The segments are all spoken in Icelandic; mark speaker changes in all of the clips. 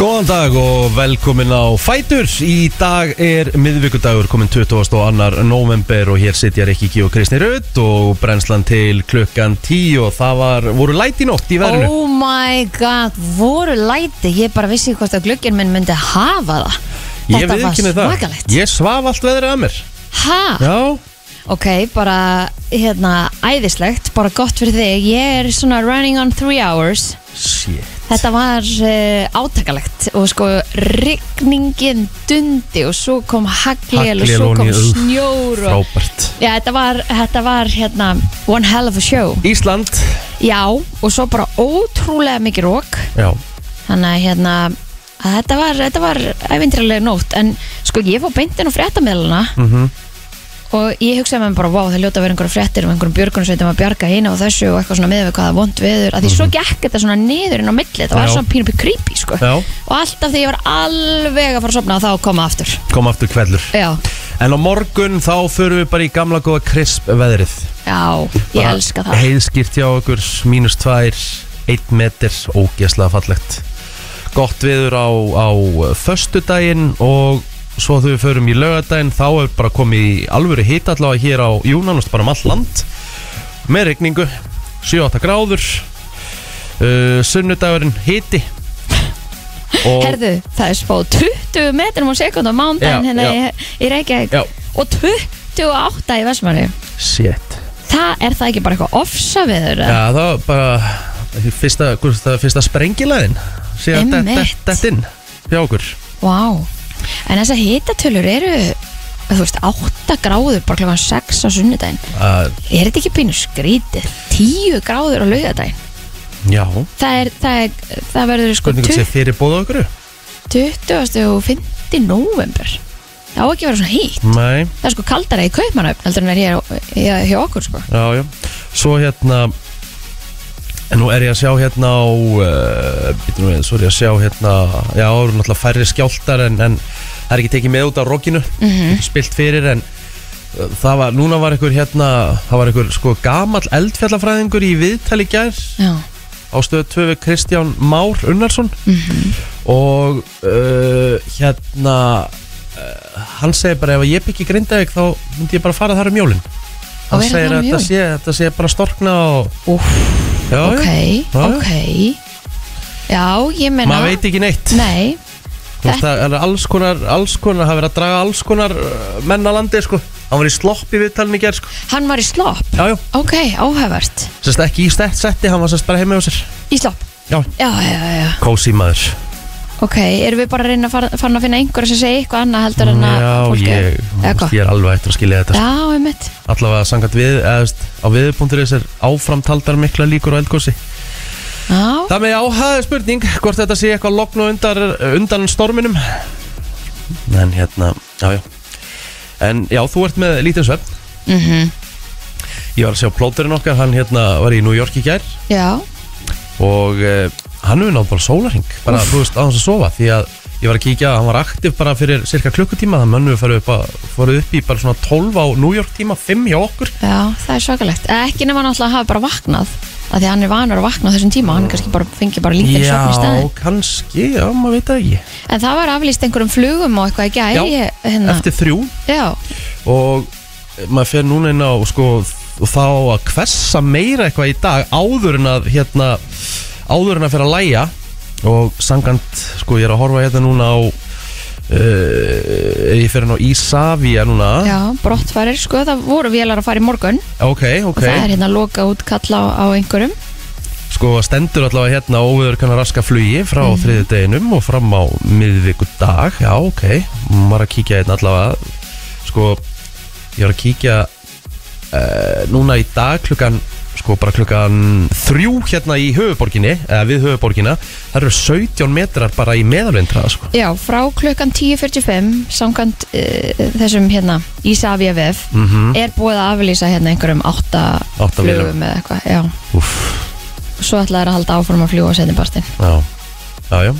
Speaker 1: Góðan dag og velkomin á Fætur Í dag er miðvíkudagur komin 22. november og hér sitja Rikki G og Kristi Rutt og brennslan til klukkan 10 og það var, voru læti nótt í verðinu
Speaker 2: Oh my god, voru læti Ég bara vissi hvort að glöggin minn myndi hafa það
Speaker 1: Ég
Speaker 2: Þetta var
Speaker 1: viðurkenni það.
Speaker 2: svakalegt
Speaker 1: Ég svaf allt veðrið að mér
Speaker 2: Hæ?
Speaker 1: Já,
Speaker 2: Ok, bara hérna æðislegt, bara gott fyrir þig Ég er svona running on three hours
Speaker 1: shit
Speaker 2: Þetta var uh, átakalegt og sko rigningin dundi og svo kom haglél og
Speaker 1: Haglél
Speaker 2: svo
Speaker 1: og
Speaker 2: kom
Speaker 1: ný- úff,
Speaker 2: snjór og...
Speaker 1: Frábært
Speaker 2: Já, þetta var, þetta var hérna one hell of a show
Speaker 1: Ísland
Speaker 2: Já, og svo bara ótrúlega mikið rók
Speaker 1: Já,
Speaker 2: þannig að hérna að þetta var, þetta var æfintrilega nótt en sko ég fór beintin á fréttamiðlana
Speaker 1: Mhm.
Speaker 2: og ég hugsaði með mér bara wow það hljóta að vera einhverja fréttir um einhverjum björgunsveitum að bjarga hína og þessu og eitthvað svona miður við hvað það er vond viður að því svo gekk þetta svona niður inn á milli það var
Speaker 1: Mhm. Já.
Speaker 2: svona pínum pín creepy sko
Speaker 1: já,
Speaker 2: og alltaf þegar ég var alveg að fara að sopna þá koma aftur
Speaker 1: kom aftur kvellur
Speaker 2: já,
Speaker 1: En á morgun þá förum við bara í gamla góða krisp veðrið
Speaker 2: já, ég
Speaker 1: Bara
Speaker 2: elska það
Speaker 1: Heiðskýrt hjá okkur, mínus tvær, eitt meter, ógeðslega fallegt Gott viður á, á föstudaginn og svo þegar við förum í laugardaginn þá er bara komið í alvöru hit allavega hér á Júnanust bara um allt land með regningu, 7-8 gráður uh, sunnudagurinn hiti og
Speaker 2: Herðu, það er spáð 20 metrum á sekund á mándaginn
Speaker 1: Já,
Speaker 2: hérna
Speaker 1: já.
Speaker 2: í, í Reykjavík
Speaker 1: Já.
Speaker 2: og 28 í Vestmanni
Speaker 1: shit
Speaker 2: Það er það ekki bara eitthvað ofsaveður eða?
Speaker 1: Já, það var bara fyrsta, hvort það var fyrsta sprengilæðin síðan
Speaker 2: Einmitt.
Speaker 1: dett inn hjá okkur
Speaker 2: Vá En þessar hitatölur eru Þú veist, 8 gráður bara klokkan 6 á sunnudaginn
Speaker 1: að,
Speaker 2: Er þetta ekki pínu skrítið? 10 gráður á laugardaginn
Speaker 1: Já,
Speaker 2: Það, er, það, er, það verður sko
Speaker 1: hvernig sé fyrir bóða okkur?
Speaker 2: 20. og 5. november Það á ekki að vera svona hýtt
Speaker 1: Nei,
Speaker 2: Það er sko kaldara í kaupmanöfn heldur en er hér á- hjá, hjá okkur sko
Speaker 1: já, já Svo hérna en Nú er ég að sjá hérna á uh, býtum við, svo er ég að sjá hérna Já, það eru náttúrulega færri skjáltar en, en það er ekki tekið með út á rokkinu mm spilt fyrir en uh, það var, núna var einhver hérna það var einhver sko gamall eldfjallafræðingur í viðtali í gær
Speaker 2: Já,
Speaker 1: á stöðu 2 við Kristján Már Unnarsson
Speaker 2: Mhm.
Speaker 1: og uh, hérna uh, hann segir bara ef ég byggi Grindavík þá myndi ég bara fara þar um jólin hann
Speaker 2: vera
Speaker 1: segir
Speaker 2: þar
Speaker 1: að
Speaker 2: um
Speaker 1: þetta
Speaker 2: jólin?
Speaker 1: sé, þetta sé bara storkna og
Speaker 2: úff,
Speaker 1: já,
Speaker 2: ok,
Speaker 1: já, já.
Speaker 2: ok Já, ég menna
Speaker 1: maður veit ekki neitt
Speaker 2: Nei,
Speaker 1: Þú veist, það er alls konar, alls konar það er verið að draga alls konar uh, menn að landi sko. hann var í slopp í viðtalinu í gerð sko.
Speaker 2: hann var í slopp
Speaker 1: já, já,
Speaker 2: Ok, áhæfart
Speaker 1: sérst ekki í stett setti hann var sérst bara heima á sér
Speaker 2: Í slopp
Speaker 1: já,
Speaker 2: Já, já, já
Speaker 1: kósi maður
Speaker 2: Ok, erum við bara að reyna að fara, farin að finna einhverja sem segja eitthvað annað heldur en að
Speaker 1: já,
Speaker 2: fólk
Speaker 1: ég,
Speaker 2: Eða hvað?
Speaker 1: ég er alveg eftir að skilja þetta sko.
Speaker 2: Já, einmitt
Speaker 1: allavega sangat við eðast, á viðbúnduris er áframtaldar mikla líkur á eldgósi
Speaker 2: Já,
Speaker 1: Það með áhæðu spurning hvort þetta sé eitthvað lokn og undan, undan storminum en hérna, já já en já, þú ert með lítið svefn
Speaker 2: mhm,
Speaker 1: ég var að sjá plóterinn okkar, hann hérna var í New York í gær
Speaker 2: já
Speaker 1: og eh, hann hefur nátt bara sólarhing bara, þú veist, á hans að sofa því að ég var að kíkja, hann var aktiv bara fyrir cirka klukkutíma það mönnum við farið upp, að, farið upp í bara svona 12 á New York tíma, 5 hjá okkur
Speaker 2: Já, það er svakalegt Eða Ekki nema náttúrulega að hafa bara vaknað af Því að hann er vanur að vakna á þessum tíma Hann kannski bara fengi bara lítið svefn í
Speaker 1: Já,
Speaker 2: staðin
Speaker 1: kannski, já, maður veit það ekki
Speaker 2: En það var aflýst einhverjum flugum og eitthvað ekki
Speaker 1: Já,
Speaker 2: hérna.
Speaker 1: Eftir þrjú
Speaker 2: Já,
Speaker 1: Mm. og eh, maður fer núna inn á sko, og þá að hvessa meira eitthvað í dag áður en að hérna, áður en að fyrir að læja og sangant, sko, ég er að horfa hérna núna á uh, ég fer hérna á Ísafía núna
Speaker 2: já, brottfarir sko Það voru vélar að fara í morgun
Speaker 1: ok,
Speaker 2: Og
Speaker 1: ok,
Speaker 2: það er hérna loka út kalla á, á einhverjum
Speaker 1: sko stendur allavega hérna óviður kannar raska flugi frá mm. þriðudeginum og fram á miðvikudag já, ok, maður að kíkja hérna allavega sko ég var að kíkja uh, núna í dag klukkan sko bara klukkan þrjú hérna í höfuborginni, eða við höfuborginna það eru 17 metrar bara í meðalvindra sko.
Speaker 2: Já, frá klukkan 10.45 samkvæmt uh, þessum hérna Ísafja vef
Speaker 1: mm
Speaker 2: er búið að aflýsa hérna einhverjum átta
Speaker 1: Átta vélum.
Speaker 2: flugum eða eitthvað já.
Speaker 1: Úff,
Speaker 2: Svo ætlaði að halda áfram að fljúa setnibartin
Speaker 1: já, já, já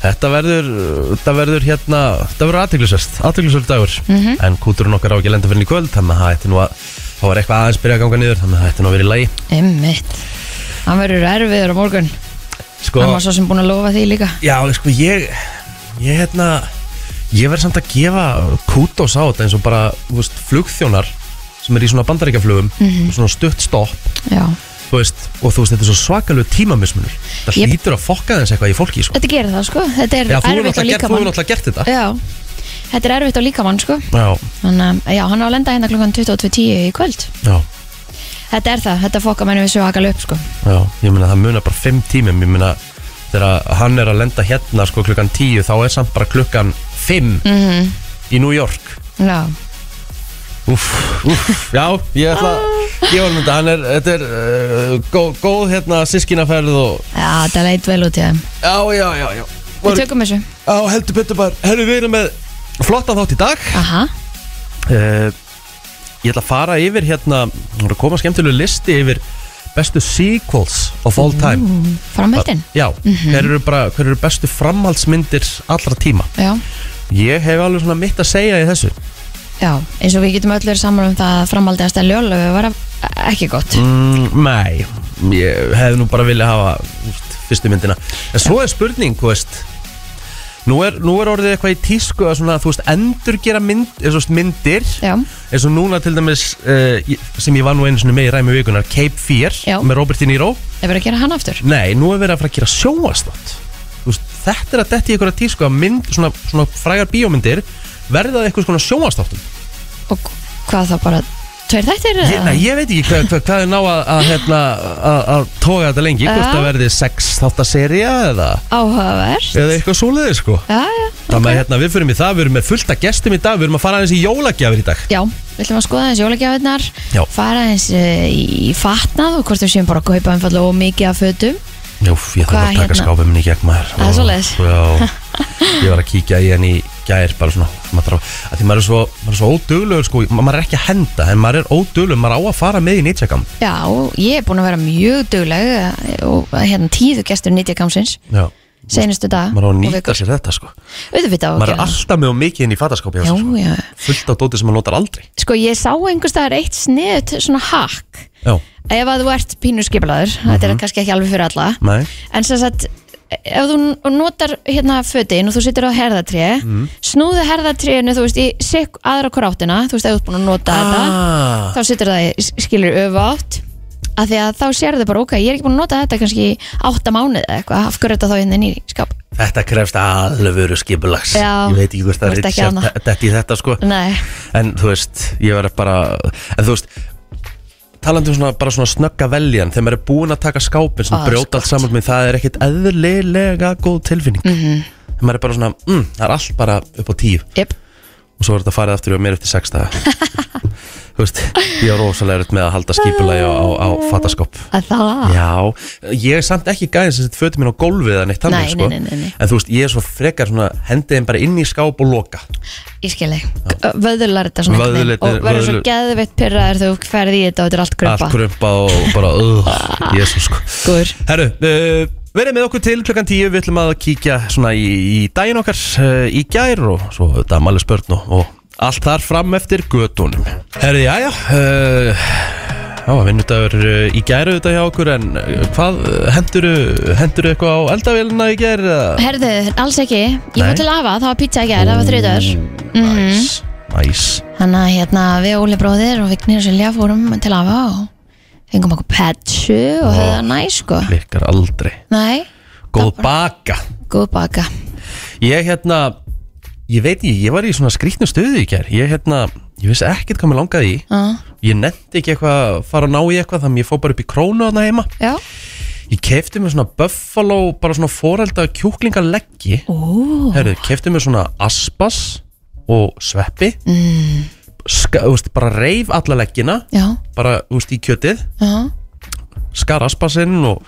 Speaker 1: Þetta verður, þetta verður hérna, þetta verður aðteglisvert, aðteglisvert dagur
Speaker 2: Mhm.
Speaker 1: En kúturinn okkar á ekki að lenda fyrir henni í kvöld, þannig að það ætti nú að, þá var eitthvað aðeins byrja að ganga niður, þannig að það ætti nú að vera í lagi
Speaker 2: Einmitt Hann verður erfiður á morgun
Speaker 1: Sko,
Speaker 2: Hann var svo sem búin að lofa því líka
Speaker 1: já, sko, ég Ég, hérna Ég verð samt að gefa kútos á þetta eins og bara, þú veist, flugþjónar sem er í svona bandaríkjaflugum
Speaker 2: Mhm.
Speaker 1: og svona stutt stopp,
Speaker 2: Já
Speaker 1: þú veist og þú veist, þetta er svo svakalegu tímamismunur það
Speaker 2: Ég-
Speaker 1: hlýtur að fokka þess eitthvað í fólki, sko
Speaker 2: Þetta gerir það sko, þetta er
Speaker 1: Já, þú hefur
Speaker 2: erfitt á
Speaker 1: náttúrulega gert- þú hefur
Speaker 2: líkamann
Speaker 1: náttúrulega gert þetta
Speaker 2: Já, þetta er erfitt á líkamann sko
Speaker 1: Já,
Speaker 2: Þannig að já, hann á að lenda hérna klukkan 22.10 í kvöld
Speaker 1: já,
Speaker 2: Þetta er það, þetta fokka menni við svo akal upp sko
Speaker 1: já, ég meina það munar bara fimm tímum, ég meina þegar hann er að lenda hérna sko klukkan tíu þá er samt bara klukkan fimm
Speaker 2: Mhm.
Speaker 1: í New York
Speaker 2: Já,
Speaker 1: Úf, úf, já, ég ætla ég var mynda, hann er, þetta er uh, góð, góð hérna sískinaferð og
Speaker 2: já þetta leit vel út í þeim
Speaker 1: já, já, já, já
Speaker 2: Við
Speaker 1: var,
Speaker 2: tökum þessu
Speaker 1: á, heldur betur bara, herru við erum með flottan þátt í dag
Speaker 2: Aha,
Speaker 1: uh, ég ætla að fara yfir hérna, hún er að koma skemmtilegu listi yfir bestu sequels of all time
Speaker 2: framhaldin
Speaker 1: Já, hver, eru bara, hver eru bestu framhaldsmyndir allra tíma
Speaker 2: Já,
Speaker 1: Ég hef alveg svona mitt að segja í þessu
Speaker 2: já, eins og við getum öll verið saman um það að framhaldi að stæða ljólu var ekki gott
Speaker 1: mm, Nei, ég hef nú bara viljað hafa úst, fyrstu myndina En svo er spurning, þú veist Nú er, nú er orðið eitthvað í tísku að svona, þú veist, endurgera mynd, eða, veist, myndir
Speaker 2: Já,
Speaker 1: eins og núna til dæmis uh, sem ég var nú einu sinni með í ræmi vikunar Cape Fear
Speaker 2: Já.
Speaker 1: með Robert De Niro
Speaker 2: það verið að gera hann aftur
Speaker 1: Nei, nú er verið að fara að gera sjónvastátt veist, Þetta er að detti í einhverja tísku að mynd, svona, svona frægar bíómyndir verða að eitthvað svona sjónvastáttum
Speaker 2: Og hvað það bara, tveir þættir?
Speaker 1: ég,
Speaker 2: eða?
Speaker 1: nei, ég veit ekki hvað, hvað, hvað er ná að, að, hérna, að, að toga þetta lengi hvort
Speaker 2: Já.
Speaker 1: það verði sex þáttaserja eða,
Speaker 2: Áhugavert
Speaker 1: eða eitthvað svoleiði sko
Speaker 2: Já, já,
Speaker 1: Þannig að hérna, við förum í það, við erum með fullta gestum í dag við erum að fara aðeins í jólagjafir í dag
Speaker 2: Já, við ætlum að skoða aðeins jólagjafinnar
Speaker 1: Já.
Speaker 2: fara aðeins eh, í fatnað og hvort við séum bara að kaupa einfallega og mikið af fötum
Speaker 1: Jóf, ég þarf
Speaker 2: Hvað,
Speaker 1: að taka
Speaker 2: hérna?
Speaker 1: skápið minni í gegn maður
Speaker 2: Það er svoleiðis.
Speaker 1: Já, ég var að kíkja í henni í gær bara svona maður þarf, að því maður er svo, maður er svo óduglegur sko, ma- maður er ekki að henda en maður er óduglegur, maður á að fara með í nýtjakam
Speaker 2: Já, og ég er búin að vera mjög dugleg eh, og hérna tíðu gestur nýtjakamsins
Speaker 1: Já,
Speaker 2: senustu dag
Speaker 1: maður á að
Speaker 2: og
Speaker 1: nýta
Speaker 2: vikur.
Speaker 1: sér þetta sko
Speaker 2: Auðvitað á að
Speaker 1: maður er
Speaker 2: gera það.
Speaker 1: alltaf með og mikið inn í fataskápi
Speaker 2: Já, já.
Speaker 1: sko. fullt á dóti sem maður notar aldrei
Speaker 2: Sko, ég sá einhvers staðar eitt sniðut svona hakk
Speaker 1: Já,
Speaker 2: ef að þú ert pínur skipulaður þetta er kannski ekki alveg fyrir alla
Speaker 1: nei,
Speaker 2: en sem sagt ef þú notar hérna fötin og þú situr á herðatré snúðu herðatrénu þú veist í sikk aðra hver áttina þú veist ef þú ert búin að nota
Speaker 1: Ah.
Speaker 2: þetta þá situr það í skilur öfátt af því að þá sérðu bara ok ég er ekki búin að nota þetta kannski í átta mánuð eða eitthvað af hverju er þetta þá hérna inn í skáp
Speaker 1: þetta krefst alvöru skipulags
Speaker 2: Já,
Speaker 1: Ég veit ekki hvort
Speaker 2: þú
Speaker 1: það
Speaker 2: ert
Speaker 1: er
Speaker 2: ekki annað.
Speaker 1: þetta í þetta sko
Speaker 2: nei,
Speaker 1: En þú veist, ég verður bara En þú veist talandi um svona, bara svona snögga veljan þegar maður er búinn að taka skápin sem
Speaker 2: Ó,
Speaker 1: brjóta allt saman með það er ekkit eðlilega góð tilfinning mm
Speaker 2: Mhm.
Speaker 1: maður er bara svona, mm, það er allt bara upp á tíu
Speaker 2: yep.
Speaker 1: og svo er þetta farið aftur og mér eftir sex daga þú veist, ég er rosalega erut með að halda skipulagi á, á, á fataskáp
Speaker 2: að það
Speaker 1: Já, ég er samt ekki gæðin sem sett fötum minn á gólfið eða neitt þannig
Speaker 2: Nei,
Speaker 1: sko.
Speaker 2: nei, nei, nei, nei.
Speaker 1: en þú veist, ég er svo frekar svona hendið þeim bara inn í skáp og loka
Speaker 2: ég skil þig, vöðular þetta svona einhvern veginn.
Speaker 1: Vöðlarnir-
Speaker 2: og verður svo
Speaker 1: vöðlur-
Speaker 2: geðveitt pyrraður þegar þú ferði í þetta og þetta er allt gröpa
Speaker 1: allt krumpa og bara uh, Jesus sko
Speaker 2: Góður.
Speaker 1: Herru, uh, verið með okkur til klukkan 10 við ætlum að kíkja svona í, í daginn okkar uh, í gær og svo þetta mæli spörn og, og allt þar fram eftir götunum Herru, já, já uh, Já, vinnudagur uh, í gæru þetta hjá okkur en uh, hvað, henduru, henduru eitthvað á eldavélina í gæru?
Speaker 2: Herðu, alls ekki. Ég
Speaker 1: Nei.
Speaker 2: fór til afa, það var pizza í gerð, það var þriðdagur.
Speaker 1: Næs, næs
Speaker 2: Þannig að hérna, við Óli bróðir og Vignir og Silja fórum til afa og fengum okkur petsu og höfðu það næ, sko.
Speaker 1: Klikkar aldrei
Speaker 2: Nei,
Speaker 1: Góð baka
Speaker 2: góð baka.
Speaker 1: Ég hérna Ég veit ekki, ég var í svona skrýtnu stöðu í kær Ég hérna, ég vissi ekkert hvað mér langaði í
Speaker 2: Uh,
Speaker 1: Ég nefndi ekki eitthvað að fara að ná í eitthvað Þannig að ég fór bara upp í krónu þarna heima
Speaker 2: já.
Speaker 1: Ég kefti mér svona buffalo Bara svona forelda kjúklingaleggi
Speaker 2: Ú,
Speaker 1: Herðu, kefti mér svona aspas Og sveppi mm. Ska, þú veist, Bara reif alla leggina
Speaker 2: já,
Speaker 1: Bara, þú veist, í kjötið
Speaker 2: já.
Speaker 1: skar aspasinn og,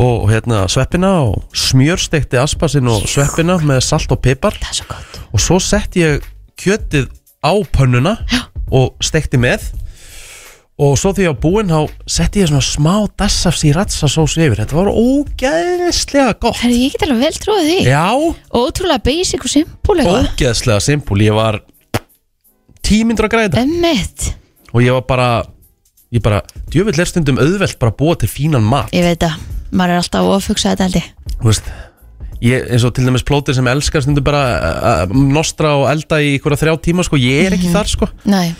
Speaker 1: og hérna sveppina og smjörstekti aspasinn og sveppina með salt og pipar
Speaker 2: Það er svo gott.
Speaker 1: og svo sett ég kjötið á pönnuna og stekti með og svo því ég á búinn þá setti ég svona smá dassaf sriracha sós yfir, þetta var ógeðslega gott
Speaker 2: Herðu, ég get alveg vel trúið því.
Speaker 1: já,
Speaker 2: Ótrúlega basic og simpúl eitthvað.
Speaker 1: ógeðslega simpul, ég var tímyndur að græða
Speaker 2: Ömmit.
Speaker 1: og ég var bara ég bara, djöfull er stundum auðvelt bara að búa til fínan mat
Speaker 2: Ég veit það. Maður er alltaf ofhugsað þetta held ég.
Speaker 1: þú veist ég, eins og til dæmis plótir sem elskar stundum bara að- að nostra og elda í ykkur þrjá tíma sko, ég er ekki þar sko
Speaker 2: Nei,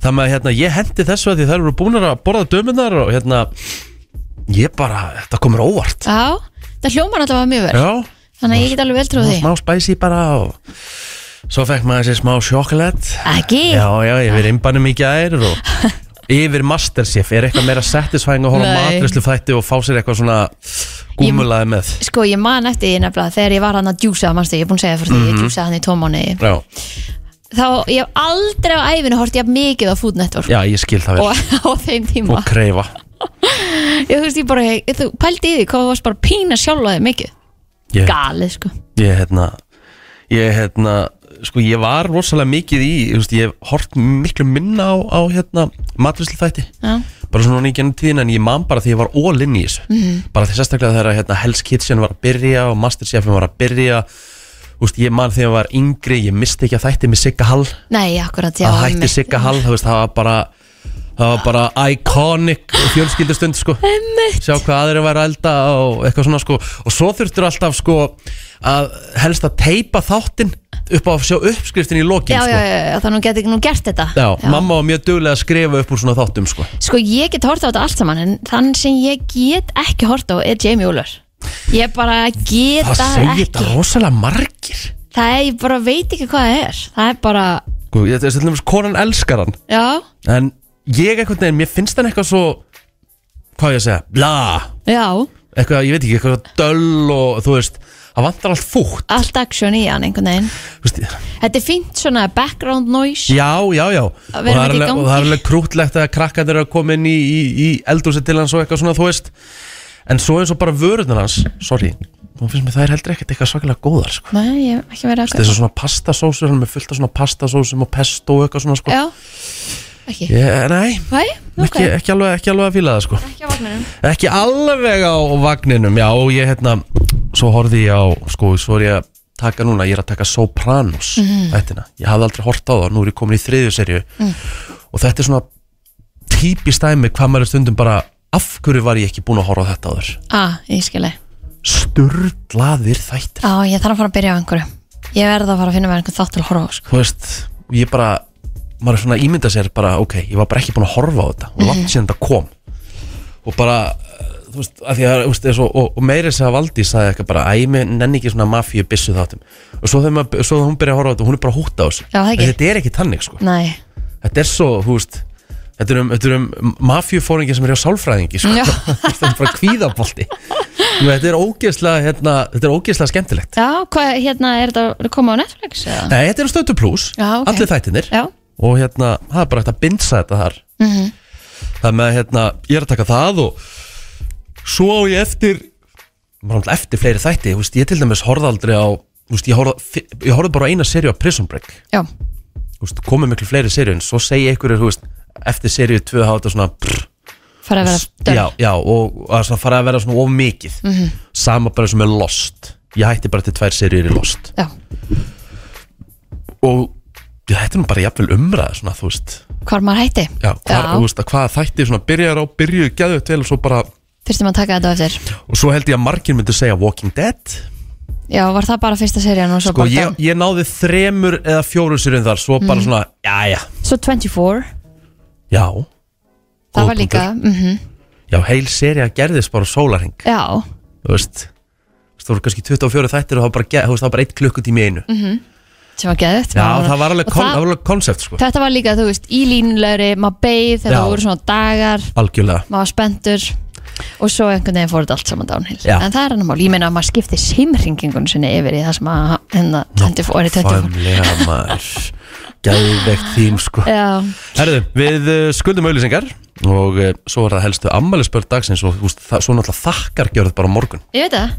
Speaker 1: þannig að hérna, ég hendi þessu að því þær eru búnar að borða dömunar og hérna ég bara, þetta komur óvart
Speaker 2: á, það hljómar alltaf mjög vel
Speaker 1: já,
Speaker 2: Þannig að ég get alveg vel trúið því
Speaker 1: smá spæsi bara og svo fekk maður þessi smá sjokklet
Speaker 2: Ekki?
Speaker 1: já, já, yfir imbanum í gær og yfir Masterchef er eitthvað meira satisfying að horfa
Speaker 2: Nei.
Speaker 1: matreslu þætti og fá sér eitthvað svona gúmulaði með
Speaker 2: Sko, ég man eftir því nefnilega þegar ég var hann að djúsa, mannstu, ég er búin að segja fyrir því,
Speaker 1: Mhm.
Speaker 2: ég djúsa hann í tómáni
Speaker 1: já,
Speaker 2: Þá, ég hef aldrei á æfinu hort ég mikið á Food Network
Speaker 1: já, ég skil það vel
Speaker 2: og á þeim tíma
Speaker 1: og kreifa
Speaker 2: Ég þú veist, ég bara, ég, þú pældi í því hvað þú varst bara að pína sjálfa þig mikið
Speaker 1: ég,
Speaker 2: Galið, sko
Speaker 1: ég hérna ég hérna sko ég var rosalega mikið í þú veist, ég hef hort miklu minna á, á hérna matrisli þætti
Speaker 2: Já,
Speaker 1: bara svona í gennum tíðin en ég man bara því ég var all inn í þessu -hmm. bara því sérstaklega þegar hérna, Hell's Kitchen var að byrja og Masterchefin var að byrja Úst, ég man þegar ég var yngri, ég misti ekki að þætti með Sigga Hall,
Speaker 2: nei, akkurat já,
Speaker 1: að hætti
Speaker 2: einmitt.
Speaker 1: Sigga Hall þú veist, það var bara það var bara iconic fjölskyldustund sko.
Speaker 2: Einmitt.
Speaker 1: sjá hvað aðrir væri að elda og eitthvað svona sko og svo þurftur alltaf sko að helst að teipa þáttinn upp á að sjá uppskriftin í lokin
Speaker 2: Já, já,
Speaker 1: sko.
Speaker 2: já, já, það nú geti nú gert þetta
Speaker 1: Já, mamma var mjög duglega að skrifa upp úr svona þáttum sko
Speaker 2: Sko, ég get hort á þetta allt saman en þann sem ég get ekki hort á er Jamie Uller Ég bara get
Speaker 1: Það
Speaker 2: það
Speaker 1: segir
Speaker 2: ekki
Speaker 1: þetta rosalega margir
Speaker 2: Það er, ég bara veit ekki hvað það er Það er bara,
Speaker 1: sko, Þetta er svolítið konan elskar hann
Speaker 2: já,
Speaker 1: en ég einhvern veginn, mér finnst hann eitthvað svo hvað á ég að segja, bla
Speaker 2: já
Speaker 1: eitthvað, ég veit ekki, eitthvað svo döll og þú veist, það vantar allt fútt
Speaker 2: Allt action í hann einhvern veginn
Speaker 1: þú veist,
Speaker 2: Þetta er fínt svona background noise
Speaker 1: Já, já, já og það,
Speaker 2: Að
Speaker 1: er
Speaker 2: vera með í
Speaker 1: alveg,
Speaker 2: gangi.
Speaker 1: og það er alveg krútlegt að krakkarnir eru að koma inn í, í, í eldhúsi til hans og eitthvað svona, þú veist En svo eins og bara vörðunar hans, sorry Nú finnst mér það er heldur ekkert eitthvað svakalega góðar sko.
Speaker 2: Nei, ég hef ekki verið að
Speaker 1: Þessar svona pastasósur, hann er með fullt af svona pastasósum og pesto og eitthvað svona sko.
Speaker 2: Já, ekki
Speaker 1: Ég, Nei,
Speaker 2: Nei, ok,
Speaker 1: ekki, ekki, alveg, ekki alveg að fíla það sko.
Speaker 2: ekki á vagninum
Speaker 1: Ekki alveg á vagninum, já, og ég hérna Svo horfði ég á, sko, svo er ég að taka núna Ég er að taka Sopranos, þættina Ég hafði aldrei hort á það, nú er ég komin í þriðju serju Og þetta er svona típist dæmi hvað maður er stundum bara Af hverju var ég ekki búin að horfa á þetta áður?
Speaker 2: Ah, ég skilja
Speaker 1: Sturlaðir þættir
Speaker 2: Á, ég þarf að fara að byrja á einhverju Ég verð að fara að finna mér einhvern þátt til að horfa á sko.
Speaker 1: Þú veist, ég bara Maður er svona að ímynda sér bara, ok Ég var bara ekki búin að horfa á þetta Og
Speaker 2: Mhm.
Speaker 1: langt síðan þetta kom Og bara, eh, þú veist, að því að þú veist, eins og, og, og meiri sér að Valdi sagði eitthvað bara Æ, mér nenni ekki svona mafíu byssu þáttum Og svo þegar, maður, svo þegar hún byrja að horfa á þetta Hún er bara hútt á þessu
Speaker 2: Já, það ekki.
Speaker 1: En Þetta er ekki tannig, sko
Speaker 2: Nei,
Speaker 1: Þetta er svo, þú veist Þetta er um, þetta er um mafjufóringi sem er hjá sálfræðingi sko.
Speaker 2: Já.
Speaker 1: Þetta er bara kvíðabolti Nú, Þetta er ógeðslega, hérna, þetta er ógeðslega skemmtilegt
Speaker 2: já, hvað, hérna, er þetta er þetta komið á Netflix? Eða?
Speaker 1: Nei, þetta er um stötu plus
Speaker 2: Já, ok.
Speaker 1: Allir þættinir
Speaker 2: Já,
Speaker 1: og hérna, það er bara hægt að bindsa þetta þar mm -hmm. það með hérna, ég er að taka það og svo á ég eftir maður náttúrulega eftir fleiri þætti, þú veist, ég til dæmis horfði aldrei á, þú veist, ég horfði, ég horfði bara á eina serju á Prison Break,
Speaker 2: já,
Speaker 1: þú veist, komið miklu fleiri serju en svo segi einhverjir, þú veist, eftir serju 2 hafa þetta svona, brr,
Speaker 2: fara að vera dörr
Speaker 1: já, já, og að svona fara að vera svona of mikið, -hmm. sama bara sem er Lost, ég hætti bara til tvær serjur í Lost
Speaker 2: já,
Speaker 1: og já, þetta er nú bara jafnvel umræða, svona, þú veist,
Speaker 2: hvar maður hætti
Speaker 1: Já, hvar,
Speaker 2: Já.
Speaker 1: þú veist að hvað þætti svona byrjar á, byrjuðu gæðu til og svo bara
Speaker 2: Fyrstum að taka þetta á eftir
Speaker 1: og svo held ég að margir myndi segja Walking Dead
Speaker 2: Já, var það bara fyrsta serían og svo
Speaker 1: sko
Speaker 2: bara Mm.
Speaker 1: ég,
Speaker 2: down
Speaker 1: ég náði þremur eða fjórum sérum þar svo bara svona, já já,
Speaker 2: Svo 24,
Speaker 1: já
Speaker 2: það
Speaker 1: Góð
Speaker 2: var líka mm
Speaker 1: já, heil serið gerðist bara á sólarhing
Speaker 2: Já,
Speaker 1: þú veist, Þú veist, það voru kannski 24 þættir og það var bara, ge- þú veist, það var bara eitt klukkutími í einu
Speaker 2: sem var geðið
Speaker 1: já, það var alveg, kon,
Speaker 2: Mhm. það,
Speaker 1: það var alveg koncept sko,
Speaker 2: Þetta var líka, þú veist, ílínlegri, maður beið
Speaker 1: Já.
Speaker 2: þegar það voru svona dagar
Speaker 1: algjörlega
Speaker 2: maður var spenntur og svo einhvern veginn fór þetta allt saman downhill
Speaker 1: Já.
Speaker 2: en það er annar mál, ég meina að maður skipti simringingun sinni yfir í það sem að hérna 24, orðið 24
Speaker 1: famlega maður gæðvegt þím sko
Speaker 2: Já,
Speaker 1: Herðu, við uh, skuldum auðlýsingar og uh, svo er það helstu ammælisbörn dagsins og úst, það, svo náttúrulega þakkar gjörð bara á morgun.
Speaker 2: ég veit það,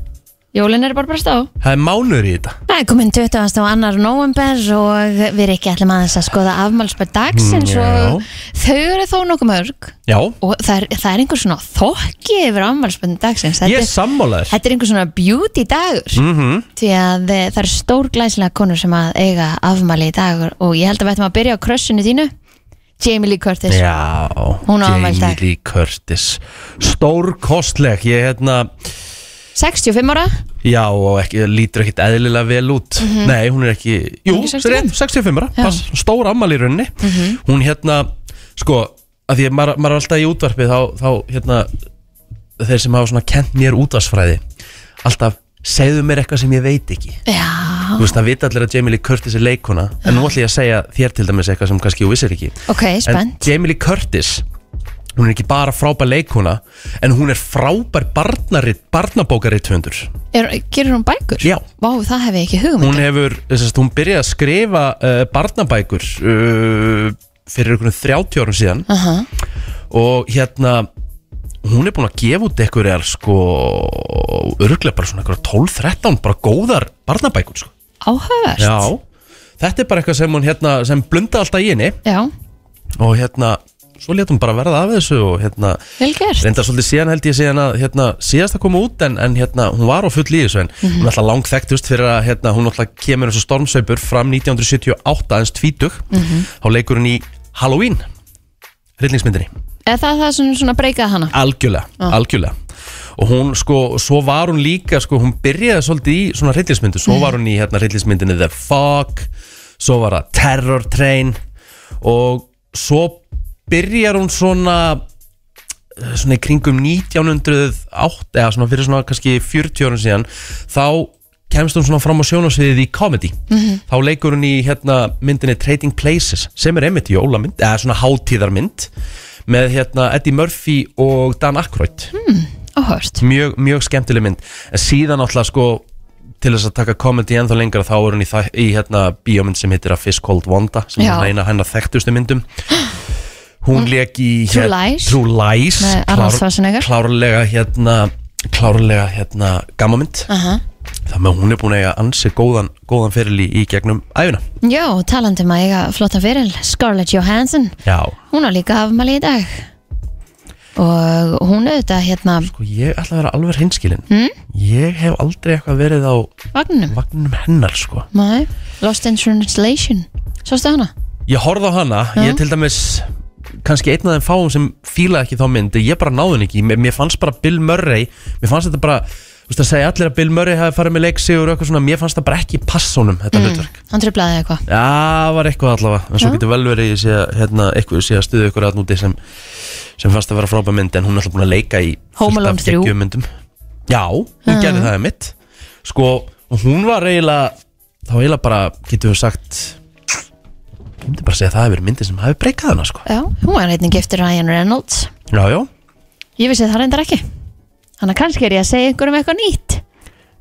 Speaker 2: jólin er bara bara stá
Speaker 1: Það er mánuður í þetta.
Speaker 2: Það er komin 20. og 2. november og við erum ekki allir maður að skoða afmálspöld dagsins
Speaker 1: Mm, já.
Speaker 2: og þau eru þó nokkuð mörg
Speaker 1: Já,
Speaker 2: og það er, það er einhver svona þokki yfir afmálspöld dagsins þetta,
Speaker 1: ég er Mhm.
Speaker 2: er-
Speaker 1: sammálaður.
Speaker 2: þetta er einhver svona beauty dagur mm -hmm. því að eh, það eru stór glæslega konur sem að eiga afmáli í dagur og ég held að við ættum að byrja á crushinu þínu Jamie Lee Curtis
Speaker 1: Já,
Speaker 2: Hún á afmæli í
Speaker 1: Jamie
Speaker 2: dag.
Speaker 1: Lee Curtis. Stórkostleg, ég hérna,
Speaker 2: 65 ára
Speaker 1: Já, og ekki, lítur ekkit eðlilega vel út Nei, hún er ekki Jú,
Speaker 2: Mhm. Hún er ekki
Speaker 1: það er rétt, 65 ára,
Speaker 2: Já. Mhm.
Speaker 1: pass, stór ammali í rauninni Hún hérna, sko að Því að maður, maður er alltaf í útvarpi þá, þá hérna Þeir sem hafa svona kent mér útvarsfræði Alltaf, segðu mér eitthvað sem ég veit ekki
Speaker 2: Já,
Speaker 1: Þú veist, það vita allir að Jamie Lee Curtis er leikona En nú ætlum ég að segja þér til dæmis eitthvað sem kannski þú vissir ekki
Speaker 2: ok,
Speaker 1: En
Speaker 2: spennt
Speaker 1: Jamie Lee Curtis Hún er ekki bara frábær leikona En hún er frábær barnarit, barnabókaritfundur
Speaker 2: er, Gerur hún bækur?
Speaker 1: Já.
Speaker 2: Vá, það hef ég ekki hugum
Speaker 1: hún hefur, þess að hún byrjaði að skrifa uh, barnabækur uh, fyrir einhvern 30 árum síðan
Speaker 2: Aha,
Speaker 1: og hérna hún er búin að gefa út einhverjar sko, örglega bara svona einhverjar 12-13 bara góðar barnabækur sko.
Speaker 2: áhugavert
Speaker 1: já, þetta er bara eitthvað sem hún hérna, sem blunda alltaf í henni
Speaker 2: Já,
Speaker 1: og hérna, svo létt hún bara verða af þessu og hérna,
Speaker 2: vel gert
Speaker 1: reyndar svolítið síðan held ég síðan að hérna, síðast að koma út en, en hérna, hún var á full í þessu en hún er alltaf langþekktust fyrir að hérna, hún alltaf kemur eins og stormsaupur fram 1978 aðeins tvítug þá leikur hún í Halloween hryllingsmyndinni, Ah.
Speaker 2: Eða það, það sem svona breykaði hana
Speaker 1: algjörlega, algjörlega og hún sko, svo var hún líka sko, hún byrjaði svolítið í svona hryllingsmyndu svo var hún í hérna, hryllingsmyndinni The Fog svo var það Terror Train og svo byrjar hún svona svona í kringum 1908 eða svona fyrir svona kannski 40 árum síðan þá kemst hún svona fram á sjónasviðið í comedy þá leikur hún í hérna myndinni Trading Places sem er einmitt jólamynd eða svona hátíðarmynd með hérna Eddie Murphy og Dan Aykroyd
Speaker 2: Áhugavert
Speaker 1: mjög, mjög skemmtileg mynd en síðan alltaf sko til þess að taka comedy ennþá lengra þá er hún í, þa- í hérna bíómynd sem heitir A Fish Called Wanda sem
Speaker 2: Já. Mm.
Speaker 1: er eina af hennar þekktustu myndum hún leik í
Speaker 2: True
Speaker 1: hér-
Speaker 2: Lies.
Speaker 1: True Lies
Speaker 2: Með Arnold
Speaker 1: klár-
Speaker 2: Schwarzenegger.
Speaker 1: klárlega hérna klárlega hérna gammamynd
Speaker 2: Aha.
Speaker 1: þannig að hún er búin að eiga ansi góðan, góðan feril í, í gegnum æfina
Speaker 2: Já, talandi um að eiga flottan fyrir Scarlett Johansson
Speaker 1: já
Speaker 2: Hún á líka afmæli í dag Og hún auðvitað hérna
Speaker 1: sko ég ætla að vera alveg hinskilin
Speaker 2: Hmm?
Speaker 1: mm? ég hef aldrei eitthvað verið á
Speaker 2: Vagnum
Speaker 1: vagnum hennar sko
Speaker 2: Nei, Lost in Translation Sástu hana?
Speaker 1: ég horfði á hana, ég til dæmis kannski einn af þeim fáum sem fílaði ekki þá mynd ég bara náði henni ekki, mér, mér fannst bara Bill Murray, mér fannst þetta bara þú veist að segja allir að Bill Murray hafi farið með leiksigur og eitthvað svona, mér fannst það bara ekki passónum þetta mm. hlutverk
Speaker 2: Hann tröflaði eitthvað
Speaker 1: Já, það var eitthvað allavega En svo getur vel verið ég sé að hérna, eitthvað sé að stuðu ykkur að núti sem, sem fannst að vera frábæð mynd En hún er alltaf búin að leika í
Speaker 2: Home Alone Ah. 3.
Speaker 1: geggjum myndum Já, hún gerði það mitt Sko, og hún var eiginlega Þá eiginlega bara, getur við sagt Ég myndi bara segja að það hefur verið myndi sem hafi breykað hana sko
Speaker 2: Já, hún var einnig eftir Ryan Reynolds
Speaker 1: Já, já,
Speaker 2: Ég vissi það reyndar ekki Þannig að kannski er ég að segja einhverjum eitthvað nýtt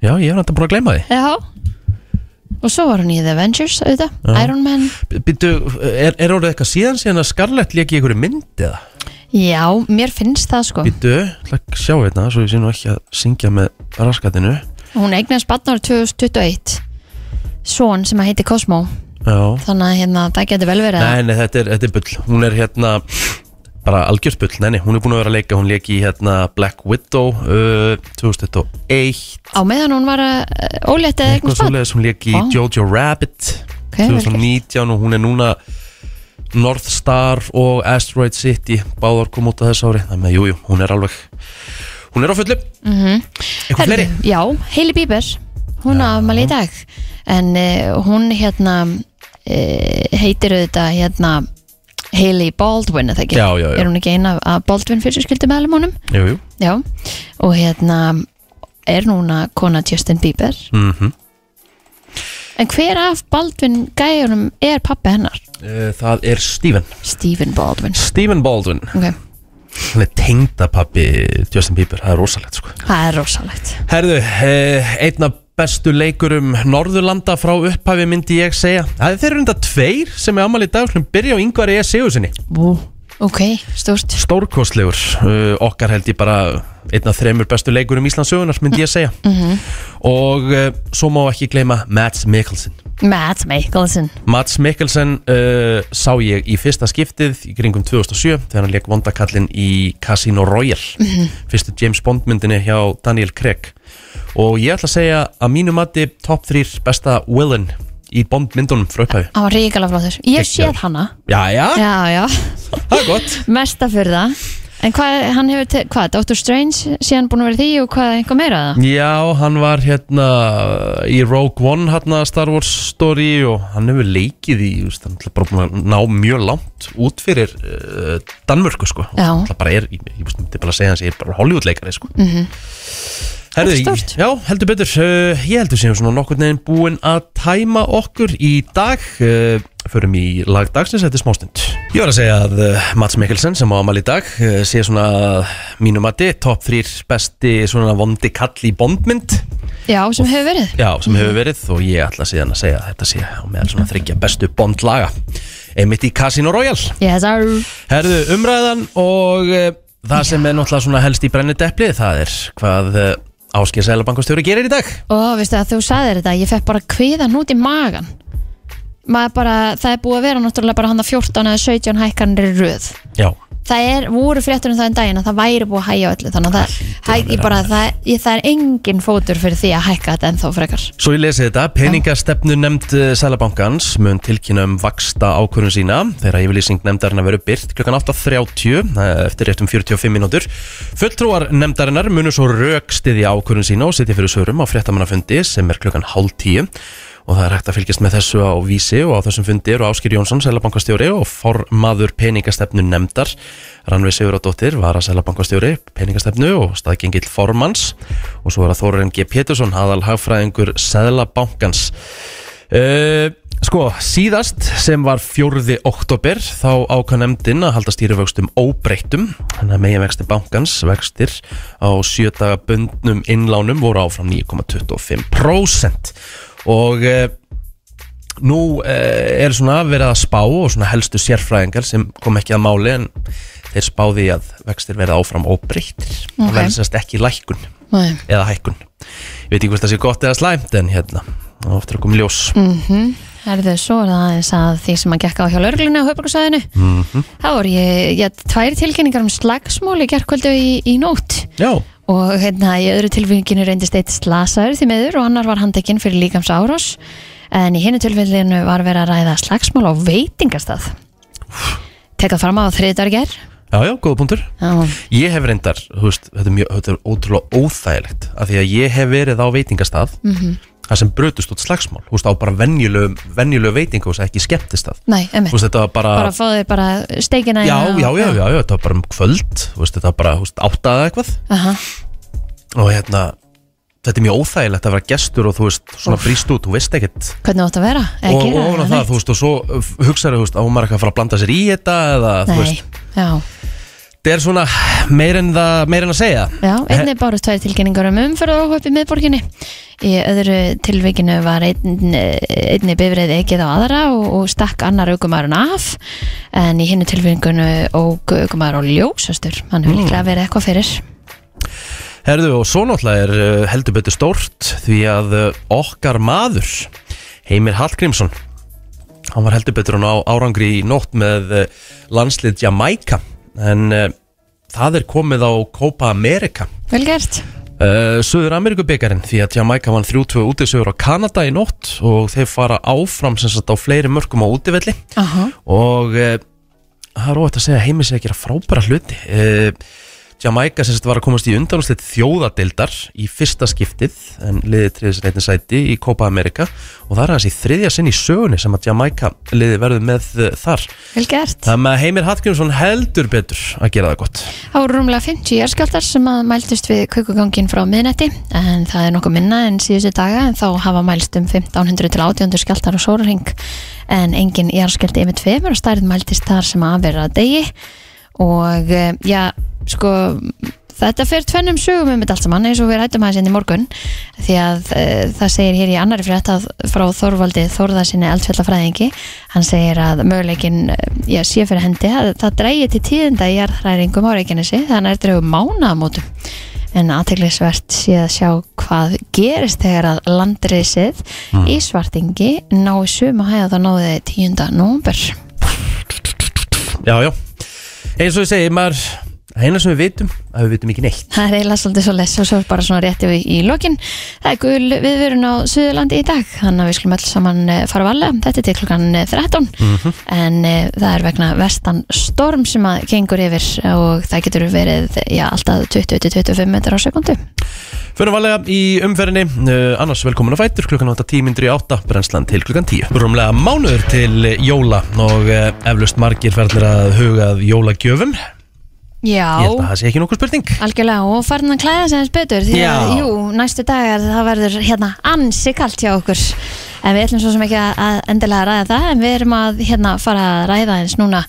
Speaker 1: já, ég er náttúrulega búin að gleyma því
Speaker 2: Já Og svo var hún í The Avengers auðvitað, Iron Man
Speaker 1: Býttu, er, er orðið eitthvað síðan síðan að Scarlett lék í einhverju mynd eða?
Speaker 2: Já, mér finnst það sko
Speaker 1: Býttu, hlæk sjá hérna Svo ég sé nú ekki að syngja með raskatinu
Speaker 2: Hún eignast batn árið 2021 Són sem að heiti Cosmo
Speaker 1: Já
Speaker 2: Þannig að hérna, það getur vel verið að-
Speaker 1: Nei, nei, þetta er, þetta er bull Hún er hérna bara algjörst bull Nei, nei, hún er búin að vera að leika Hún leik í hérna Black Widow uh, 2001
Speaker 2: Á meðan hún var að ólétt eða
Speaker 1: Eitthvað
Speaker 2: eignast batn
Speaker 1: svoleiðis Hún leik í
Speaker 2: Vá.
Speaker 1: Jojo Rabbit
Speaker 2: Ok, vel gert.
Speaker 1: 2019 og hún er núna North Star og Asteroid City Báðar kom út á þess ári Þannig að jú, jú, hún er alveg Hún er á fullu mm -hmm. Eitthvað fleiri
Speaker 2: Mhm. Herðu, Já, Hailey Bieber Hún á afmæli í dag En uh, hún hérna uh, heitir auðvitað hérna Hailey Baldwin, eða ekki?
Speaker 1: Já, já, já.
Speaker 2: Er hún ekki eina að Baldwin fyrir skildi meðlum honum?
Speaker 1: Jú, jú
Speaker 2: Já, og hérna er núna kona Justin Bieber
Speaker 1: mm
Speaker 2: En hver af Baldwin gæjunum er pappi hennar?
Speaker 1: Eh, Það er Stephen
Speaker 2: Stephen Baldwin
Speaker 1: Stephen Baldwin
Speaker 2: okay.
Speaker 1: Hann er tengdapappi Justin Bieber Það er rosalegt sko
Speaker 2: Það er rosalegt
Speaker 1: Herðu, eh, einn af bestu leikurum Norðurlanda frá upphafi myndi ég segja Það er þeir eru enda tveir sem er ammali í dag Skulum byrja á E. yngvar ég segjur sinni
Speaker 2: Vú. Ok, stort
Speaker 1: Stórkostlegur, uh, okkar held ég bara einn af þremur bestu leikurum Íslandsögunar myndi ég segja Og uh, svo má ekki gleyma Mads Mikkelsen
Speaker 2: Matt Michelson
Speaker 1: Mads Mikkelsen uh, sá ég í fyrsta skiptið í kringum 2007 þegar hann leik vondakallin í Casino Royale fyrstu James Bond myndinni hjá Daniel Craig og ég ætla að segja að mínu mati top 3 besta villain í Bond myndunum frá upphæfi
Speaker 2: Hann var ríkala flottur Ég hef séð
Speaker 1: Geggjaður.
Speaker 2: hana
Speaker 1: Jæja,
Speaker 2: Já, já
Speaker 1: það er gott
Speaker 2: Mesta fyrir það En hvað, hann hefur, te- hvað, Doctor Strange síðan búin að vera í því og hvað, eitthvað meira að það?
Speaker 1: Já, hann var hérna í Rogue One hérna Star Wars story og hann hefur leikið í, þú veist, hann er bara búin að ná mjög langt út fyrir uh, Danmörku sko,
Speaker 2: Já.
Speaker 1: hann ætla bara er ég, ég veist, myndi bara að segja hans, ég er bara Hollywood leikari sko mm
Speaker 2: Þetta er stórt.
Speaker 1: Já, heldur betur, uh, ég heldur sem svona nokkur neginn búin að tæma okkur í dag uh, förum í lag dagsins, þetta er smástund Ég var að segja að uh, Mats Mikkelsen sem á amal í dag uh, sé svona mínum að þið, top 3 besti svona vondi kall í bondmynd
Speaker 2: Já, sem hefur verið.
Speaker 1: Já, sem hefur verið og ég ætla síðan að segja að þetta sé á meðal svona þryggja bestu Bond laga einmitt í Casino Royale
Speaker 2: Yes, sir.
Speaker 1: Herðu umræðan og uh, það sem er náttúrulega svona helst í brennidepli það er hvað uh, Áskir Sælabankastjóri gerir í dag
Speaker 2: Og veistu að þú sagðir þetta, ég fekk bara kviðan út í magan. Maður bara, það er búið að vera náttúrulega bara hann að 14 eða 17 hækkanir í röð.
Speaker 1: Já,
Speaker 2: Það er, voru fréttur um það en daginn að það væri búið að hæja öllu, þannig að það, hæ, ég bara, það, ég, það er engin fótur fyrir því að hækka þetta ennþá frekar.
Speaker 1: svo ég lesi þetta peningastefnu nefnd Sælabankans mun tilkynna um vaksta ákvörðun sína þegar yfirlýsing nefndarinnar verður byrt klukkan 8.30 eh, eftir réttum 45 mínútur fulltrúar nefndarinnar munur svo rökstiði ákvörðun sína og sitja fyrir svörum á fréttamannafundi sem er klukkan hálf tíu og það er hægt að fylgjast með þessu á vísi og á þessum fundi eru Áskir Jónsson, selabankastjóri og formaður peningastefnu nefndar Ranvi Siguradóttir, vara selabankastjóri peningastefnu og staðgengill formans og svo er að Þórarinn G. Pétursson aðal hagfræðingur selabankans uh, Sko, síðast sem var 4. oktober þá ákvað nefndin að halda stýrivöxtum óbreyttum þannig að meginvexti bankans vextir á sjödaga bundnum innlánum voru áfram 9,25% og uh, nú uh, er svona verið að spá og svona helstu sérfræðingar sem kom ekki að máli en þeir spáði að vextir verið áfram óbreyttir það
Speaker 2: Ok.
Speaker 1: verður sérst ekki lækkun
Speaker 2: Nei.
Speaker 1: eða hækkun ég veit ekki hvort það sé gott eða slæmt en hérna, það ofta að koma í ljós
Speaker 2: Herðu, svo er það aðeins að því sem að gekk á hjá lauruglunni á höfbruksæðinu mm
Speaker 1: Mhm.
Speaker 2: -hmm. þá voru ég, ég hatt tvær tilkynningar um slagsmóli gerkvöldu í, í nótt
Speaker 1: já,
Speaker 2: og hérna í öðru tilfenginu reyndist eitt slasaður því meður og annar var handekinn fyrir líkams árás en í hinnu tilfellinu var verið að ræða slagsmál á veitingastað tekað fram á þriðdarger
Speaker 1: já, já, góða punktur
Speaker 2: Já,
Speaker 1: ég hef reyndar, þú veist, þetta er, mjög, þetta er ótrúlega óþægilegt af því að ég hef verið á veitingastað þar sem brötust út slagsmál, þú veist, á bara venjulegu, venjulegu veitingu og ekki skemmtistað
Speaker 2: nei,
Speaker 1: þú veist,
Speaker 2: emmitt
Speaker 1: þetta var bara,
Speaker 2: bara fóðið bara steikina
Speaker 1: já,
Speaker 2: hérna
Speaker 1: já,
Speaker 2: og-
Speaker 1: já, já, já, þetta var bara um kvöld, þú veist, þetta var bara, þú veist, áttaða eitthvað
Speaker 2: Aha.
Speaker 1: og hérna, þetta er mjög óþægilegt að vera gestur og þú veist, svona brýst út, þú veist ekkert
Speaker 2: hvernig átt að vera? Eða
Speaker 1: og
Speaker 2: gera
Speaker 1: og ofan á
Speaker 2: eða
Speaker 1: það,
Speaker 2: neitt?
Speaker 1: þú veist, og svo hugsaður, þú veist, á maður ekki að fara að blanda sér í þetta eða, þú
Speaker 2: Nei,
Speaker 1: veist,
Speaker 2: já
Speaker 1: þetta er svona meir en, það, meir en að segja
Speaker 2: Já, einnig bárust tvær tilkynningar um umferð og í miðborginni. Í öðru tilvikinu var einn, einni bifreið ekið á aðra og, og stakk annar aukumæðurinn af en í hinnu tilvikinu og aukumæður á ljósastur. Hann hefur líklega verið eitthvað fyrir.
Speaker 1: Herðu, og svo náttúrulega er uh, heldur betur stórt því að uh, okkar maður, Heimir Hallgrímsson, hann var heldur betur á árangri í nótt með uh, landslið Jamaica, en uh, það er komið á Copa America.
Speaker 2: Vel gert.
Speaker 1: Uh, Suður Ameríkubikarinn því að Jamaica vann 3-2 útisögur á Kanada í nótt og þeir fara áfram sem sagt á fleiri mörgum á útivelli
Speaker 2: Aha.
Speaker 1: og uh, það er óvægt að segja að heimir sé að gera frábæra hluti uh, Jamaica sem sagt var að komast í undanúslit þjóðadildar í fyrsta skiptið en liðið triðis reyndin sæti í Copa America og það er aðeins í þriðja sinn í sögunni sem að Jamaica liðið verður með uh, þar
Speaker 2: Vel gert.
Speaker 1: Það með Heimir Hallgrímsson heldur betur að gera það gott
Speaker 2: Það voru rúmlega 50 jarðskjáltar sem að mæltust við kukugangin frá miðnætti en það er nokkuð minna en síðustu daga en þá hafa mælst um 1500 til 800 skjáltar á sólarhing en engin jarðskjálti yfir tveimur og stærð mæltist þar sem að vera að degi og eh, já, sko þetta fer tvennum sögum um þetta allt saman eins og við rættum aðeins inn í morgun því að e, það segir hér í annari frétt að frá Þorvaldi Þorðarsinni eldfjallafræðingi hann segir að möguleikin e, já, sé fyrir hendi að það drægi til tíðinda í jarðhræringum á Reykjanesi þannig að það er drefu mánamótum en aðteglisvert sé að sjá hvað gerist þegar að landriðsið í svartingi ná í sumu hæða það náði 10. nómber
Speaker 1: Já, já, eins og ég segi, maður Það eina sem við vitum, að við vitum ekki neitt
Speaker 2: Það er eiginlega svolítið svo les og svo bara svona rétti við í lokin. Það er gul viðvörun á Suðurlandi í dag, þannig að við skulum öll saman eh, fara valega. Þetta er til klukkan eh, 13,
Speaker 1: Mhm.
Speaker 2: en e, það er vegna vestan storm sem að gengur yfir og það getur verið já, alltaf 20-25 metrar á sekundu.
Speaker 1: Förum valega í umferðinni uh, Annars velkomin á Fætur klukkan 8, 10 myndir í 8 Brennslan til klukkan 10 Rúmlega mánuður til eh, jóla Og uh, eflaust margir ferðlir að hugað jólagjöfum Ég
Speaker 2: Já.
Speaker 1: held að það sé ekki nokkuð spurning
Speaker 2: Algjörlega og farin að klæða sem þess betur því að
Speaker 1: Já.
Speaker 2: jú, næstu dagar það verður hérna ansi kalt hjá okkur en við ætlum svo sem ekki að- að endilega ræða það en við erum að hérna fara að ræða eins núna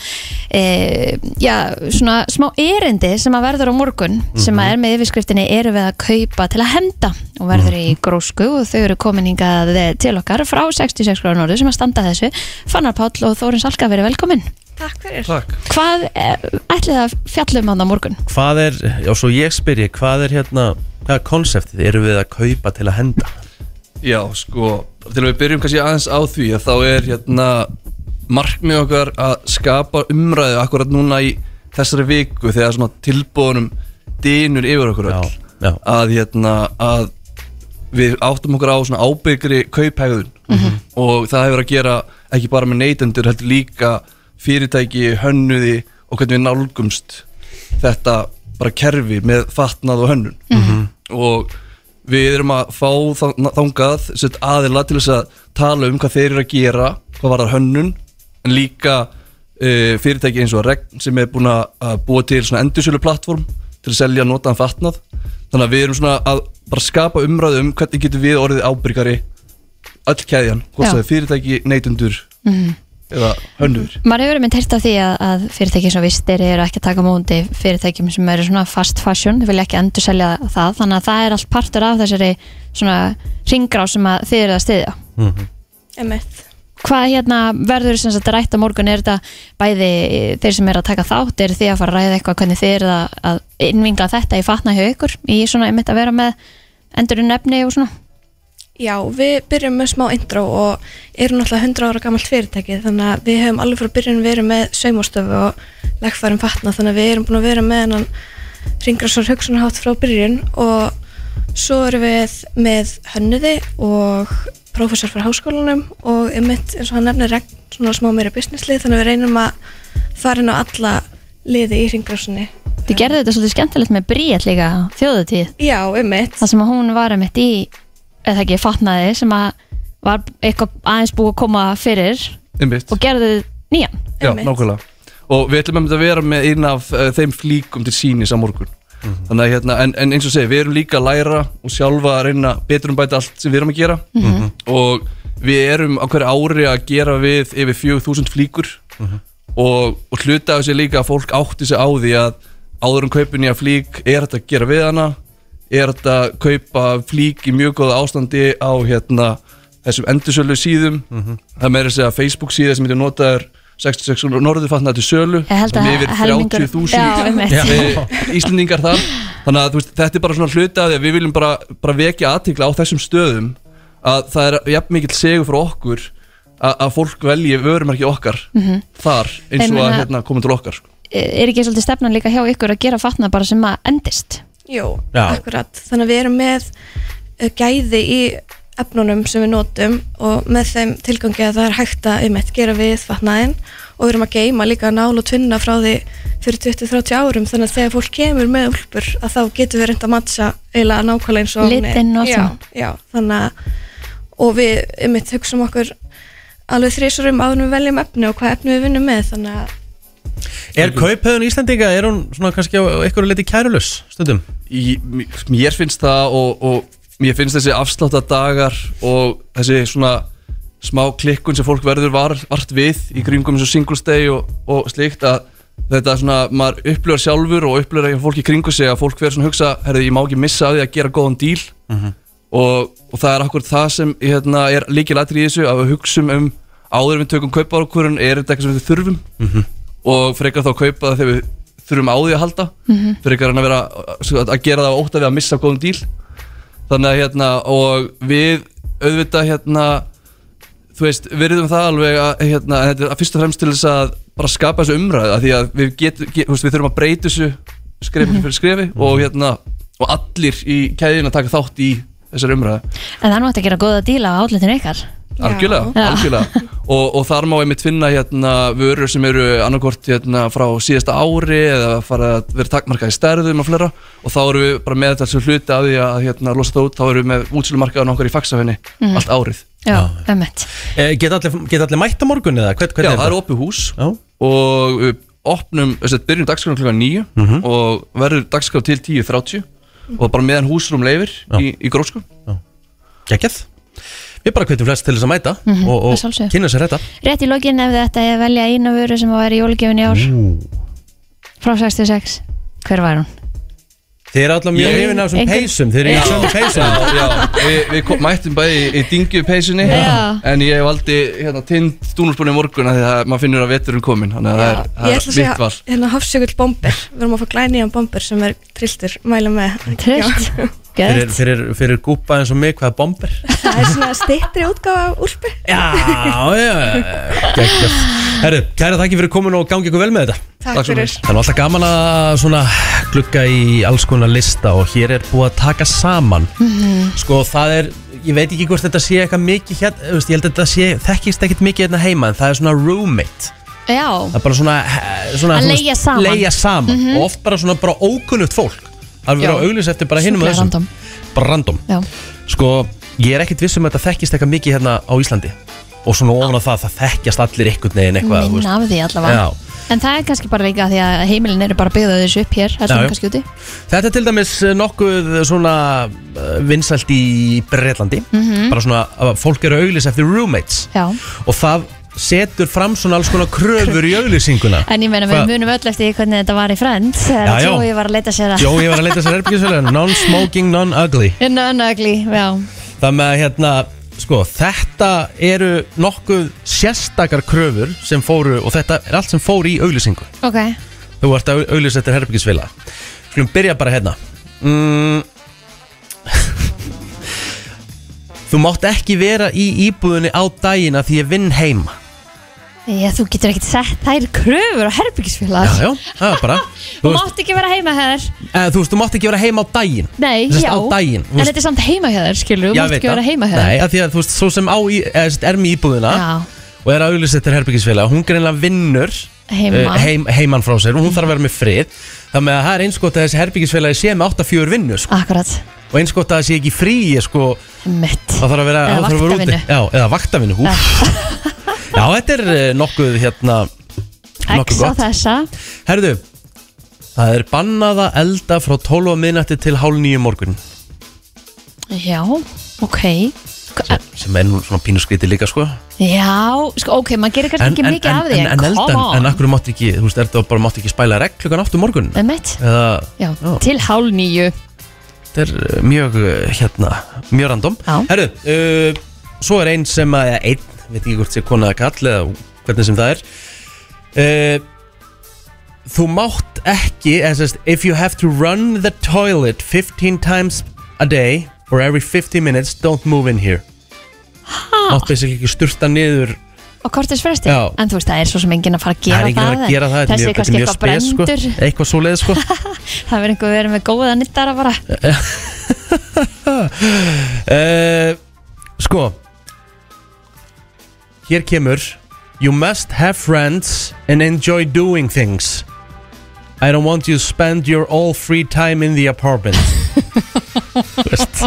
Speaker 2: e, já, svona smá erindi sem að verður á morgun sem að er með yfirskriftinni eru við að kaupa til að henda og verður í grósku og þau eru komin hingað eh, til okkar frá 66 gráður norðu sem að standa að þessu Fannar Páll og Þórin Salka verið velkomin
Speaker 3: Takk fyrir.
Speaker 1: Takk.
Speaker 2: Hvað eh, ætlið það fjallum hann um á morgun?
Speaker 1: Hvað er, já svo ég spyr ég Hvað er hérna, hvað er konseptið? Erum við að kaupa til að henda?
Speaker 4: Já, sko, til að við byrjum kannski aðeins á því að þá er hérna markmið okkar að skapa umræðu akkurat núna í þessari viku þegar svona tilbúðunum dynur yfir okkur öll
Speaker 1: Já, já.
Speaker 4: að hérna að við áttum okkur á svona ábyggri kauphegðun og það hefur að gera ekki bara með neytendur heldur líka fyrirtæki, hönnuði og hvernig við nálgumst þetta bara kerfi með fatnað og hönnun og við erum að fá þang- þangað sett, aðila til þess að tala um hvað þeir eru að gera hvað var það hönnun en líka uh, fyrirtæki eins og regn sem er búin að að búa til svona endursölu plattform til að selja notaðan fatnað þannig að við erum svona að bara skapa umræðu um hvernig getum við orðið ábyrgari öll keðjan, hvort
Speaker 2: Já.
Speaker 4: það er fyrirtæki, neytundur eða hönnur
Speaker 2: maður hefur einmitt heyrt af því að, að fyrirtæki sem vistir eru ekki að taka móti fyrirtækjum sem eru svona fast fashion þau vilja ekki endur selja það þannig að það er allt partur af þessari svona ringrá sem að þið eru að stiðja
Speaker 1: Mhm.
Speaker 3: Emmett.
Speaker 2: hvað hérna verður sem sagt rætt á morgun er þetta bæði eh, þeir sem eru að taka þátt eru þið að fara að ræða eitthvað hvernig þið eru að, að innvinga þetta í fatna hjá ykkur í svona einmitt að vera með endurinn efni og svona
Speaker 3: Já, við byrjum með smá intro og erum náttúrulega 100 ára gamalt fyrirtæki þannig að við hefum alveg frá byrjun verið með saumastöfu og lagfærum fatna þannig að við erum búin að vera með hennan ringrásar hugsunarhátt frá byrjun og svo erum við með hönnuði og prófessor frá háskólanum og einmitt eins og hann nefnir regn svona smá meira businesslið þannig að við reynum að fara inn á alla liði í ringrásinni.
Speaker 2: þið gerðu þetta svolítið skemmtilegt með bríet líka þjóðutíð
Speaker 3: Já, einmitt.
Speaker 2: það sem að hún var einmitt í eða ekki fatnaði sem að var eitthvað aðeins búið að koma fyrir
Speaker 4: Einmitt.
Speaker 2: og gerði nýjan
Speaker 4: Já,
Speaker 3: Einmitt.
Speaker 4: nákvæmlega Og við ætlum einmitt að vera með einn af uh, þeim flíkum til sínis á morgun Þannig að hérna, en, en eins og segi, við erum líka að læra og sjálfa að reyna betur um bæta allt sem við erum að gera Og við erum á hverju ári að gera við yfir 4000 flíkur og, og hluta af þessi líka að fólk átti sig á því að áður um kaupin í að flík er þetta að gera við hana er þetta að kaupa flík í mjög góða ástandi á hérna þessum endursölu síðum það er meira að segja Facebook síða sem heitir notaður 66 norður fatnaði til sölu
Speaker 2: ég held
Speaker 4: sem
Speaker 2: að
Speaker 4: Um yfir
Speaker 2: helmingur-
Speaker 4: 30.000
Speaker 2: já, einmitt.
Speaker 1: Já.
Speaker 4: eh, Íslendingar þar þannig að þú veist, þetta er bara svona hluti af því að við viljum bara, bara vekja aðtikla á þessum stöðum að það er jafn mikill segur frá okkur að, að fólk velji vörumarki okkar
Speaker 2: Mhm.
Speaker 4: þar eins
Speaker 2: Ég
Speaker 4: og að
Speaker 2: meina-
Speaker 4: hérna, koma til okkar sko.
Speaker 2: er ekki svolítið stefnan líka hjá ykkur að gera fatnað bara sem að endist
Speaker 3: Jú,
Speaker 1: Já.
Speaker 3: akkurat. Þannig að við erum með uh, gæði í efnunum sem við notum og með þeim tilgangi að það er hægt að um gera við fatnaðinn og við erum að geima líka nál og tvinna frá því fyrir 20-30 árum þannig að þegar fólk kemur með úlpur að þá getum við reynda að matcha eiginlega nákvæmlega eins og hún er.
Speaker 2: Litinn og allt
Speaker 3: já,
Speaker 2: saman.
Speaker 3: já, þannig að og við um eitt hugsaum okkur alveg þrísurum áður en við veljum efni og hvað efni við vinnum með þannig að
Speaker 1: Er kaupheðun Íslendinga, er hún svona kannski á einhverju leiti kærulus stundum?
Speaker 4: Í- m- mér finnst það og, og mér finnst þessi afsláttadagar og þessi svona smá klikkun sem fólk verður var, vart við í kringum eins og singles day og, og slikt að þetta svona, maður upplöfar sjálfur og upplöfar ekki fólk í kringu sig að fólk verður svona að hugsa, herrðu, ég má ekki missa af því að gera góðan díl og, og það er akkur það sem hérna, er líkilættir í þessu að við hugsum um áður en við tökum kaupárkurinn er þetta eitthvað sem við þurfum og frekar þá kaupa það þegar við þurfum á því að halda frekar en að vera sko, að gera það og óta við að missa góðum díl þannig að hérna og við auðvitað hérna þú veist, virðum það alveg að, hérna, en þetta er að fyrst og fremst til þess að bara skapa þessu umræðu að því að við getum, get, þú veist, við þurfum að breyta þessu skrefi fyrir skrefi og hérna og allir í keðin að taka þátt í þessari umræðu
Speaker 2: En það er nú hægt að gera góða díla á álitinu ykkar
Speaker 3: Já.
Speaker 4: algjörlega,
Speaker 2: Já.
Speaker 4: algjörlega. Og, og þar má einmitt finna hérna, vörur sem eru annarkvort hérna, frá síðasta ári eða fara að vera takmarkað í stærðum og flera og þá eru við bara með þetta sem hluti af því að hérna, losa það út, þá eru við með útsölumarkaðan okkar í faxafinni allt árið
Speaker 2: Já, ömmet
Speaker 1: Eh, Geta allir, get allir mætt á morgun eða? Hvern,
Speaker 4: Já,
Speaker 1: hvernig er
Speaker 4: það er opið hús
Speaker 1: Já.
Speaker 4: og við opnum, þess að byrjum dagskráðum klukkan 9
Speaker 1: Mhm.
Speaker 4: og verður dagskráð til 10.30 og bara meðan húsrum leifir í, í grósku
Speaker 1: það? Gekkið Við bara hvetjum flest til þess að mæta og,
Speaker 2: að
Speaker 1: og
Speaker 2: sjálfsögðu.
Speaker 1: kynna sér þetta
Speaker 2: Rétt í lokin ef þetta er að velja eina vöru sem að væri í jólgjöfin í ár Frá 66 Hver var hún?
Speaker 1: Þið eru allavega mjög
Speaker 4: Ég-
Speaker 1: hrifin af þessum
Speaker 2: Engin-
Speaker 1: peysum Þið eru í sömu peysum
Speaker 4: Já, já, við, við kom, mættum bæði í, í dingju peysunni
Speaker 2: Já.
Speaker 4: En ég valdi hérna, tind dúnarspunni morgun af Því að maður finnur að veturinn komin Þannig að það er, það
Speaker 3: Ég
Speaker 4: er
Speaker 3: ætla að
Speaker 4: mitt
Speaker 3: segja
Speaker 4: val
Speaker 3: hérna hafsjökull bomber Við erum að fá glænýjan bomber sem er trilltur Mæla með
Speaker 2: Trillt
Speaker 3: Já.
Speaker 1: fyrir,
Speaker 2: Gött
Speaker 1: fyrir, fyrir gúpa eins og mig, hvað er bomber?
Speaker 3: Það er svona stittri útgáfa af úlpu
Speaker 1: Já, já, geggjast Herru, kæra þakki fyrir komin og gangi ykkur vel með þetta
Speaker 4: Takk
Speaker 3: Takk fyrir
Speaker 1: Það er nú alltaf gaman að svona glugga í alls konar lista og hér er búið að taka saman Sko það er, ég veit ekki hvort þetta sé eitthvað mikið hér, þú veist, ég held að þetta sé, þekkist ekkit mikið hérna heima en það er svona roommate
Speaker 2: Já,
Speaker 1: Það er bara svona, eh, svona
Speaker 2: Að
Speaker 1: þú
Speaker 2: leigja
Speaker 1: veist,
Speaker 2: saman. Mhm.
Speaker 1: leigja saman. Og oft bara svona bara ókunnugt fólk Það er verið
Speaker 2: Já.
Speaker 1: að auglýsa eftir bara hinum og
Speaker 2: Sjúklega
Speaker 1: þessum
Speaker 2: random.
Speaker 1: Bara random
Speaker 2: já
Speaker 1: Sko, ég er ekkit viss um að þetta þekkist eitthvað mikið hérna á Íslandi Og svona ofan á það, það þekkjast allir einhvern veginn eitthvað þú veist.
Speaker 2: Minna af því allavega
Speaker 1: Já.
Speaker 2: En það er kannski bara líka því að heimilin eru bara byggðað þessu upp hér Það
Speaker 1: Já, já.
Speaker 2: er kannski úti
Speaker 1: Þetta er til dæmis eh, nokkuð svona eh, vinsælt í Breitlandi
Speaker 2: Mhm.
Speaker 1: Bara svona að fólk eru að auglýsa eftir roommates
Speaker 2: Já
Speaker 1: Og það setur fram svona alls konar kröfur í auglýsinguna
Speaker 2: En ég meina
Speaker 1: Hva-
Speaker 2: við munum öll eftir því hvernig þetta var í frend
Speaker 1: Já, já.
Speaker 2: Þegar Jói var að leita sér að
Speaker 1: Jó, ég var að leita sér erbyggisvelega Non-smoking, non-ugly
Speaker 2: Nönögli, Hérna, já
Speaker 1: Það með að hérna, sko, þetta eru nokkuð sérstakar kröfur sem fóru og þetta er allt sem fóru í auglýsingu.
Speaker 2: Ok,
Speaker 1: Þú ert að auglýsa eftir herbyggisvila. Skulum byrja bara hérna. Mm. Þú mátt ekki vera í íbúðinni á dagina því ég vinn heima.
Speaker 2: já, þú getur ekkert sett þær kröfur á herbyggisfélag
Speaker 1: Já, já, það er bara.
Speaker 2: Þú
Speaker 1: Þú veist,
Speaker 2: mátt ekki vera heima hér
Speaker 1: eða, þú, veist, þú mátt ekki vera heima á daginn.
Speaker 2: Nei,
Speaker 1: Þú veist,
Speaker 2: já
Speaker 1: á daginn, þú
Speaker 2: En
Speaker 1: veist-
Speaker 2: þetta er samt heima hér, skilur Þú
Speaker 1: Já,
Speaker 2: mátt
Speaker 1: veit
Speaker 2: ekki
Speaker 1: það.
Speaker 2: vera heima hér
Speaker 1: Nei, af því að þú veist, svo sem á í, eða, sem sagt, er með íbúðina
Speaker 2: Já,
Speaker 1: og er að auglýsa eftir herbyggisvila, hún greinlega vinnur
Speaker 2: heima
Speaker 1: uh, heim, heimann frá sér og hún þarf að vera með frið þannig að það er einskott að þessi herbyggisfélagi sé með 8-4 vinnu sko.
Speaker 2: Akkurat,
Speaker 1: og einskott að það sé ekki frí sko,
Speaker 2: mitt
Speaker 1: það þarf að vera,
Speaker 2: Eða
Speaker 1: það þarf að vera úti.
Speaker 2: vaktavinnu.
Speaker 1: Já, eða vaktavinnu hú. já, þetta er eh, nokkuð hérna, nokkuð
Speaker 2: X á
Speaker 1: gott
Speaker 2: þessa
Speaker 1: herðu, það er bannað að elda frá 12 á miðnætti til hálf nýju morgun
Speaker 2: Já, ok
Speaker 1: sem er nú svona pínuskriti líka sko
Speaker 2: Já, sko, ok, maður gerir kannski ekki mikið af því
Speaker 1: en, en
Speaker 2: come
Speaker 1: eldan, en
Speaker 2: on.
Speaker 1: akkur mátt ekki þú veist, er það bara mátt ekki spæla regl klukkan aftur morgun
Speaker 2: Einmitt.
Speaker 1: eða,
Speaker 2: Já, til hálf nýju
Speaker 1: Þetta er uh, mjög, uh, hérna, mjög random
Speaker 2: Já.
Speaker 1: Herru, uh, svo er einn sem að, eða einn, veit ekki hvort sé kona að kall eða hvernig sem það er uh, Þú mátt ekki, eða sérst, if you have to run the toilet 15 times a day or every 50 minutes, don't move in here
Speaker 2: Ha,
Speaker 1: Mátt basically ekki sturta niður
Speaker 2: og kortis fresti
Speaker 1: Já.
Speaker 2: En þú veist, það er svo sem enginn að fara að
Speaker 1: Það er ekki
Speaker 2: gera
Speaker 1: verið
Speaker 2: það
Speaker 1: að gera það, þetta er
Speaker 2: Þessi
Speaker 1: mjög- þetta
Speaker 2: er
Speaker 1: er
Speaker 2: kannski
Speaker 1: mjög
Speaker 2: eitthvað
Speaker 1: spes sko
Speaker 2: brendur
Speaker 1: Eitthvað svo leið sko
Speaker 2: Það verður einhver verið með góða nittara bara
Speaker 1: Eh, Sko Hér kemur You must have friends and enjoy doing things I don't want you to spend your all free time in the apartment Þú veist.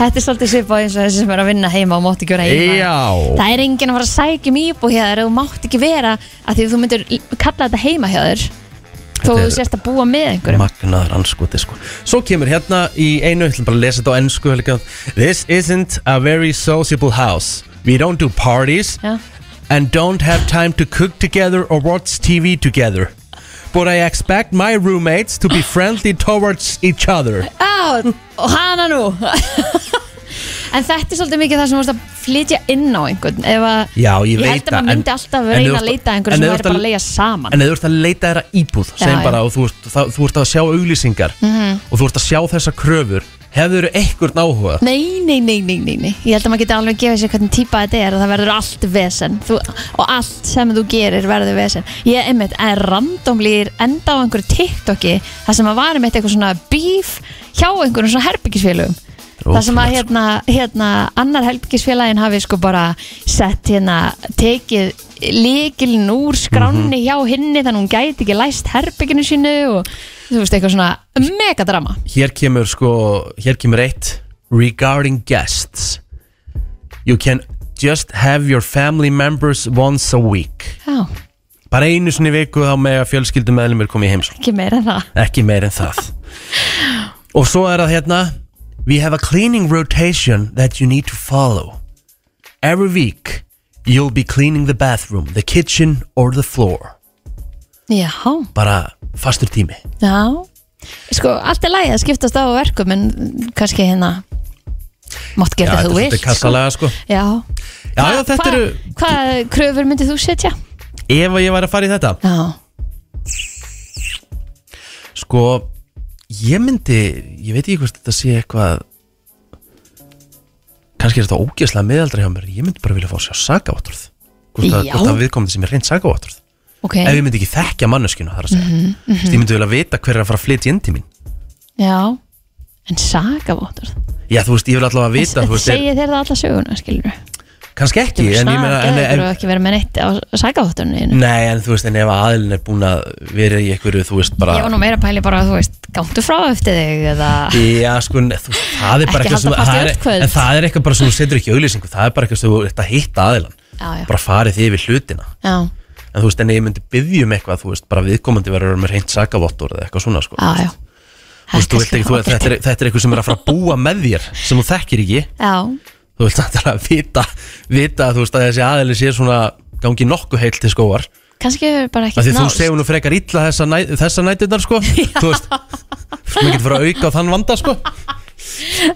Speaker 2: Þetta er svolítið svipað eins og þessi sem er að vinna heima og mátt ekki vera heima
Speaker 1: Já
Speaker 2: Það er enginn að fara að sækja um íbúð hjá þér og þú mátt ekki vera að því að þú myndir í- kalla þetta heima hjá þér þó
Speaker 1: Þetta
Speaker 2: þú
Speaker 1: er-
Speaker 2: sérst að búa með einhverjum
Speaker 1: Magnaðar anskoti sko Svo kemur hérna í einu Ég ætlum bara að lesa þetta á ennsku helga. This isn't a very sociable house We don't do parties
Speaker 2: Já.
Speaker 1: and don't have time to cook together or watch TV together. But I expect my roommates to be friendly towards each other.
Speaker 2: Á, og hana nú En þetta er svolítið mikið það sem þú vorst að flytja inn á einhvern ef að
Speaker 1: Já, ég,
Speaker 2: Ég
Speaker 1: veit
Speaker 2: held að maður myndi alltaf reyna að leita að einhverju sem væri bara að leigja saman.
Speaker 1: En ef þú ert að leita þeirra íbúð,
Speaker 2: Já, Mhm.
Speaker 1: segjum
Speaker 2: já.
Speaker 1: bara, og þú ert, það, þú ert að sjá auglýsingar og þú ert að sjá þessa kröfur, Hefur þú einhvern áhuga?
Speaker 2: Nei, nei, nei, nei, nei, nei Ég held að maður geti alveg gefið sér hvernig típa þetta er og það verður allt vesen þú, og allt sem þú gerir verður vesen Ég einmitt er randomlýr enda á einhverju TikToki það sem að var einmitt eitthvað svona bíf hjá einhverjum svona herbyggisfélugum Það sem að
Speaker 1: Ótrúlegt.
Speaker 2: hérna, hérna annar helbyggisfélagin hafi sko bara sett hérna, tekið líkilinn úr skránni hjá hinni þannig að hún gæti ekki læst herbygginu sínu og þú veist eitthvað svona megadrama
Speaker 1: Hér kemur sko, hér kemur eitt Regarding guests You can just have your family members once a week
Speaker 2: Já,
Speaker 1: Bara einu sinni í viku þá með að fjölskyldum meðlumir komið í heimsókn
Speaker 2: ekki meira en það
Speaker 1: Ekki meir en það Og svo er það hérna We have a cleaning rotation that you need to follow Every week You'll be cleaning the bathroom, the kitchen or the floor
Speaker 2: Já,
Speaker 1: Bara fastur tími
Speaker 2: já Sko, allt er lægi að skiptast á verkum en kannski hérna mátt gera
Speaker 1: þetta er
Speaker 2: það þú vilt
Speaker 1: svolítið kassalega sko
Speaker 2: sko. Já,
Speaker 1: Já, já, þetta eru
Speaker 2: Hvað kröfur myndið þú setja?
Speaker 1: Ef að ég væri að fara í þetta
Speaker 2: Já,
Speaker 1: Sko, ég myndi Ég veit ekki hvort þetta sé eitthvað Kannski er þetta ógeðslega miðaldra hjá mér Ég myndi bara vilja fá að sjá sagavotruð Hvort að,
Speaker 2: Já.
Speaker 1: hvort að viðkomandi sem er reynd sagavotruð
Speaker 2: ok
Speaker 1: ef ég myndi ekki þekkja manneskinu þar að segja
Speaker 2: Mhm,
Speaker 1: mm ég myndi vel að vita hver er að fara að flytja inn til mín
Speaker 2: Já, en sagavottur
Speaker 1: já þú veist, ég vil allavega vita þú veist, er,
Speaker 2: Segir þér það alla söguna, skilur við
Speaker 1: kannski ekki en ég meina en, Mm, en,
Speaker 2: Sagavottur og ekki verið með neitt á sagavotturinu
Speaker 1: nei, en þú veist, en ef aðilin er búin að vera í einhverju, þú veist,
Speaker 2: Ég var
Speaker 1: bara
Speaker 2: nú meira að pæli bara, þú veist, gáttu frá eftir þig eða
Speaker 1: já, sko, en þú veist, það er bara eitthvað
Speaker 2: Ekki
Speaker 1: sem,
Speaker 2: halda fast í
Speaker 1: það
Speaker 2: öll kvöld.
Speaker 1: er, en það er eitthvað bara sem þú setur ekki í auglýsingu, það er bara eitthvað sem þú ert að hitta aðilan,
Speaker 2: Já, já,
Speaker 1: bara farið þið yfir hlutina
Speaker 2: já,
Speaker 1: en þú veist, en ef ég myndi byggja um eitthvað, þú veist, bara viðkomandi verður með reynd sakavottur eða eitthvað svona, sko
Speaker 2: já, já
Speaker 1: þú veist, þú vilt ekki, þú, þetta, er, þetta er eitthvað sem er að fara að búa með þér sem þú þekkir ekki
Speaker 2: Já,
Speaker 1: þú vilt náttúrulega vita, vita þú veist, að þessi aðeins sé svona gangi nokkuð heilt til skóar
Speaker 2: kannski hefur bara ekki
Speaker 1: af því þú segir nú frekar illa þessa, næ, þessa nætunar sko, þú veist maður getur fyrir að auka á þann vanda sko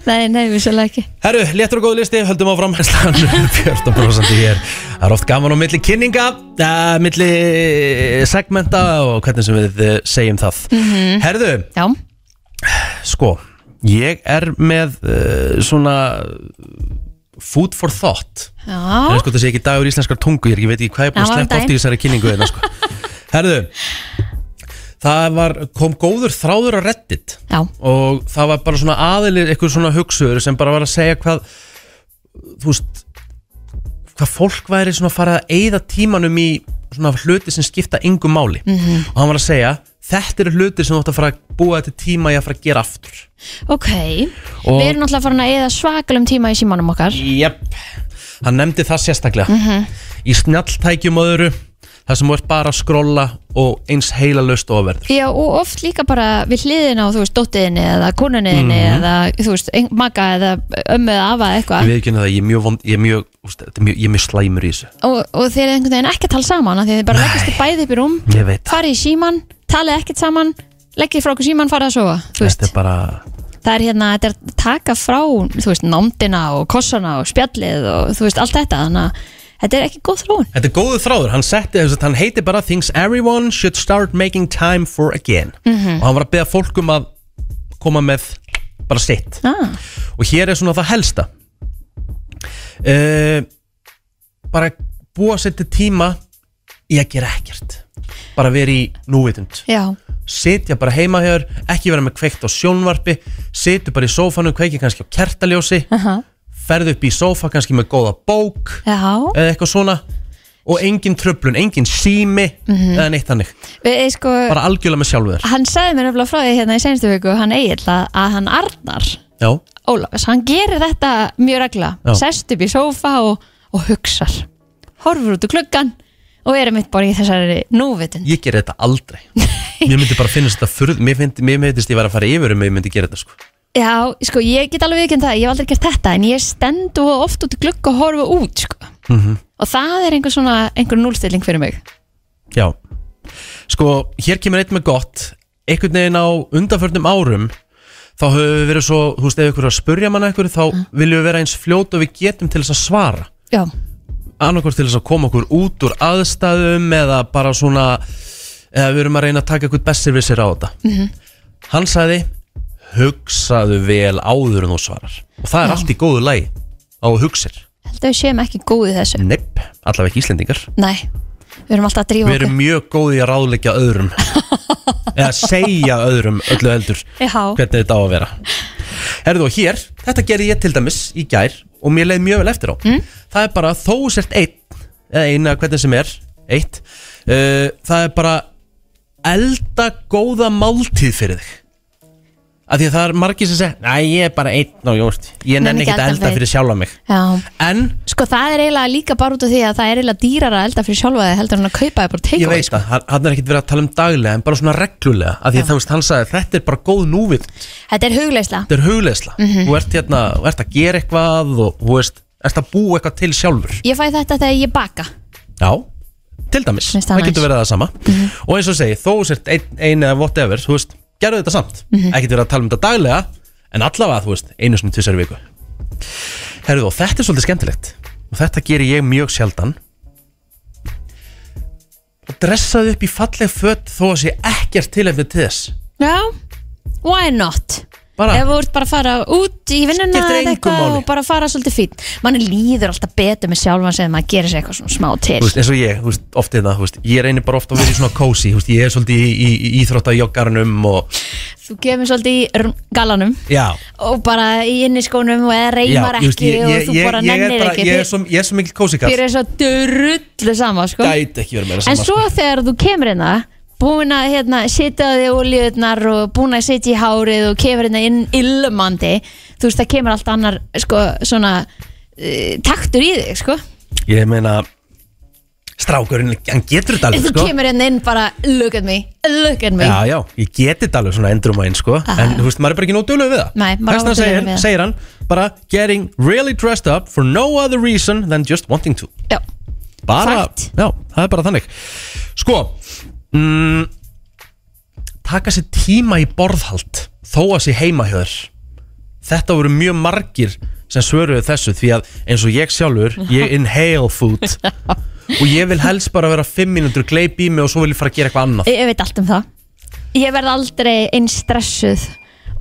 Speaker 2: Nei, nei, vissulega ekki
Speaker 1: Herru, léttur og góð listi, höldum áfram Slan 14% í hér Það er oft gaman á milli kynninga uh, milli segmenta og hvernig sem við eh, segjum það Herðu,
Speaker 2: Já,
Speaker 1: sko ég er með uh, svona food for thought Það
Speaker 2: já,
Speaker 1: er sko það sé ekki dagur íslenskar tungu, ég er ekki- veit ekki hvað ég er búin
Speaker 2: Já,
Speaker 1: að
Speaker 2: var um
Speaker 1: sleppa oft í
Speaker 2: daginn.
Speaker 1: þessari kynningu þeirna, sko. Herðu, það var, kom góður þráður á reddit
Speaker 2: já,
Speaker 1: og það var bara svona aðilir, eitthvað svona hugsuður sem bara var að segja hvað, þú veist, hvað fólk væri svona að fara að eyða tímanum í svona hluti sem skipta yngu máli
Speaker 2: Mhm.
Speaker 1: -hmm. og hann var að segja, þetta eru hluti sem þú ætti að fara að búa þetta tíma í að fara að gera aftur
Speaker 2: ok
Speaker 1: Og-
Speaker 2: Við erum náttúrulega farin að eða svakalum tíma í símanum okkar
Speaker 1: Jep, hann nefndi það sérstaklega Í snjalltækjum og öðru Það sem þú ert bara að skrolla og eins heila löst og verður
Speaker 2: Já, og oft líka bara við hliðina á, þú veist, dóttiðinni eða konunniðinni
Speaker 1: Mhm.
Speaker 2: eða, þú veist, ein- maka eða ömmu eða afa eða
Speaker 1: Ég
Speaker 2: eitthvað
Speaker 1: veit ekki henni það, ég er mjög, vond, ég er mjög, úst, ég er mjög, ég er mjög slæmur í þessu
Speaker 2: og, og þeir eru einhvern veginn ekki að tala saman af því að þið bara leggist þið bæði upp í rúm
Speaker 1: Ég veit það,
Speaker 2: farið í síman, talið ekkert saman leggið frá okkur síman, farið að sofa þú veist,
Speaker 1: þetta er bara
Speaker 2: það er hérna, þetta er að taka frá þú veist, námdina og kossana og spjallið og þú veist, allt þetta þannig að þetta er ekki góð þróun
Speaker 1: Þetta er góðu þráður, hann setti þess að hann heiti bara Things everyone should start making time for again
Speaker 2: Mhm.
Speaker 1: Og hann var að beða fólk um að koma með bara sitt
Speaker 2: ah,
Speaker 1: og hér er svona það helsta uh, bara búa sér til tíma í að gera ekkert bara vera í núvitund
Speaker 2: Já,
Speaker 1: sitja bara heima hér, ekki vera með kveikt á sjónvarpi sitja bara í sófanum, kveiki kannski á kertaljósi
Speaker 2: aha,
Speaker 1: ferðu upp í sófa kannski með góða bók
Speaker 2: já
Speaker 1: eða eitthvað svona og engin tröflun, engin sími eða neitt hannig,
Speaker 2: Við, eh, sko,
Speaker 1: bara algjörlega með sjálfu þér
Speaker 2: hann sagði mér nefnilega frá því hérna í senstu viku, hann Egil að, að hann Arnar
Speaker 1: Já,
Speaker 2: Ólafs, hann gerir þetta mjög regla
Speaker 1: Já.
Speaker 2: sest upp í sófa og, og hugsar horfur út úr klukkan og er mitt bara í þessari núvitund
Speaker 1: ég ger þetta aldrei Mér myndi bara finnast þetta furð Mér, finnst- mér myndist ég var að fara yfir um að ég myndi gera þetta sko
Speaker 2: Já, sko, ég get alveg viðkjönd það, ég hef aldrei gert þetta en ég stend og oft út í glugg og horfa út, sko
Speaker 1: Mhm.
Speaker 2: og það er einhver svona, einhver núlstilling fyrir mig
Speaker 1: Já Sko, hér kemur eitt með gott einhvern veginn á undanförnum árum þá höfum við verið svo, þú veist, ef ykkur er að spurja manna ykkur þá viljum við vera eins fljót og við getum til þess að svara
Speaker 2: Já,
Speaker 1: annarkvort til þess að koma okkur út úr aðstæðum eða bara svona eða við erum að reyna að taka eitthvað bestir við sér á þetta -hmm. Hann sagði hugsaðu vel áður en þú svarar og það er allt í góðu lægi á hugsir
Speaker 2: held að við séum ekki góð í þessu
Speaker 1: nepp, allavega ekki Íslendingar
Speaker 2: nei, við erum alltaf að drífa
Speaker 1: við erum mjög góði að ráðleggja öðrum eða segja öðrum öllu heldur
Speaker 2: okkur já,
Speaker 1: hvernig þetta á að vera Herðu og hér, þetta gerði ég til dæmis í gær og mér leiði mjög vel eftir á það er bara þó þú sért einn eða eina hvernig sem er, eitt uh, það er bara elda góða máltíð fyrir þig af því að það er margir sem segja næ, ég er bara einn og jórst ég nenni ekki að elda fyrir sjálfa mig
Speaker 2: já
Speaker 1: en
Speaker 2: Sko það er eiginlega líka bara út af því að það er eiginlega dýrar að elda fyrir sjálfa þig heldur en að kaupa þig bara
Speaker 1: Ég
Speaker 2: teika
Speaker 1: veit það, hann- hann er ekkert verið að tala um daglega en bara svona reglulega, af því að þú veist hann sagði þetta er bara góð núvill,
Speaker 2: Þetta er hugleisla
Speaker 1: þetta er hugleisla þú ert hérna, þú ert að gera eitthvað og þú veist, ert að búa eitthvað til sjálfur
Speaker 2: Ég fæ þetta þegar ég baka
Speaker 1: Já, til dæmis, Mhm.
Speaker 2: Finnst það
Speaker 1: það
Speaker 2: næs.
Speaker 1: getur verið það sama og eins og ég segi, þó þú sért ein, ein eða whatever, þú veist, gerðu þetta samt ekkert verið að tala um þetta daglega en allavega, þú veist, einu svona tvisar viku Herðu, og þetta er svolítið skemmtilegt og þetta gerir ég mjög sjaldan og dressaðu upp í falleg fött þó að sé ekkert tilefni til þess
Speaker 2: Já, why not?
Speaker 1: Bara-
Speaker 2: Ef þú ert bara að fara út í vinnuna
Speaker 1: Skiptir
Speaker 2: eða
Speaker 1: engu máli.
Speaker 2: og bara að fara svolítið fín Manni líður alltaf betur með sjálfan sem maður gerir sér eitthvað svona smá til
Speaker 1: Þú veist, eins og ég, þú veist, oft er það, þú veist, ég reynir bara ofta að vera í svona cozy, þú veist, ég er svolítið í, í, í íþróttajoggarnum og,
Speaker 2: Þú gefur svolítið í rm, galanum
Speaker 1: já,
Speaker 2: og bara í inniskónum og eða reymar
Speaker 1: já, þú veist,
Speaker 2: ekki og þú bara
Speaker 1: ég er
Speaker 2: nennir
Speaker 1: bara,
Speaker 2: ekki
Speaker 1: ég er
Speaker 2: Þér-
Speaker 1: svo, ég er svo mikil cozy kall
Speaker 2: Þér er svo drullu sama sko
Speaker 1: gæti ekki verið meira
Speaker 2: En
Speaker 1: saman
Speaker 2: svo þegar þú kemur hérna búin að hérna, setja á þig olíðurnar og búin að setja í hárið og kemur hérna inn illumandi þú veist það kemur allt annar sko, svona uh, taktur í þig sko.
Speaker 1: Ég meina Strákurinn, hann getur þetta alveg
Speaker 2: þú
Speaker 1: sko
Speaker 2: kemur hérna inn bara look at me, look at me
Speaker 1: Já, já, ég geti þetta alveg svona endrum aðeins sko
Speaker 2: Aha.
Speaker 1: En þú veist, maður er bara ekki nóg dölug við það
Speaker 2: Ah. Nei, maður á
Speaker 1: Þess vegna
Speaker 2: að vera duglegur
Speaker 1: segir,
Speaker 2: við það.
Speaker 1: segir hann bara Getting really dressed up for no other reason than just wanting to
Speaker 2: Já.
Speaker 1: bara,
Speaker 2: Fakt.
Speaker 1: Já, það er bara þannig Sko mm, Taka sér tíma í borðhald Þó að sér heima hjá þér Þetta voru mjög margir sem svöruðu þessu Því að eins og ég sjálfur Ég inhale food Og ég vil helst bara vera 5 mínútur gleip í mig Og svo vil ég fara að gera eitthvað annað
Speaker 2: Ég, ég veit allt um það ég verð aldrei eins stressuð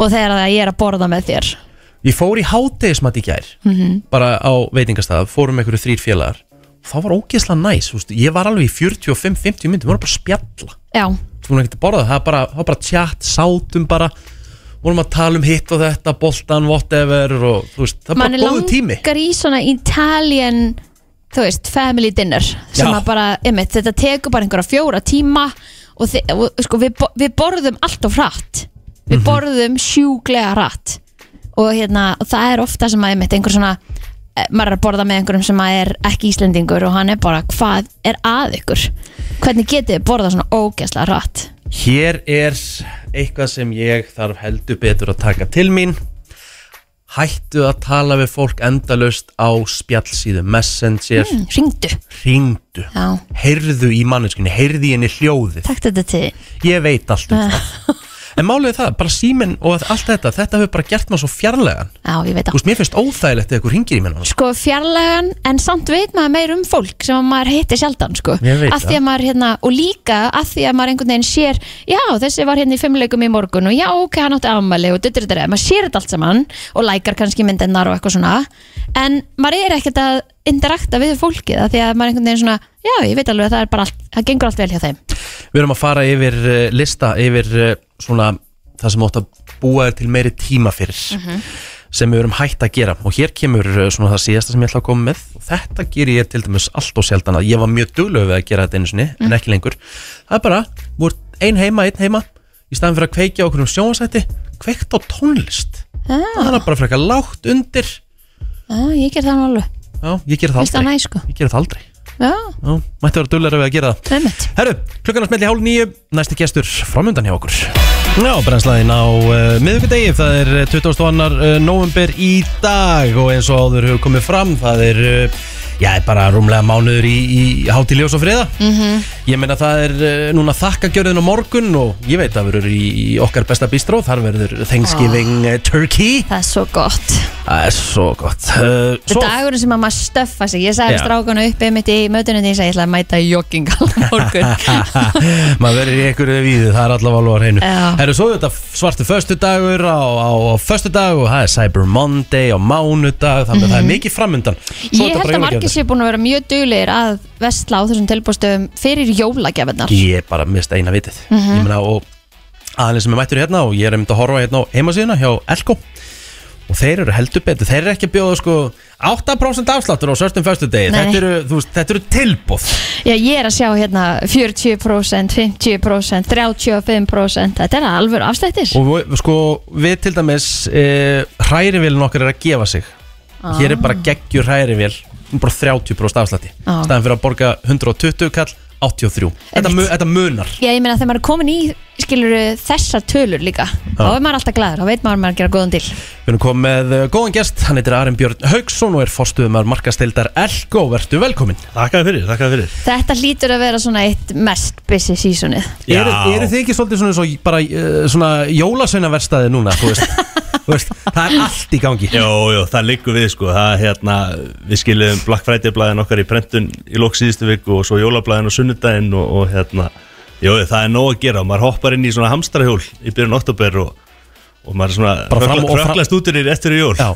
Speaker 2: og þegar það ég er að borða með þér
Speaker 1: Ég fór í hátegismat í gær Bara á veitingastað, fórum einhverju þrýr félagar Það var ógeðslega næs þú veist, Ég var alveg í 45-50 myndum Við vorum bara að spjalla
Speaker 2: Já,
Speaker 1: hún er ekkert að borða það, það er bara, það er bara tjátt, sátum bara vorum að tala um hitt og þetta, boltan, whatever og þú veist, það er
Speaker 2: mann
Speaker 1: bara góðu tími
Speaker 2: langar í svona Italian þú veist, family dinner sem
Speaker 1: Já.
Speaker 2: að bara, einmitt, þetta tekur bara einhverja fjóra tíma og, þi- og sko, við, bo- við borðum allt of hratt
Speaker 1: Mhm.
Speaker 2: við borðum sjúglega hratt og hérna, og það er ofta sem að einmitt einhver svona eh, maður er að borða með einhverjum sem að er ekki Íslendingur og hann er bara, hvað er að ykkur hvernig getið þið borða svona ógæslega hratt
Speaker 1: Hér er eitthvað sem ég þarf heldur betur að taka til mín Hættu að tala við fólk endalaust á spjallsíðu Messenger,
Speaker 2: mm, ringdu,
Speaker 1: hringdu
Speaker 2: já,
Speaker 1: heyrðu í manneskunni, heyrðu í henni hljóðið
Speaker 2: takk þetta til þín.
Speaker 1: ég veit allt um það en málið er það, bara síminn og allt þetta þetta hefur bara gert maður svo fjarlægan
Speaker 2: já, ég veit
Speaker 1: þú veist, mér finnst óþægilegt eða ykkur hringir í mér
Speaker 2: sko fjarlagan en samt veit maður meir um fólk sem að maður hittir sjaldan sko.
Speaker 1: Ég veit
Speaker 2: Af því að maður, hérna, og líka að því að maður einhvern veginn sér já þessi var hérna í fimmleikum í morgun og já ok hann átti afmæli og dyttir þetta maður sér þetta allt saman og lækar kannski myndennar og eitthvað svona en maður er ekkert að interakta við fólkið af því að maður einhvern veginn svona já ég veit alveg að það er bara allt, það gengur allt vel hjá þeim
Speaker 1: Við erum að fara yfir uh, lista yfir uh, svona það sem átt að búa þér til meiri tíma fyrir sem við erum hægt að gera og hér kemur uh, svona það síðasta sem ég ætla að koma með og þetta ger ég til dæmis allt og sjaldan að ég var mjög duglöf við að gera þetta einu sinni en ekki lengur það er bara, voru ein heima, einn heima í staðan fyrir að kveikja okkur um sjónvarsætti kveikt á tónlist það er bara frekar lágt undir
Speaker 2: já ég ger það nú alveg
Speaker 1: já, ég ger það
Speaker 2: Finnst það
Speaker 1: aldrei
Speaker 2: næs, sko?
Speaker 1: ég ger það aldrei
Speaker 2: já,
Speaker 1: já, mætti vera duglöf við að gera það
Speaker 2: einmitt.
Speaker 1: Herru, klukkan að smelli hálf nýju, næsti gestur framöndan hjá okkur. Já, brennslaðin á uh, miðvíkudegi, það er eh, 22. Uh, november í dag og eins og áður hefur eh, komið fram, það er, uh, já, bara rúmlega mánuður í, í hátiljós og friða. Mm -hmm. Ég meina það er eh, núna þakkagjörðin á morgun og ég veit að verður í í okkar besta bistró þar verður Thanksgiving oh. Turkey
Speaker 2: Það er svo gott
Speaker 1: Það er svo gott uh,
Speaker 2: Svo
Speaker 1: svo,
Speaker 2: dagurinn sem að maður stöffa sig Ég sagði
Speaker 1: Já.
Speaker 2: strákanu uppi mitt í mötunum Ég sagði ég ætla að mæta í jogging allan morgun
Speaker 1: Maður verður í einhverju víðu, það er allavega alveg á hreinu
Speaker 2: Já.
Speaker 1: Það eru svo þetta svartu föstudagur á, á, á föstudag og það er Cyber Monday á mánudag þannig að það er mikið framundan Svo er
Speaker 2: Mhm. Ég
Speaker 1: þetta bara
Speaker 2: held að margir
Speaker 1: jólagjafir.
Speaker 2: sé búin að vera mjög duglegir að vestla á þessum tilbúrstöfum fyrir jólagefinnar
Speaker 1: Ég er bara mist eina vitið
Speaker 2: Mhm.
Speaker 1: Ég meina og aðeins sem er mættur hérna og ég er einmitt að horfa hérna á heimasíðuna hjá Elko og þeir eru heldur betur, þeir eru ekki að bjóða sko 8% afsláttur á sörstum föstu degi
Speaker 2: Nei.
Speaker 1: þetta eru, þú veist, þetta eru tilbúð
Speaker 2: Já, ég er að sjá hérna 40%, 50%, 35% Þetta er alveg afslættir
Speaker 1: og við- sko við til dæmis e, hrærivilin okkar er að gefa sig hér er bara geggjur hrærivél bara 30% afslætti
Speaker 2: Ah.
Speaker 1: staðan fyrir að borga 120 kall 83, þetta, mu, þetta munar
Speaker 2: Já, ég meina þegar maður er komin í skilur þessar tölur líka þá er maður alltaf glæður, þá veit maður að maður er að gera góðan til
Speaker 1: Við erum komið með uh, góðan gest, hann heitir Arjen Björn Haugsson og er forstuðumar markastildar Elko, vertu velkominn.
Speaker 5: Þakkaði fyrir, þakkaði fyrir
Speaker 2: Þetta hlýtur að vera svona eitt mest busy seasonið
Speaker 5: Já.
Speaker 1: Eru eru þið ekki svolítið svona, svona, bara, uh, svona jólasveinaverstaði núna, þú veist? Þú veist, það er allt í gangi.
Speaker 5: Jó, jó, það liggur við sko það, hérna, Við skiljum Black Friday blæðin okkar í prentun í lók síðustu viku og svo jólablæðin og sunnudaginn og, og hérna, jó, það er nóg að gera og maður hoppar inn í svona hamstrahjól í byrjun oktober og, og maður er svona
Speaker 1: Bara fram og fram-
Speaker 5: fröklast út í þér eftir í jól
Speaker 1: Já.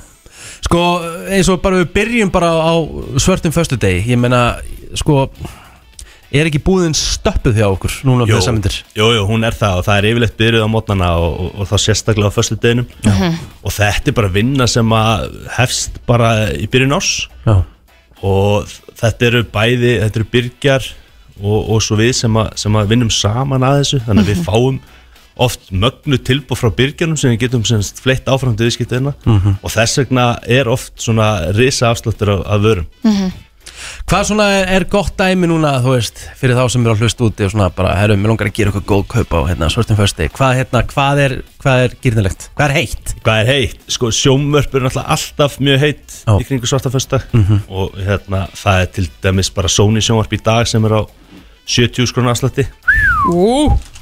Speaker 1: Sko, eins og bara við byrjum bara á svörtum föstudegi, ég meina, sko, er ekki búðin stöppuð hjá okkur núna um fyrir samindir?
Speaker 5: Jú, jú, hún er það og það er yfirleitt byrjuð á mótnana og, og, og þá sérstaklega á förstu deginum og þetta er bara vinna sem að hefst bara í byrjun árs
Speaker 1: Já.
Speaker 5: og þetta eru bæði, þetta eru byrgjar og, og svo við sem, að, sem að vinnum saman að þessu þannig að við fáum oft mögnu tilbúð frá byrgjarnum sem við getum sem sagt fleitt áfram til viðskiptina og þess vegna er oft svona risa afsláttur af, af vörum
Speaker 1: Hvað svona er gott dæmi núna, þú veist, fyrir þá sem eru að hlusta úti og svona bara, herru, mér langar að gera eitthvað góð kaup á hérna, svörtum föstudegi. Hvað, hérna, hvað er, hvað er gyrnilegt? Hvað er heitt?
Speaker 5: Hvað er heitt? Sko sjómörp er náttúrulega alltaf mjög heitt
Speaker 1: Já.
Speaker 5: í kringu svartafösta og hérna það er til dæmis bara Sony sjómörp í dag sem er á 70 skrona afslætti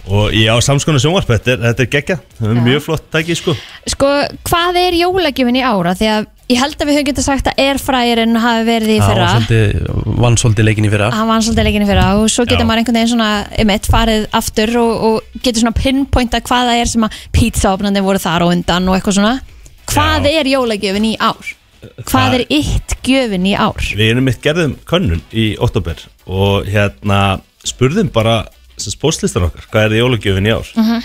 Speaker 5: og ég á samskona sjómörp, þetta er, þetta er geggja það er mjög flott tæki sko
Speaker 2: Sko, hvað er jólagjöfin í ára? Því að ég held að við höfum getað sagt að airfryerinn hafi verið í
Speaker 1: Já,
Speaker 2: fyrra Ah.
Speaker 1: hann svolítið, vann svolítið leikin í fyrra
Speaker 2: hann var svolítið leikinn í fyrra og svo getur
Speaker 5: Já.
Speaker 2: maður einhvern veginn svona emitt farið aftur og, og getur svona pinpointa hvað það er sem að pizzaopnandi voru þar og undan og eitthvað svona hvað er jólagjöfin í ár? Hvað
Speaker 5: Það-
Speaker 2: er ytt gjöfin í ár?
Speaker 5: Við erum mitt gerðum könnun í oktober og hérna spurðum bara sem spórslistan okkar, hvað er jólagjöfin í ár
Speaker 2: Mhm.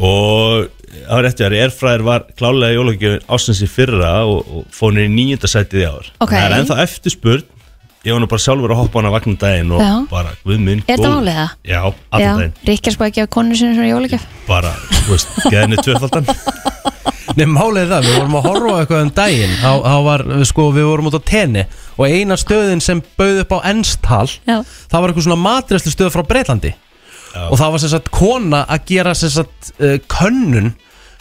Speaker 5: og það var rétti að erfræðir var klálega jólagjöfin ásins í fyrra og, og fónir í nýjunda sætið í ár
Speaker 2: Ok.
Speaker 5: það er ennþá eftir spurð ég var nú bara sjálfur að hoppa á hana vagn um daginn og
Speaker 2: Já.
Speaker 5: bara, guð minn,
Speaker 2: Er þetta
Speaker 5: góður.
Speaker 2: málið það?
Speaker 5: Já, allan daginn,
Speaker 2: Ríkjars búið sko að gefa konu sinni svona jólagjöf
Speaker 5: bara, þú veist, geðinni tvöfaldan
Speaker 1: Nei, málið er það, við vorum að horfa á eitthvað um daginn Há, há var, sko, við vorum út á tenni Og eina stöðin sem bauð upp á enstal
Speaker 2: Já.
Speaker 1: Það var eitthvað svona matræslu stöð frá Breitlandi Og það var sem sagt kona að gera sem sagt uh, könnun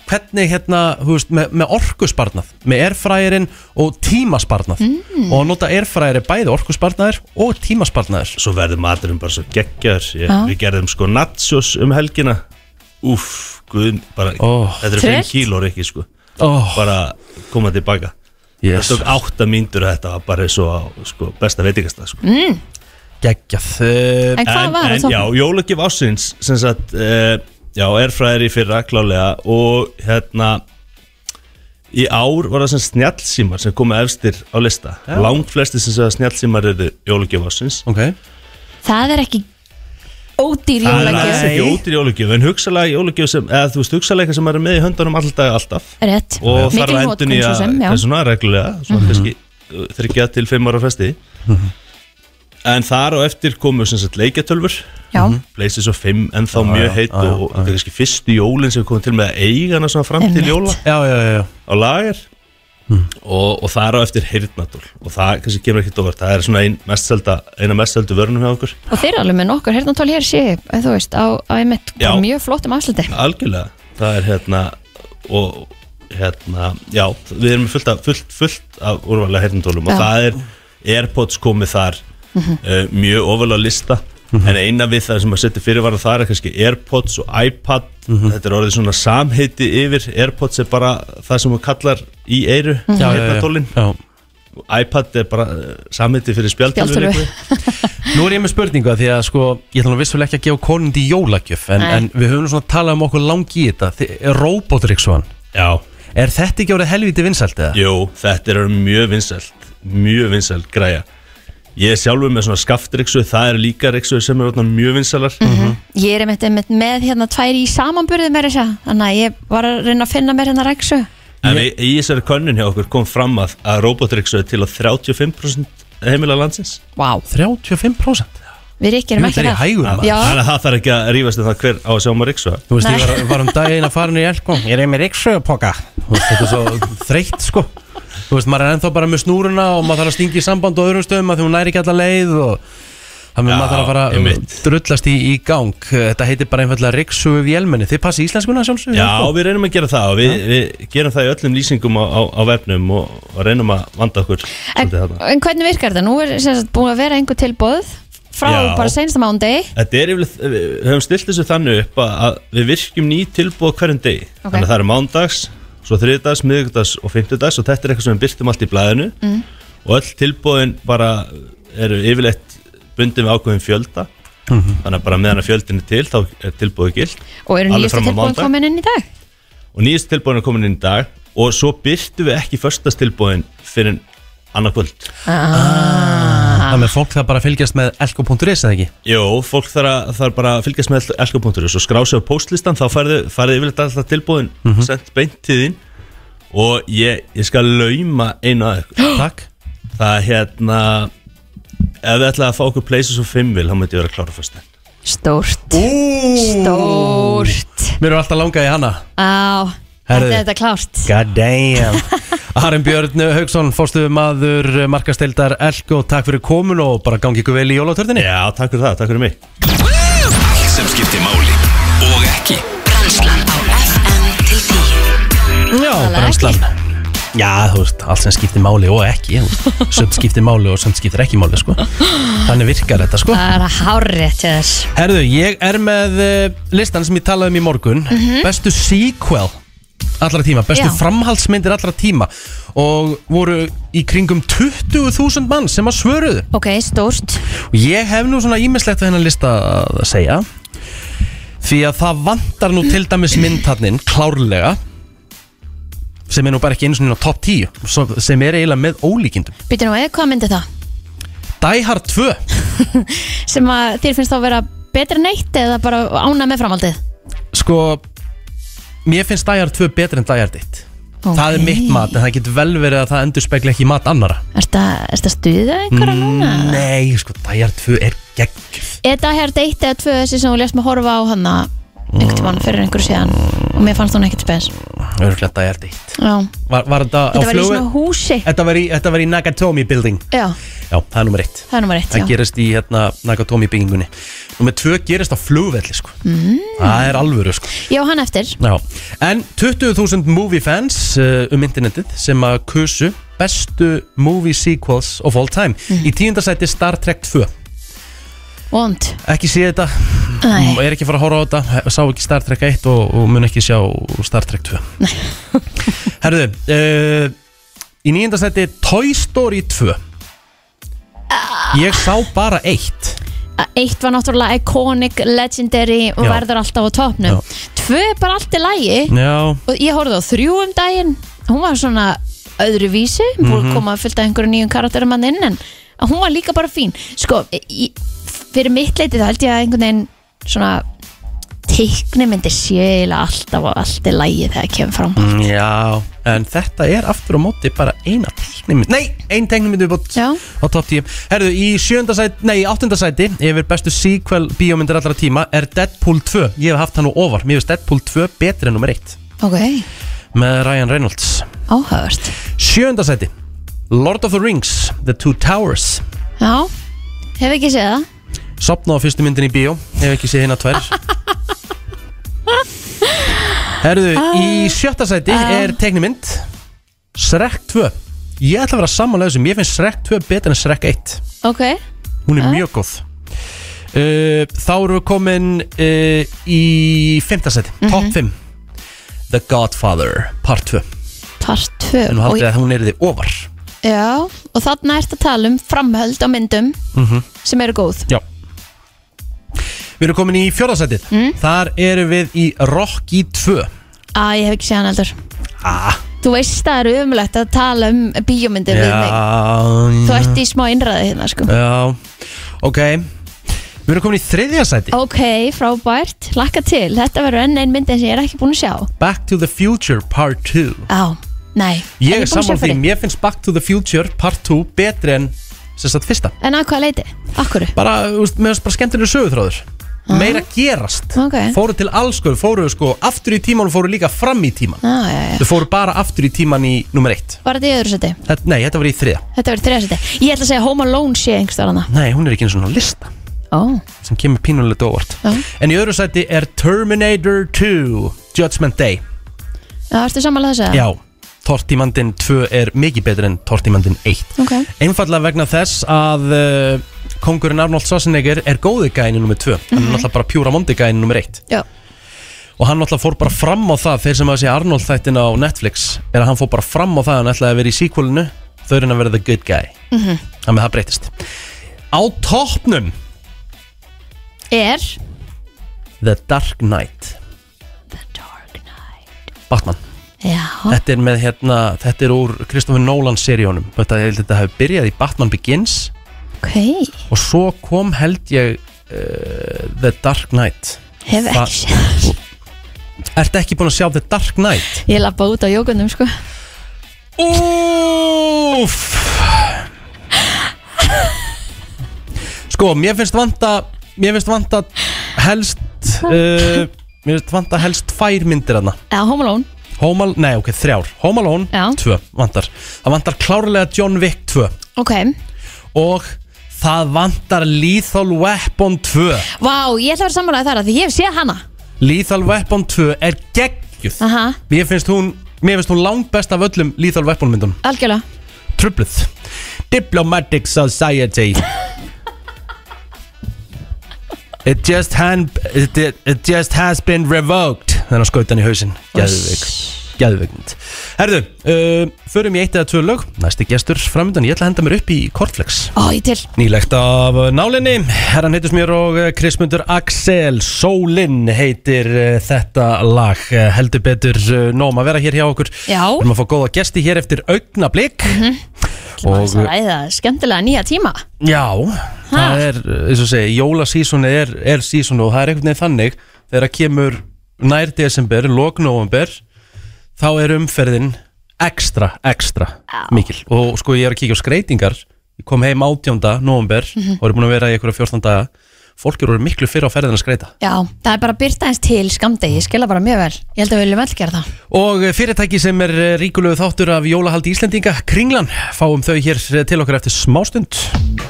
Speaker 1: Hvernig hérna, þú veist, með, með orkusparnað Með erfræðirinn og tímasparnað
Speaker 2: Mm.
Speaker 1: Og að nota erfræðir er bæði orkusparnaðir og tímasparnaðir
Speaker 5: Svo verður maturinn bara svo geggjar ég,
Speaker 2: Já.
Speaker 5: Við gerðum sko nachos um helgina Úff, guð, bara
Speaker 1: Ó.
Speaker 5: Þetta eru 5
Speaker 2: Tryllt.
Speaker 5: kílór ekki sko
Speaker 1: oh,
Speaker 5: Bara koma tilbaka
Speaker 1: yes.
Speaker 5: Það tók átta mínútur að þetta var bara svo á sko, besta veitingastað sko.
Speaker 1: Geggjað uh,
Speaker 2: En hvað var
Speaker 5: en,
Speaker 2: það?
Speaker 5: Já, jólagjöf ásins sem sagt, uh, já, erfræðir í fyrra klálega og hérna í ár var það sem snjallsímar sem komið efstir á lista langt flesti sem segja að snjallsímar eru jólagjöf ásins
Speaker 1: Ok
Speaker 2: Það er ekki ódýr
Speaker 5: Það er alls
Speaker 2: jólagjöf
Speaker 5: ekki ótir jólagjöf en hugsalega jólagjöf sem, eða þú veist, hugsalega eitthvað sem er með í höndunum alltaf alltaf
Speaker 2: Rétt,
Speaker 5: og þarf
Speaker 2: mikil
Speaker 5: að endun
Speaker 2: hótkun
Speaker 5: í
Speaker 2: svo sem, já Mhm.
Speaker 5: að svona reglulega, svona kannski uh, þryggja til fimm ára fresti en þar og eftir komu sem sagt leikjatölfur
Speaker 2: Já,
Speaker 5: Places of 5 ennþá mjög heitt
Speaker 1: já, já,
Speaker 5: og þetta er kannski fyrstu jólin sem við komum til með að eiga hana svona fram til
Speaker 2: Einmitt.
Speaker 5: jóla
Speaker 1: Já, já, já, já.
Speaker 5: á lager
Speaker 1: Mhm.
Speaker 5: og, og þar á eftir heyrnatól og það kannski kemur ekkert ofar það er svona ein, mestselda, eina mestseldu vörnum hjá okkur
Speaker 2: og þeir eru alveg með nokkur hérna tól hér sé, þú veist, á, á einmitt
Speaker 5: Já.
Speaker 2: mjög flottum afsluti
Speaker 5: algjörlega, það er hérna og hérna, já við erum með fullt, af, fullt, fullt af úrvalega
Speaker 2: Já.
Speaker 5: heyrnatólum
Speaker 2: Mhm.
Speaker 5: og það er Airpods komið þar uh, eh, mjög ofalega lista
Speaker 1: Mhm.
Speaker 5: en eina við það sem að setja fyrirvara þar er kannski Airpods og iPad
Speaker 1: Mhm.
Speaker 5: þetta er orðið svona samheiti yfir Airpods er bara það sem þú kallar í eyru, mm
Speaker 1: Mhm.
Speaker 2: Mhm.
Speaker 1: Já, já, já.
Speaker 5: heyrnartólin
Speaker 1: Já.
Speaker 5: iPad er bara eh, samheiti fyrir spjaldur
Speaker 2: Spjaldtölvu.
Speaker 1: Nú er ég með spurningu að því að sko ég ætla nú vissulega ekki að gefa konund í jólagjöf en,
Speaker 2: Nei.
Speaker 1: en við höfum nú svona talað um okkur langi í þetta Þi- er Robotrixon
Speaker 5: já,
Speaker 1: Er þetta ekki árið helviti vinsælt eða?
Speaker 5: Jú, þetta er mjög vinsælt mjög vinsælt græja ég er sjálfur með svona skaftriksu það er líka riksu sem er orðnar mjög vinsælar
Speaker 2: Ég er einmitt, einmitt með hérna tvær í samanburði með þess að Þannig að ég var að reyna að finna mér hérna reksu
Speaker 5: en við, í þessari könnun hjá okkur kom fram að, að robotriksu er til á 35% heimila landsins
Speaker 2: Vá,
Speaker 1: 35%
Speaker 2: við ríkjum
Speaker 1: Jú,
Speaker 2: ekki
Speaker 1: þetta er í hægur maður.
Speaker 2: Já,
Speaker 5: þannig að það þarf ekki að rífast um það hver á að sjá maður riksu
Speaker 1: Þú veist, ég
Speaker 2: Nei.
Speaker 1: var, var um daginn að fara niður í elko Ég er með rikssögupoka Þú veist, þetta er svo þreytt, sko Þú veist, maður er ennþá bara með snúruna og maður þarf að stinga í samband og öðrum stöðum að því hún næri ekki alla leið og þannig að maður þarf að fara að
Speaker 5: einmitt.
Speaker 1: drullast í, í gang Þetta heitir bara einfallega rikssögu vélmenni Þið passi íslenskuna sjálfsögur
Speaker 5: já,
Speaker 2: sko.
Speaker 5: við reynum að gera það og við, við gerum það í öllum lýsingum á, á, á vefnum og, og reynum að vanda okkur
Speaker 2: en,
Speaker 5: svolítið þarna.
Speaker 2: en hvernig virkar þetta? Nú er sem sagt, búin að vera einhver tilbóð Frá
Speaker 5: Já.
Speaker 2: bara sensta mándi
Speaker 5: Þetta er yfirleitt, eh, við höfum stilt þessu þannig upp að, að við virkjum ný tilbúið á hverjum degi
Speaker 2: Ok.
Speaker 5: Þannig að það eru mándags, svo þriðdags, miðugdags og fimmtudags og þetta er eitthvað sem við byrtum allt í blæðinu mm. og öll tilbúin bara eru yfirleitt bundin við ákveðin fjölda þannig að bara meðan að fjöldin er til þá er tilbúið gilt
Speaker 2: Og eru
Speaker 5: Alveg
Speaker 2: nýjastu
Speaker 5: fram á
Speaker 2: tilbóðin
Speaker 5: mánudag.
Speaker 2: komin inn í dag?
Speaker 5: og nýjast tilbúin er komin inn í dag og svo byrtum við ekki förstastilbúin fyrir annað kvöld
Speaker 1: Þannig að fólk það bara að fylgjast með elko.is eða ekki
Speaker 5: Jó, fólk þarf, að, þarf bara að fylgjast með elko.is og skrá sig á postlistan þá færðu, færðu yfirleitt alltaf tilbúin sent beint til þín og ég, ég skal lauma einu að ykkur
Speaker 1: Takk
Speaker 5: það er hérna ef þið ætlaði að fá okkur places og fimmvil þá myndi ég vera að klára fyrst
Speaker 2: Stórt Stórt
Speaker 1: Mér er alltaf langað í hana
Speaker 2: Á,
Speaker 1: Herðu.
Speaker 2: þetta er þetta klárt
Speaker 1: God damn Arin Björn Haugsson, fórstuðu maður markastildar Elko, takk fyrir komin og bara gangi ykkur vel í jólatörninni
Speaker 5: Já, takk fyrir það, takk fyrir mig
Speaker 6: Allt sem skiptir máli og ekki
Speaker 7: Brennslan á FM til 10
Speaker 1: Já,
Speaker 2: Talaðu
Speaker 1: brennslan Já, þú veist, allt sem skiptir máli og ekki þú veist. Sumt skiptir máli og sumt skiptir ekki máli sko. Þannig virkar þetta sko
Speaker 2: Það er að hárrétt hjá þess
Speaker 1: Herðu, ég er með eh, listan sem ég talaði um í morgun Bestu sequel allra tíma Bestu
Speaker 2: Mhm. Já.
Speaker 1: framhaldsmyndir allra tíma Og voru í kringum 20.000 mann sem að svöruðu
Speaker 2: Ok, stórt
Speaker 1: Og ég hef nú svona ímislegt við hennar lista að segja Því að það vantar nú til dæmis myndtarnin klárlega sem er nú bara ekki einu svona á topp 10 svo- sem er eiginlega með ólíkindum
Speaker 2: Býtu nú, eða hvað myndi það?
Speaker 1: Die Hard 2
Speaker 2: sem að þér finnst þá að vera betra neitt eða bara ána með framhaldið
Speaker 1: sko mér finnst Die Hard 2 betur en Die Hard 1 það er mitt mat en það getur vel verið að það endur spekla ekki mat annara
Speaker 2: Er þetta stuðið einhverja núna?
Speaker 1: Mm, Nei, sko Die Hard 2 er gegn
Speaker 2: Er það hér deitt eða tvö þessi sem þú lést mig horfa á hana einhvern
Speaker 1: Mm.
Speaker 2: tímann fyrir einhverju síðan og mér fannst hún ekkert spes
Speaker 1: Örglega Die Hard 1
Speaker 2: Já,
Speaker 1: Var, var þetta á
Speaker 2: þetta var í
Speaker 1: flugvél?
Speaker 2: svona húsi
Speaker 1: Þetta var í, þetta var í Nagatomi building
Speaker 2: Já,
Speaker 1: Já, það er nummer 1
Speaker 2: það er nummer eitt
Speaker 1: Það
Speaker 2: já.
Speaker 1: gerist í hérna Nakatomi byggingunni Númer tvö gerist á flugvelli sko mm. Það er alvöru sko
Speaker 2: Já, hann eftir
Speaker 1: Já. En 20.000 movie fans uh, um internetið sem að kusu bestu movie sequels of all time
Speaker 2: Mhm.
Speaker 1: Í tíundasæti Star Trek 2
Speaker 2: Vond
Speaker 1: Ekki sé þetta,
Speaker 2: Nei.
Speaker 1: er ekki að fara að horfa á þetta Sá ekki Star Trek 1 og, og mun ekki sjá Star Trek 2 Herðu uh, Í níundasæti Toy Story 2
Speaker 2: Ah.
Speaker 1: Ég sá bara eitt
Speaker 2: Eitt var náttúrulega iconic, legendary og
Speaker 1: Já.
Speaker 2: verður alltaf á topnum Tvö er bara allt í lægi
Speaker 1: Já,
Speaker 2: og ég horfði á þrjú um daginn hún var svona öðru vísi búið að koma að fylta einhverju nýjum karakterum hann inn en hún var líka bara fín sko, í, fyrir mitt leiti þá held ég að einhvern veginn svona teikni myndi sjöla alltaf og allt er lægi þegar það kemur fram
Speaker 1: Mm, Já, en þetta er aftur á móti bara eina teknimynd Nei, ein teknimynd við bútt
Speaker 2: Já.
Speaker 1: á top 10 Herðu, í sjönda sæti, nei, í áttunda sæti yfir bestu sequel bíómyndir allra tíma er Deadpool 2, ég hef haft hann nú ofar Mér finnst Deadpool 2 betri en nummer 1
Speaker 2: ok,
Speaker 1: með Ryan Reynolds
Speaker 2: áhört
Speaker 1: Sjönda sæti, Lord of the Rings The Two Towers
Speaker 2: já, hef ekki séð það
Speaker 1: Sopna á fyrstu myndin í bíó Hef ekki séð hérna tvær Herðu, í sjötta sæti er teiknimynd Shrek 2 Ég ætla að vera samanlega þessum Ég finnst Shrek 2 betur en Shrek 1
Speaker 2: ok,
Speaker 1: Hún er mjög góð Uh, þá erum við komin uh, í fymtasæti, mm top 5 The Godfather, part 2
Speaker 2: part 2
Speaker 1: en hún
Speaker 2: og,
Speaker 1: haldið að hún er þið ofar
Speaker 2: já, og þarna ert að tala um framhöld á myndum sem eru góð
Speaker 1: Já Við erum komin í fjórðasætið Þar erum við í Rocky 2
Speaker 2: að ég hef ekki séð hann heldur
Speaker 1: Ah,
Speaker 2: þú veist það er umlegt að tala um bíómyndir við mig þú
Speaker 1: já,
Speaker 2: ert í smá innræði hérna sko
Speaker 1: já Ok Við erum komin í þriðjasæti
Speaker 2: ok, frábært, lakka til þetta verður enn ein myndin sem ég er ekki búin að sjá
Speaker 1: Back to the Future Part 2
Speaker 2: á, nei,
Speaker 1: Ég
Speaker 2: ekki
Speaker 1: er
Speaker 2: búin að sjá
Speaker 1: sammála því,
Speaker 2: fyrri.
Speaker 1: mér finnst Back to the Future Part 2 betri en sem sagt fyrsta
Speaker 2: en að hvað leiti, akkur
Speaker 1: bara, þú veist, mér finnst bara skemmtilega sögutráður meira gerast
Speaker 2: Ok.
Speaker 1: fóru til alls konar, fóru sko aftur í tíman og fóru líka fram í tíman
Speaker 2: ah, já, já.
Speaker 1: þau fóru bara aftur í tíman í nummer eitt
Speaker 2: var þetta í öðru seti,
Speaker 1: Þetta, nei, þetta var í þriða
Speaker 2: þetta verður þriða seti ég ætla að segja Home Alone sé einhverstaðar hana
Speaker 1: Nei, hún er ekki eins og svona lista
Speaker 2: ó,
Speaker 1: sem kemur pínulegt óvart
Speaker 2: Já.
Speaker 1: En í öðru sæti er Terminator 2 Judgment Day
Speaker 2: það ertu sammála þessu eða?
Speaker 1: Já, Tortimandin 2 er mikið betur en Tortimandin 1
Speaker 2: ok,
Speaker 1: Einfallega vegna þess að uh, kongurinn Arnold Schwarzenegger er góði gæni nummer 2 Hann er náttúrulega bara pjúra mondi gæni nummer 1
Speaker 2: Mhm. já,
Speaker 1: Og hann náttúrulega fór bara fram á það Þeir sem að sé Arnold þættin á Netflix Er að hann fór bara fram á það Hann ætlaði að vera í sequelinu Þau er hann að vera the good guy mm
Speaker 2: Mhm.
Speaker 1: -hmm. Þannig að það breytist Á toppnum
Speaker 2: er
Speaker 1: The Dark Knight
Speaker 2: The Dark Knight
Speaker 1: Batman
Speaker 2: já,
Speaker 1: Þetta er með hérna, þetta er úr Kristoffer Nolan seríunum Þetta, ég held að þetta hefur byrjað í Batman Begins
Speaker 2: ok
Speaker 1: Og svo kom held ég uh, The Dark Knight
Speaker 2: hef
Speaker 1: Það-
Speaker 2: ekki séð
Speaker 1: Ertu ekki búin að sjá The Dark Knight?
Speaker 2: ég lappa út á jókunum sko
Speaker 1: Úff Sko, mér finnst vanta Mér finnst vanta helst uh, Mér finnst vanta helst tvær myndir hana
Speaker 2: eða Home Alone,
Speaker 1: Home Alone, nei ok, þrjár Home Alone,
Speaker 2: Já.
Speaker 1: tvö, vantar Það vantar klárlega John Wick 2
Speaker 2: ok
Speaker 1: og það vantar Lethal Weapon 2
Speaker 2: vá, ég ætla að vera sammála þar að því ég hef séð hana
Speaker 1: Lethal Weapon 2 er geggjuð
Speaker 2: aha,
Speaker 1: mér finnst hún mér finnst hún langt best af öllum Lethal Weapon myndum
Speaker 2: algjörlega
Speaker 1: trubluð Diplomatic Society It just, han, it, it, it just has been revoked þannig að skauta hann í hausinn geðveik geðveiknd herðu, uh, förum í eitt eða tvö lög næsti gestur framöndan, ég ætla að henda mér upp í Cornflakes
Speaker 2: ó, ég til
Speaker 1: Nýlegt af nálinni, herran heitir mér og eh, Krismundur Axel Sólinn heitir eh, þetta lag Eh, heldur betur eh, nóg um að vera hér hjá okkur
Speaker 2: Já.
Speaker 1: Við erum að fá góða gesti hér eftir augnablik
Speaker 2: og
Speaker 1: og
Speaker 2: það ræða skemmtilega nýja tíma
Speaker 1: já,
Speaker 2: Ha?
Speaker 1: það er, eh, eins og segi, jólasísunni er, er sísun og það er einhvern veginn þannig þegar það kemur nær desember, loknovember þá er umferðin ekstra, ekstra mikil og sko ég er að kíkja á skreitingar ég kom heim 18. november og er búin að vera í einhverja 14 daga fólk eru orðið miklu fyrir á ferðin að skreita
Speaker 2: já, það er bara að byrta eins til skamdegi, ég skilja bara mjög vel ég held að við viljum öll gera það
Speaker 1: Og fyrirtæki sem er eh, ríkulegu þáttur af jólahaldi Íslendinga, Kringlan, fáum þau hér eh, til okkar eftir smástund.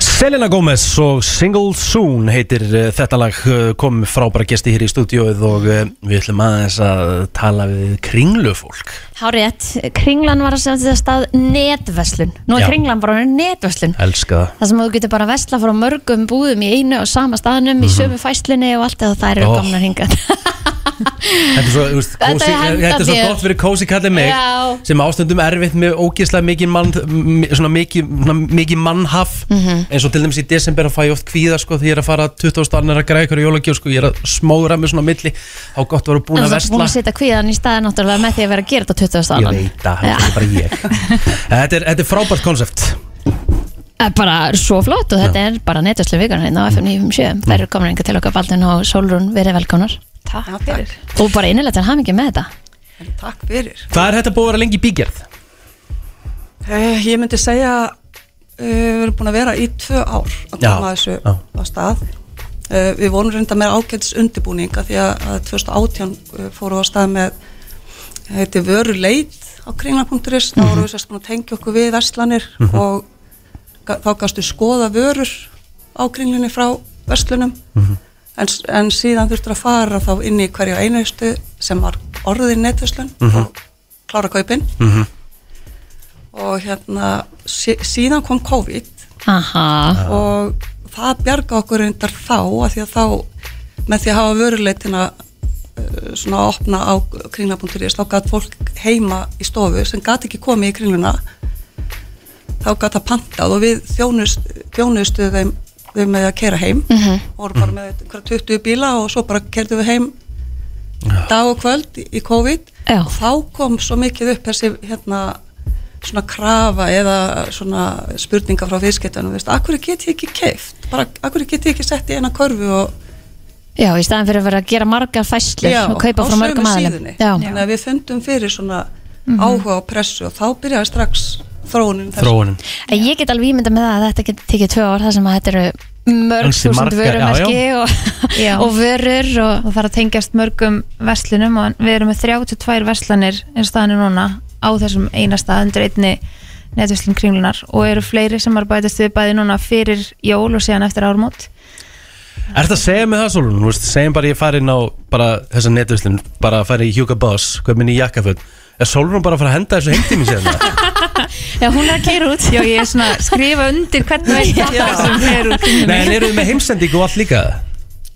Speaker 1: Selena Gomez og Single Soon heitir eh, þetta lag, eh, kom frábæra gesti hér í stúdióið og eh, við ætlum aðeins að tala við kringlufólk.
Speaker 2: Hárétt, Kringlan var að segja þetta stað netveslun, nú er
Speaker 1: Já.
Speaker 2: Kringlan bara orðin netveslun
Speaker 1: Elska það.
Speaker 2: Það sem þú getur bara að vesla frá mörgum búðum í einu og sama staðnum, í sömu fæslinni og allt eða það
Speaker 1: Mhm.
Speaker 2: eru
Speaker 1: Ó.
Speaker 2: oh. komna hingað
Speaker 1: Þetta er svo, þú veist,
Speaker 2: Þetta
Speaker 1: kósi,
Speaker 2: henda
Speaker 1: þetta er svo
Speaker 2: þér.
Speaker 1: gott fyrir kósi kallið mig
Speaker 2: Já.
Speaker 1: sem ástundum erfitt með ógeðslega mikið mann, m- svona mikið, svona mikið mannhaf
Speaker 2: Mhm.
Speaker 1: eins og til dæmis í desember að fæ ég oft kvíða sko því ég er að fara 20. annar að græða ykkur í jólagjóð sko, ég er að smóra mig svona á milli þá gott að vera búin
Speaker 2: En
Speaker 1: að
Speaker 2: þú ert búin
Speaker 1: vesla
Speaker 2: að setja kvíðan í staðin náttúrulega með því að vera að gera þetta á 20.
Speaker 1: Ég
Speaker 2: annan
Speaker 1: veit að þetta er bara ég Þetta er, þetta er frábært konsept
Speaker 2: er Eh, bara svo flott og þetta er bara netvæslu vikurinn hérna á FM 957 þær eru komin einhver til okkar Baldin og Solrún verið velkonar
Speaker 8: Takk fyrir.
Speaker 2: og bara innilegt er hamingi með þetta
Speaker 8: Takk fyrir.
Speaker 1: Hvað er þetta búið að vera lengi í bígerð?
Speaker 8: Uh, ég myndi segja að uh, við erum búin að vera í tvö ár að
Speaker 1: Já,
Speaker 8: koma þessu
Speaker 1: já.
Speaker 8: á stað. Uh, við vorum reynda með ágætis undirbúninga því að, að 2018 uh, fóru á stað með eh, heiti vöru leit á kringla.is, þá
Speaker 1: Mhm.
Speaker 8: vorum við sérst búin að tengja okkur við verslanir og ga- þá gafstu skoða vörur á kringlinni frá verslunum
Speaker 1: Mhm.
Speaker 8: en, s- en síðan þurftur að fara þá inn í hverju einustu sem var orðin netverslun
Speaker 1: Mhm.
Speaker 8: og klára kaupin og hérna sí, síðan kom COVID
Speaker 2: Aha,
Speaker 8: og þá það bjarga okkur reyndar þá að því að þá með því að hafa vöruleitina eh, svona að opna á kringla.is þá gæt fólk heima í stofu sem gæt ekki komið í kringluna þá gæt það pantað og við þjónust, þjónustu þeim, þeim með að keira heim mm
Speaker 2: Mhm.
Speaker 8: -hmm. voru bara með einhverja 20 bíla og svo bara kerðum við heim dag og kvöld í- í COVID
Speaker 2: Já.
Speaker 8: og þá kom svo mikið upp þessi hérna svona krafa eða svona spurninga frá viðskiptunum, veist, akkur get ég ekki keift, bara akkur get ég ekki sett í eina körfu og
Speaker 2: Já, í staðan fyrir að vera að gera margar fæslur
Speaker 8: Já,
Speaker 2: og kaupa
Speaker 8: á
Speaker 2: frá mörgum
Speaker 8: sömu
Speaker 2: aðlum
Speaker 8: síðunni.
Speaker 2: Já, Mhm.
Speaker 8: þannig að við fundum fyrir svona áhuga og pressu og þá byrjaði strax þróunin þess-
Speaker 1: þróunin
Speaker 2: En ég get alveg ímynda með það að þetta get tekið tvö ár þar sem að þetta eru mörg
Speaker 1: Ansi
Speaker 2: þúsund
Speaker 1: margar,
Speaker 2: vörumerki
Speaker 1: já,
Speaker 2: og,
Speaker 9: Já.
Speaker 2: og vörur og
Speaker 9: og það er að tengjast mörgum verslunum og við erum með 32 verslanir eins og staðan er núna á þessum eina stað undir einni netverslun kringlunar og eru fleiri sem er bætast við bæði núna fyrir jól og síðan eftir ármót
Speaker 1: Er þetta að segja með það Solon? Þú veist, segjum bara ég fari inn á bara þessa netvislun, bara fari í Hugo Boss, hvað minni í jakkaföld Er Solon bara að fara að henda þessu heimtími síðan? eða?
Speaker 2: Já, hún er að keira út
Speaker 9: Já, ég er svona að skrifa undir hvern veginn þetta sem fer úr kringlu
Speaker 1: Nei, en eru þið með heimsendingu og allt líka?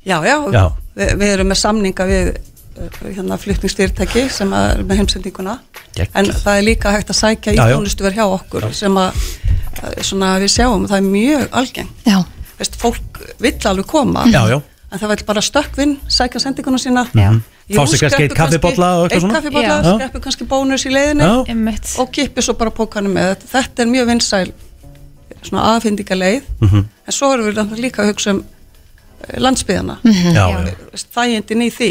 Speaker 8: Já, já,
Speaker 1: Já.
Speaker 8: Vi, við erum með samninga við eh, hérna flutningsfyrirtæki sem að er með heimsendinguna
Speaker 1: Geggjað.
Speaker 8: en það er líka hægt að sækja í
Speaker 1: Já, já.
Speaker 8: þjónustuver hjá okkur sem að eh, svona við sjáum, það er mjög algengt
Speaker 2: Já,
Speaker 8: Veist, fólk vill alveg koma
Speaker 1: Já, já.
Speaker 8: en það vill bara stökkvinn, sækja sendinguna sína
Speaker 2: Já.
Speaker 8: Jú,
Speaker 1: Fá sér kannski
Speaker 8: skreppu
Speaker 1: einn kaffibolla og eitthvað
Speaker 8: einn
Speaker 1: svona.
Speaker 8: kaffibolla,
Speaker 1: Já.
Speaker 8: skreppu kannski bónus í leiðinni
Speaker 1: Já.
Speaker 9: Einmitt.
Speaker 8: og kippi svo bara pókanum með þetta þetta er mjög vinsæl svona aðfindingaleið
Speaker 1: Mhm.
Speaker 8: en svo erum við náttúrulega líka að hugsa um eh, landsbyðana mm -hmm.
Speaker 1: Já, já
Speaker 8: þægindin í því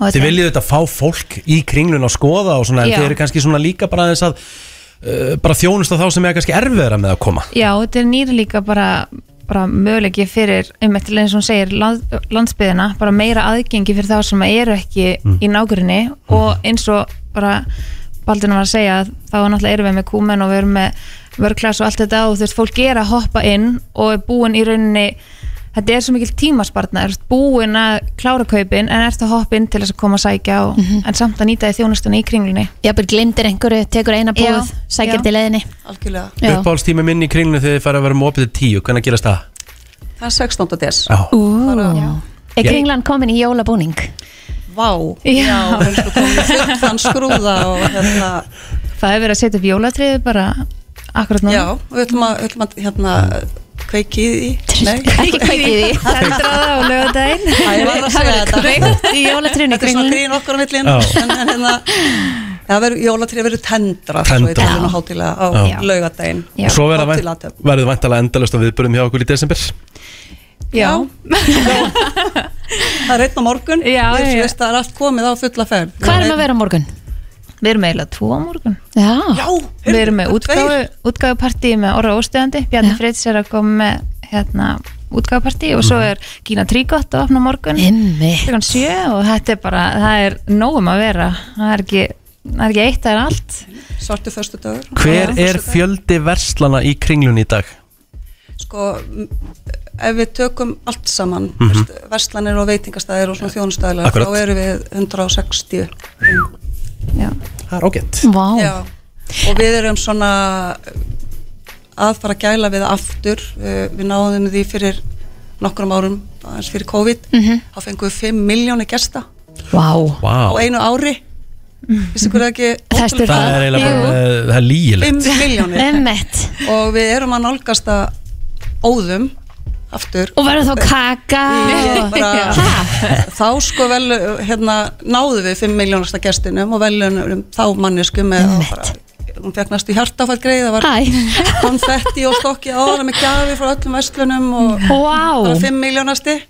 Speaker 1: Þið
Speaker 9: þetta-
Speaker 1: viljið þetta fá fólk í kringlun að skoða og svona, en
Speaker 9: Já.
Speaker 1: þið eru kannski svona líka bara aðeins að uh, bara þjónusta þá sem er kannski erfiðara með að koma
Speaker 9: Já, þetta er nýra líka bara, bara möguleiki fyrir, einmitt eins og hún segir, land, landsbyðina, bara meira aðgengi fyrir þá sem eru ekki í nágrinni og eins og bara Baldurna var að segja að þá náttúrulega erum við með kúmen og við erum með vörklass og allt þetta og þú veist, fólk er að hoppa inn og er búin í rauninni þetta er svo mikil tímaspartna, er búin að klára kaupin en ert að hoppa inn til þess að koma að sækja og,
Speaker 8: Mhm.
Speaker 9: en samt að nýta því þjónustunni í kringlunni
Speaker 2: jafnvel glindir einhverju, tekur eina
Speaker 9: Já,
Speaker 2: búð sækir
Speaker 9: já.
Speaker 2: til leiðinni
Speaker 8: algjörlega,
Speaker 2: Já.
Speaker 1: Uppáhaldstími minn í kringlun þegar þið fara að vera með opið til tíu, hvernig gerast það?
Speaker 8: það er 16. des
Speaker 1: Já,
Speaker 2: Ú, Er Kringlan komin í jólabúning?
Speaker 8: vá, já, við erum sko komin í fullan skrúða og hérna,
Speaker 9: það hefur verið að setja upp jólatriði bara akkurat núna
Speaker 8: já, og við ætlum að, við ætlum að hérna, kveiki í því Nei.
Speaker 2: Ekki kveikið í því
Speaker 9: Eldraða á lögadaginn
Speaker 8: Æ, ég var að segja þetta.
Speaker 2: Kveikt í jólatrinu
Speaker 8: þetta er svona grín okkar á millin
Speaker 1: Já.
Speaker 8: en, en hérna það verður, jólatrið verður tendra svo
Speaker 1: Tendrað.
Speaker 8: í tölun og hátilega á
Speaker 1: Já.
Speaker 8: laugadaginn
Speaker 9: Já.
Speaker 1: og svo verða vænt-
Speaker 8: Hátíðatöfn.
Speaker 1: verður væntalega endalust að viðbörðum hjá okkur í desember
Speaker 9: Já,
Speaker 8: það er einn á morgun
Speaker 9: Já,
Speaker 8: Við-
Speaker 9: já, já.
Speaker 8: veist, það er allt komið á fulla ferð
Speaker 2: Hvað erum að vera á morgun?
Speaker 9: við erum eiginlega tvo á morgun
Speaker 2: Já,
Speaker 8: já,
Speaker 9: Við erum með
Speaker 8: heyrðu,
Speaker 9: útgáfu, útgáfupartí með Orra Óstöðandi, Bjarni
Speaker 2: Já.
Speaker 9: Fritz er að koma með hérna, útgáfupartí og
Speaker 2: Mm.
Speaker 9: svo er Gína Trígott að opna á morgun
Speaker 2: Immi
Speaker 9: klukkan sjö og þetta er bara það er nógum að vera það er ekki, það er ekki eitt, það er allt
Speaker 8: tveir svartu förstu dagur
Speaker 1: Hver er fjöldi verslana í kringlun í dag?
Speaker 8: sko, m- ef við tökum allt saman mm verslanir og veitingastæðir og svona þjónustæðilega
Speaker 1: Mhm. Akkurat.
Speaker 8: þá erum við 160
Speaker 9: Já.
Speaker 1: Það er ágætt
Speaker 2: Vá,
Speaker 8: Já, og við erum svona að fara að gæla við aftur Eh, við náðum því fyrir nokkrum árum, aðeins fyrir COVID
Speaker 2: Mhm.
Speaker 8: þá fengum við 5 miljónir gesta
Speaker 2: vá
Speaker 1: Vá,
Speaker 8: á einu ári vissi hverju ekki
Speaker 2: Mhm. Það er styrkt.
Speaker 1: það er eiginlega bara, uh, það er lígilegt
Speaker 8: 5 miljónir
Speaker 2: Emmett
Speaker 8: og við erum að nálgast að óðum aftur
Speaker 2: Og verður þá kaka
Speaker 8: Ég
Speaker 2: og-
Speaker 8: bara-
Speaker 2: Ha?
Speaker 8: þá sko vel hérna, náðu við 5 miljónasta gestinum og velunum þá manneskum með
Speaker 2: Einmitt.
Speaker 8: bara- hún fekk næstu hjartafall greið það var
Speaker 2: Æ,
Speaker 8: konfetti og stokki ára með gjafi frá öllum vestlunum og bara
Speaker 2: Vá
Speaker 8: 5 miljónasti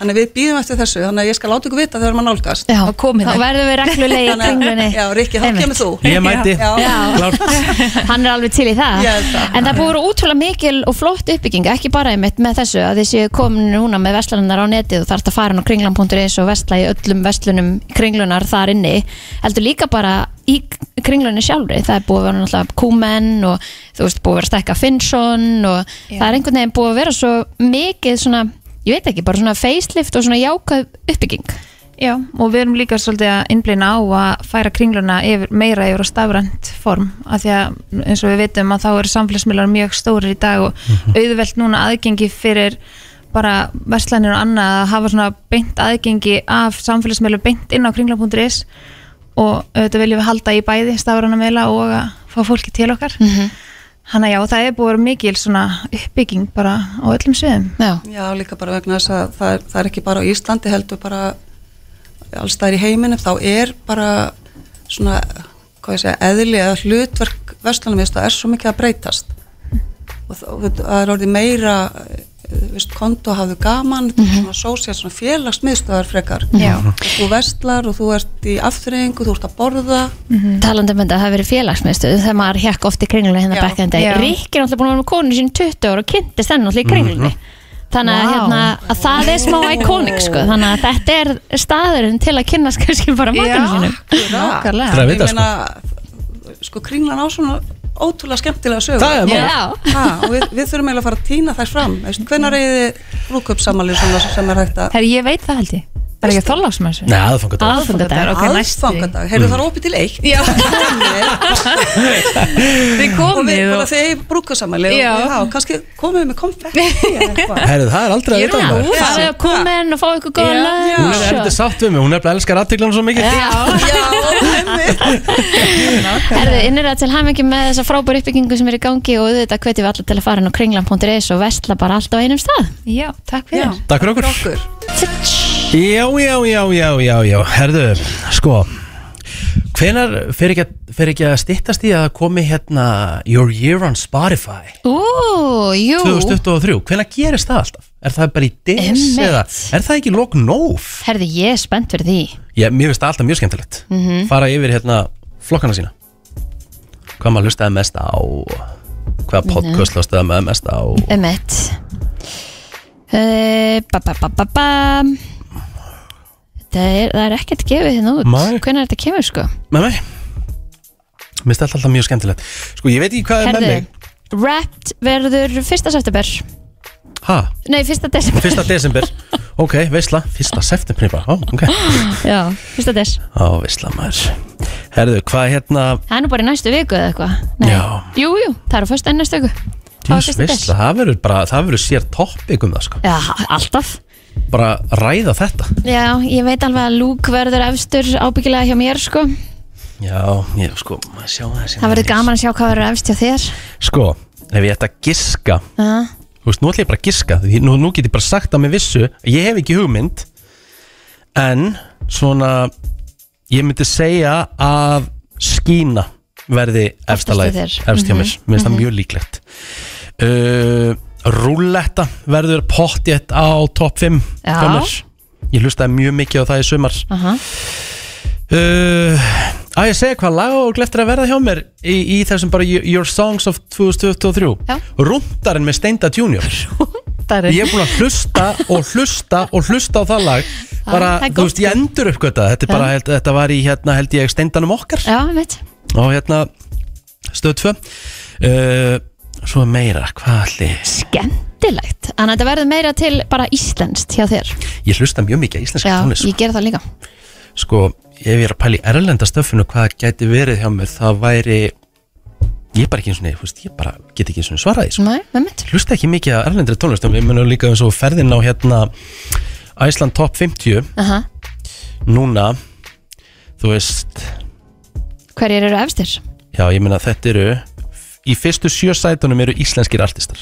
Speaker 8: þannig að við býðum eftir þessu þannig að ég skal láta ykkur vita þegar maður nálgast
Speaker 2: Já,
Speaker 9: Og komið
Speaker 2: þá
Speaker 9: þið.
Speaker 2: verðum við reglulegi í
Speaker 8: Þannig að-
Speaker 2: kringlunni
Speaker 8: já, Rikki, þá
Speaker 2: Einmitt.
Speaker 8: kemur þú
Speaker 1: Ég mæti,
Speaker 8: Já.
Speaker 2: Já.
Speaker 1: klárt
Speaker 2: Hann er alveg til í það
Speaker 8: Ég held það.
Speaker 2: En það er búið að vera útrúlega mikil og flott uppbygging ekki bara einmitt með þessu að þessi komin núna með veslaninnar á netið og þarf að fara inn á kringlan.is og vesla í öllum veslunum kringlunar þar inni heldur líka bara í kringlunni sjálfri það er búið að vera náttúrulega kúmen og þú veist búið að vera að stekka Finnsson og það er einhvern veginn búið að vera svo mikið svona ég veit ekki, bara svona facelift og svona jákað uppbygging
Speaker 9: Já, og við erum líka svolítið að innblýna á að færa kringluna yfir, meira yfir á stafrænt form af því að eins og við vitum að þá eru samfélagsmiðlar mjög stórir í dag og auðvelt núna aðgengi fyrir bara verslanir og annað að hafa svona beint aðgengi af samfélagsmiðlu beint inn á kringla.is og auðvitað viljum við halda í bæði stafrana miðla og að fá fólki til okkar mm -hmm. já, það er búið að vera mikil svona uppbygging bara á öllum sviðum
Speaker 2: já,
Speaker 8: Já, líka bara vegna þess að það er, það er ekki bara á Íslandi heldur bara alls staðar í heiminum, þá er bara svona, hvað ég segja, eðli eða hlutverk verslanumist er svo mikið að breytast og þá- þú veit, það er orðið meira eh, þú veist, konto hafðu gaman mm svona sósíal, svona félagsmiðstöðar frekar
Speaker 9: Já.
Speaker 8: þú verslar og þú ert í afturreyingu, þú ert að borða
Speaker 2: talandi um þetta að það hafi verið félagsmiðstöð þegar maður hekk oft í kringlunni hérna
Speaker 8: Já.
Speaker 2: back in the day
Speaker 9: Já.
Speaker 2: Rikki er alltaf búin að vera með konu sín 20 ára og kynntist henn alltaf í kringlunni þannig að,
Speaker 9: Vá.
Speaker 2: hérna, að það er smá iconic sko. þannig að þetta er staðurinn til að kynna kannski bara makanum sínum
Speaker 8: Nákvæmlega.
Speaker 1: Það er að vita,
Speaker 8: Ég meina, sko kringlan á svona ótrúlega skemmtilega sögur
Speaker 1: Það er mál.
Speaker 2: Já.
Speaker 8: ha, og við, við þurfum eiginlega að fara að týna þær fram hvernig reyði brúköpsamalið svona sem er hægt að
Speaker 9: Herri, ég veit það held ég Það er ekki að þóla á sem þessu
Speaker 1: Nei, aðfangadag
Speaker 2: aðfundadag
Speaker 9: ok, næsti.
Speaker 8: aðfangadag, heyrðu það er opið til eitt
Speaker 9: Já. Þið
Speaker 8: og við
Speaker 9: komið
Speaker 8: bara
Speaker 9: og
Speaker 8: þegar brúköpsamalið
Speaker 9: Já.
Speaker 8: og já, kannski komum við með konfetti eða eitthvað.
Speaker 1: Herðu, það er aldrei að vita um það
Speaker 2: það er að koma inn og fá ykkur góða
Speaker 9: Já.
Speaker 1: Hún er
Speaker 2: lunch
Speaker 1: eftir sátt við mig, hún er eftir að elska aðtíklanum svo mikið
Speaker 8: já, einmitt.
Speaker 2: Erðu innræða til hamingi með þessa frábæri uppbyggingu sem er í gangi og auðvitað hvetjum við alla til að fara inn á kringlan.is og vestla bara allt á einum stað
Speaker 9: Já, takk fyrir
Speaker 1: Takk fyrir okkur
Speaker 8: okkur
Speaker 1: Já, já, já, já, já, já Herðu, sko Hvenar fer ekki, að- fer ekki að styttast í að komi hérna Your Year on Spotify
Speaker 2: Ú, jú
Speaker 1: 2023, hvenar gerist það alltaf? Er það bara í des
Speaker 2: Einmitt.
Speaker 1: eða er það ekki lók nóf?
Speaker 2: Herðu, ég er spennt fyrir því
Speaker 1: Já, mér finnst það alltaf mjög skemmtilegt
Speaker 2: Mhm.
Speaker 1: Fara yfir hérna flokkana sína Hvað maður hlustaði mest á Hvaða
Speaker 2: Mhm.
Speaker 1: podcast hlustaði maður mest á
Speaker 2: um eitt uh, ba, ba, ba, ba, ba. Það, er, það er ekkert gefið hérna út
Speaker 1: Nei. Eh,
Speaker 2: hvenær þetta kemur sko
Speaker 1: Með mig Mér finnst það alltaf mjög skemmtilegt Sko, ég veit ekki hvað er með
Speaker 2: Herðu,
Speaker 1: mig
Speaker 2: Wrapped verður fyrsta september
Speaker 1: Ha,
Speaker 2: nei, fyrsta desember
Speaker 1: fyrsta desember Ok, veisla, fyrsta september bara Ó, ok,
Speaker 2: já, fyrsta des
Speaker 1: á veisla maður Herðu, hvað hérna
Speaker 2: það er nú bara í næstu viku eða eitthvað Nei.
Speaker 1: Já.
Speaker 2: jú, jú, það er á fyrsta enn næstu viku Það var
Speaker 1: Dís,
Speaker 2: fyrsta
Speaker 1: veisla, það verður bara, það verður sér topic um það sko
Speaker 2: des. já, alltaf
Speaker 1: Bara ræða þetta
Speaker 2: já, ég veit alveg að Luke verður efstur ábyggilega hjá mér sko
Speaker 1: Já, ég sko, maður sjá það sem
Speaker 2: það verður
Speaker 1: er.
Speaker 2: gaman að sjá hvað verður efst hjá þér
Speaker 1: Sko, ef ég ætta að giska
Speaker 2: uh,
Speaker 1: þú veist, nú ætla ég bara að giska því nú, nú get ég bara sagt að með vissu ég hef ekki hugmynd en svona ég myndi segja að skína verði
Speaker 2: hjá
Speaker 1: efstalæð
Speaker 2: þér.
Speaker 1: efst hjá mér, mér finnst það mjög líklegt uh, rúlletta verður pottjett á top 5
Speaker 2: Já.
Speaker 1: hjá mér ég hlustaði mjög mikið á það í sumar
Speaker 2: uh
Speaker 1: uh, að ég segja hvað lag og gleftir að verða hjá mér í, í þessum bara Your Songs of 2023
Speaker 2: Já.
Speaker 1: Rúndarinn með Steinda Junior Ég er búin að hlusta og hlusta og hlusta á það lag bara,
Speaker 2: Ah, það er
Speaker 1: þú
Speaker 2: gott,
Speaker 1: veist, ég endur upp þetta þetta, er bara, held, þetta var í, hérna, held ég, steindanum okkar
Speaker 2: já, veit
Speaker 1: og hérna, stöð 2 uh, svo meira, hvað allir
Speaker 2: skemmtilegt Þannig að þetta verður meira til bara íslenskt hjá þér
Speaker 1: ég hlusta mjög mikið á íslenska
Speaker 2: Já,
Speaker 1: tónlist
Speaker 2: ég ger það líka
Speaker 1: sko, ef ég er að pæla í erlenda stöfinu hvað gæti verið hjá mér, það væri ég er bara ekki eins og neð, ég bara get ekki eins og svaraði, sko.
Speaker 2: Nei, með mitt
Speaker 1: hlusta ekki mikið á erlendri tónlistum við munum líka eins og ferðin á hérna Æsland Top 50
Speaker 2: Aha.
Speaker 1: núna þú veist,
Speaker 2: Hverjir eru efstir?
Speaker 1: já ég meina þetta eru í fyrstu sjö sætunum eru íslenskir artistar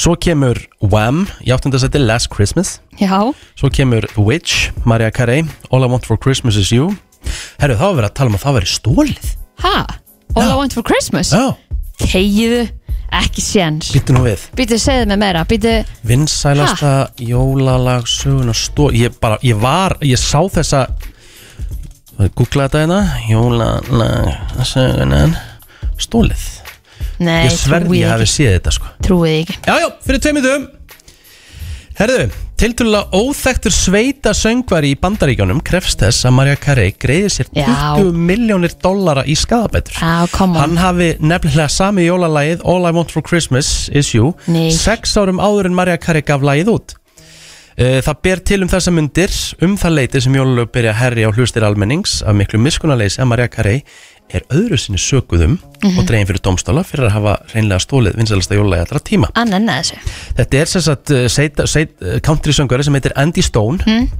Speaker 1: svo kemur Wham í áttundasæti Last Christmas
Speaker 2: Já,
Speaker 1: svo kemur The Witch, Mariah Carey All I Want For Christmas Is You herru þá er verið að tala um að það veri stólið
Speaker 2: ha? All
Speaker 1: Já.
Speaker 2: I want for Christmas?
Speaker 1: já,
Speaker 2: Þegiðu, ekki séns
Speaker 1: býttu nú við
Speaker 2: Býtu, segðu mig meira Býtu,
Speaker 1: vinsælasta jólalag söguna stó ég bara, ég var, ég sá þessa googlaði þetta hérna jólalag sögunan stólið
Speaker 2: nei,
Speaker 1: ég sverði
Speaker 2: trúið
Speaker 1: ég hafi
Speaker 2: ekki
Speaker 1: séð þetta sko
Speaker 2: Trúið ekki
Speaker 1: jájá, fyrir tveimur dögum herðu, tiltölulega óþektur sveita söngvari í bandaríkjónum krefst þess að Mariah Carey greiði sér
Speaker 2: Já.
Speaker 1: 20 miljónir dollara í skadabætur
Speaker 2: Já, come on
Speaker 1: Hann hafi nefnilega sami jólalagið All I Want For Christmas Is You
Speaker 2: Nei.
Speaker 1: sex árum áður en Marja Kari gaf lagið út Eh, Það ber til um þessa myndir um það leiti sem jólalög byrja að herri á hlustir almennings af miklu miskunaleysi að Marja Kari er öðru sinni sökuðum
Speaker 2: Mhm.
Speaker 1: og dregin fyrir domstála fyrir að hafa reynlega stólið vinsælasta jóla í allra tíma.
Speaker 2: Að nenni þessu
Speaker 1: Þetta er sem sagt eh, seita- seit- eh, country söngari sem heitir Andy Stone
Speaker 2: Hmm?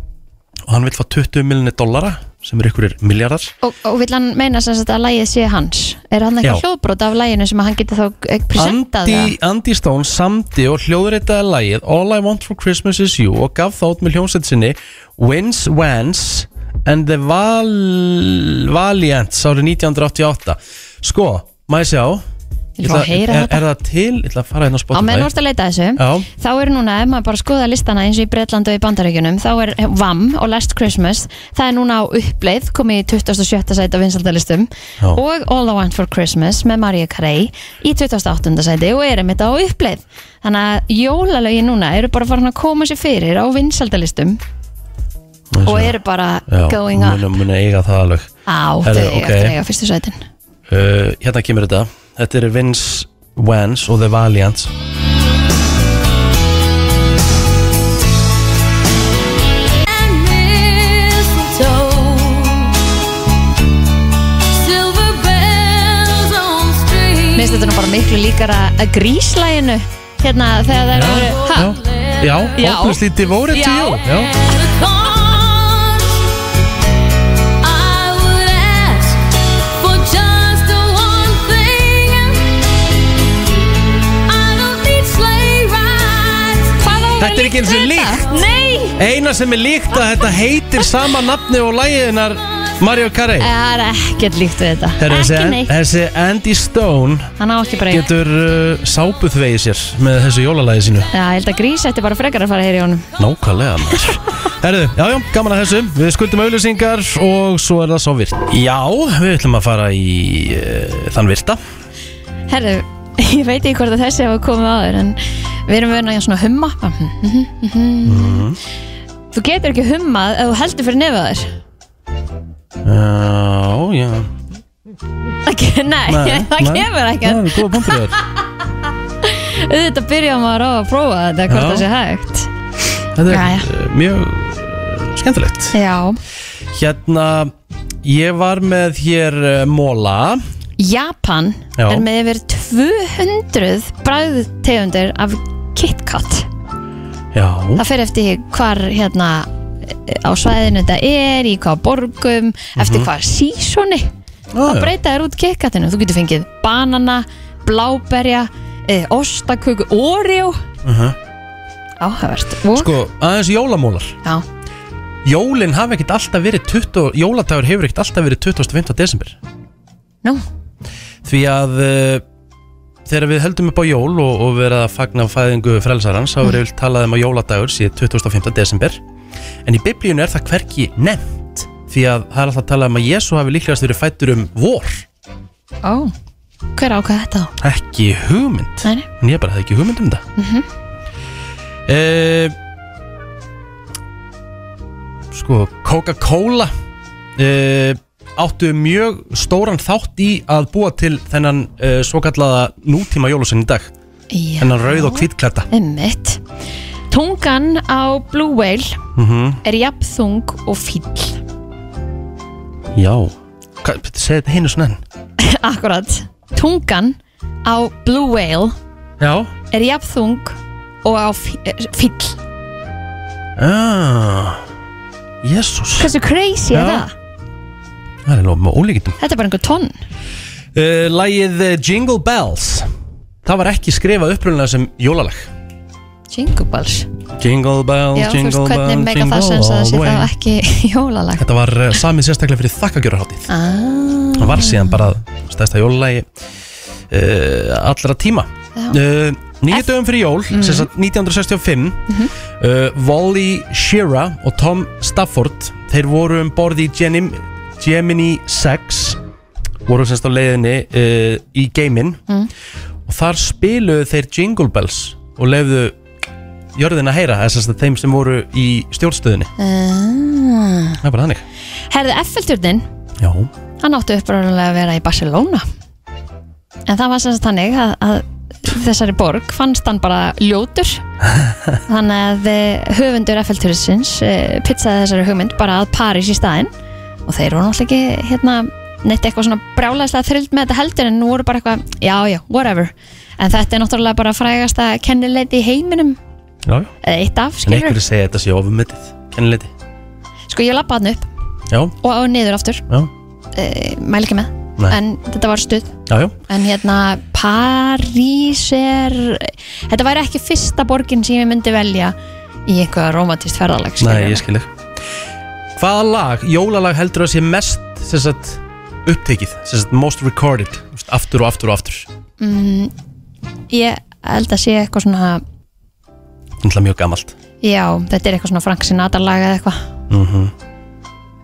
Speaker 1: og hann vil fá 20 miljonir dollara sem er ykkurir miljardar
Speaker 2: Og, og vil hann meina sem sagt að lægið sé hans? Er hann ekki
Speaker 1: Já.
Speaker 2: hljóðbrot af læginu sem hann getur þá eh, presentað
Speaker 1: Andy,
Speaker 2: það?
Speaker 1: Andy Stone samdi og hljóðuritaði lagið All I Want For Christmas Is You og gaf það út með hljómsveit sinni Wins Wans and the Val Valiants árið 1988 Sko, maður sjá
Speaker 2: Ég ætla að heyra
Speaker 1: er,
Speaker 2: þetta.
Speaker 1: er það til? Ég ætla að fara hérna á
Speaker 2: Á
Speaker 1: Spotify
Speaker 2: meðan þú ert að leita að þessu
Speaker 1: Já.
Speaker 2: Þá er núna, ef maður bara skoða listana eins og í Bretland og í Bandaríkjunum Þá er VAM og Last Christmas Það er núna á uppleið, komið í 27. sæti á vinsaldalistum
Speaker 1: Já.
Speaker 2: Og All I Want For Christmas með Maria Carey Í 28. sæti og er einmitt á uppleið Þannig að jólalögin núna eru bara farin að koma sér fyrir á vinsaldalistum
Speaker 1: Maður
Speaker 2: Og
Speaker 1: sjá.
Speaker 2: eru bara
Speaker 1: Já,
Speaker 2: going up
Speaker 1: munu, munu eiga það alveg
Speaker 2: Á, þau
Speaker 1: Herðu,
Speaker 2: okay.
Speaker 1: ok.
Speaker 2: eftir að eiga fyrstu sætin
Speaker 1: uh, Hérna kemur þetta Þetta eru Vince Wans og The Valiants
Speaker 2: Mér finnst þetta nú bara miklu líkara að gríslæginu Hérna þegar það eru Ha?
Speaker 1: Já, já,
Speaker 2: Já.
Speaker 1: hopelessly devoted to you Já, Þetta er ekki eins og líkt
Speaker 2: Nei
Speaker 1: Eina sem er líkt að þetta heitir sama nafni og læginar Mario Carey
Speaker 2: Það er ekkert líkt við þetta
Speaker 1: Herra, þessi,
Speaker 2: Eh, Ekki
Speaker 1: An-
Speaker 2: neitt
Speaker 1: þessi Andy Stone
Speaker 2: Hann á ekki bara Já,
Speaker 1: getur uh, sápuð vegið sér með þessu jólalægi sínu
Speaker 2: ég held að grís ætti bara frekar að fara hér í honum
Speaker 1: Nákvæmlega maður Herðu, já, já, gaman að þessu Við skuldum auðlýsingar og svo er það svo virt Já, við ætlum að fara í uh, þann virta
Speaker 2: Herðu, ég veit ekki hvort að þessi hafa komið áður En við erum verið að svona humma Bara, hm, hm, hm, hm.
Speaker 1: Mhm.
Speaker 2: Þú getur ekki hummað ef þú heldur fyrir nefið á þér
Speaker 1: Já, já
Speaker 2: Ekki- Nei,
Speaker 1: Nei,
Speaker 2: það
Speaker 1: nei.
Speaker 2: kemur ekki
Speaker 1: Nei, góða punktur þér
Speaker 2: Auðvitað byrja maður á að prófa þetta hvort
Speaker 1: Já.
Speaker 2: það sé hægt
Speaker 1: Þetta
Speaker 2: Jæja.
Speaker 1: er uh, mjög uh, skemmtilegt
Speaker 2: Já
Speaker 1: Hérna, ég var með hér uh, Móla
Speaker 2: Japan
Speaker 1: Já.
Speaker 2: er með yfir 200 bræðtegundir af KitKat
Speaker 1: Já
Speaker 2: það fer eftir hvar hérna á svæðinu þetta er, í hvaða borgum eftir hvaða sísoni
Speaker 1: Já,
Speaker 2: þá
Speaker 1: Mhm. já.
Speaker 2: breyta þér út KitKatinu þú getur fengið banana, bláberja e, ostaköku, oreo áhævert og
Speaker 1: Mhm. Sko, aðeins jólamólar
Speaker 2: já,
Speaker 1: Jólin hafa ekkert alltaf verið 20, Jóladagur hefur ekkert alltaf verið 25. desember
Speaker 2: nú,
Speaker 1: Því að uh, þegar við höldum upp á jól og, og verða að fagna fæðingu frelsarans þá verður við talað um að jóladagur síðan 25. desember En í biblíunum er það hverki nefnt Því að það er alltaf talað um að Jésu hafi líklegast verið fættur um vor
Speaker 2: ó hver ákvað þetta þá?
Speaker 1: Ekki hugmynd
Speaker 2: Nei, nei.
Speaker 1: En ég bara hafði ekki hugmynd um Eh, það mm Sko, Coca-Cola uh, áttu mjög stóran þátt í að búa til þennan uh, svo kallaða nútíma jólusinn í dag
Speaker 2: Já.
Speaker 1: þennan rauð og hvítklæta
Speaker 2: Einmitt. Tungan á Blue Whale
Speaker 1: mm
Speaker 2: er jafnþung og fíll.
Speaker 1: Já Hva, Segðu þetta hinu svona enn
Speaker 2: Akkurat. Tungan á Blue Whale
Speaker 1: Já
Speaker 2: er jafnþung og á fí- eh, fíll.
Speaker 1: ah, Jésús
Speaker 2: Hversu crazy er
Speaker 1: Já.
Speaker 2: það?
Speaker 1: Það er lofum og ólíkitum
Speaker 2: Þetta er bara einhver tonn.
Speaker 1: uh, Lægið eh, Jingle Bells Það var ekki skrifað upprunlega sem jólalag
Speaker 2: Jingle bells.
Speaker 1: Jingle bells,
Speaker 2: Já, þú
Speaker 1: jingle
Speaker 2: veist hvernig
Speaker 1: bells,
Speaker 2: mega
Speaker 1: jingle
Speaker 2: það sens að það
Speaker 1: all
Speaker 2: sé
Speaker 1: the way
Speaker 2: þá ekki jólalag.
Speaker 1: Þetta var uh, samið sérstaklega fyrir þakkagjörarháttið
Speaker 2: Ah,
Speaker 1: Það var síðan bara stærsta jólalagi uh, allra tíma
Speaker 2: já.
Speaker 1: uh, Nýju dögum fyrir jól, mm. sem sagt 1965 uh, Wally Shearer og Tom Stafford Þeir voru um borði í Genim, Gemini 6 Voru semst á leiðinni uh, í geiminn Og þar spiluðu þeir Jingle Bells Og leiðu jörðin að heyra Það er semst að þeim sem voru í stjórnstöðinni
Speaker 2: Ah.
Speaker 1: Það er bara þannig
Speaker 2: Herði, F-fjöldurinn
Speaker 1: Já,
Speaker 2: hann átti uppræðanlega að vera í Barcelona en það var sem sagt þannig að, að þessari borg fannst hann bara ljótur þannig að eh, höfundur eh, FL-turisins pizzaði þessari hugmynd bara að París í staðinn og þeir voru náttúrulega ekki hérna neitt eitthvað svona brjálæðislega þrillt með þetta heldur en nú voru bara eitthvað, já, já, whatever en þetta er náttúrulega bara frægasta kennileiti í heiminum,
Speaker 1: já, já.
Speaker 2: eða eitt af,
Speaker 1: En
Speaker 2: skilur
Speaker 1: einhverju segja að þetta sé ofumetið Kennileiti
Speaker 2: sko ég lappa hann upp
Speaker 1: Já,
Speaker 2: og á niður aftur
Speaker 1: já,
Speaker 2: e, mæl ekki með,
Speaker 1: Nei.
Speaker 2: en þetta var stuð
Speaker 1: já, já
Speaker 2: en hérna París er þetta væri ekki fyrsta borgin sem ég myndi velja í eitthvað romantist ferðalag
Speaker 1: Nei,
Speaker 2: skilurðu.
Speaker 1: ég skil ekki Hvaða lag, jólalag heldur að sé mest sem sagt, upptekið sem sagt, most recorded, þú veist, aftur og aftur og aftur
Speaker 2: Mm, ég held að sé eitthvað svona
Speaker 1: Það er mjög gamalt
Speaker 2: já, þetta er eitthvað svona Frank Sinatra lag eða eitthvað
Speaker 1: mm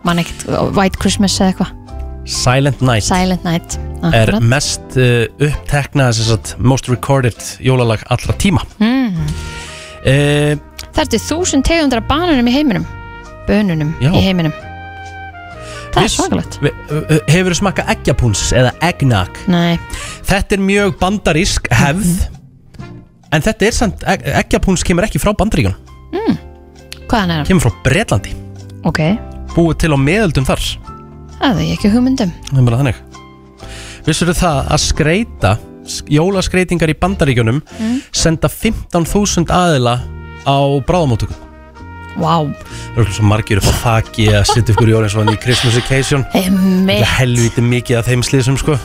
Speaker 2: mann ekkert, White Christmas eða eitthvað
Speaker 1: Silent Night
Speaker 2: Silent Night
Speaker 1: er
Speaker 2: akkurat.
Speaker 1: mest uh, uppteknað sem sagt, most recorded jólalag allra tíma
Speaker 2: mm.
Speaker 1: uh,
Speaker 2: það ertu þúsund tegundra banunum í heiminum bönunum
Speaker 1: Já.
Speaker 2: í heiminum það er
Speaker 1: Viss. eh,
Speaker 2: svakalegt
Speaker 1: Hefur þú smakað eggjapuns eða eggnog
Speaker 2: nei,
Speaker 1: Þetta er mjög bandarísk hefð En þetta er samt, egg- eggjapuns kemur ekki frá bandaríkun
Speaker 2: hvaðan er hann?
Speaker 1: Kemur frá Bretlandi
Speaker 2: ok,
Speaker 1: Búið til á meðöldum þar
Speaker 2: það er ekki hugmyndum
Speaker 1: Það er bara þannig Vissur það að skreita sk- Jólaskreitingar í bandaríkjunum
Speaker 2: Mm.
Speaker 1: Senda 15.000 aðila Á bráðamóttöku
Speaker 2: wow,
Speaker 1: Það eru svo margir upp á þaki Að setja ykkur jólins og hann í Christmas occasion Það
Speaker 2: emmi
Speaker 1: er helvítið mikið af þeim slísum sko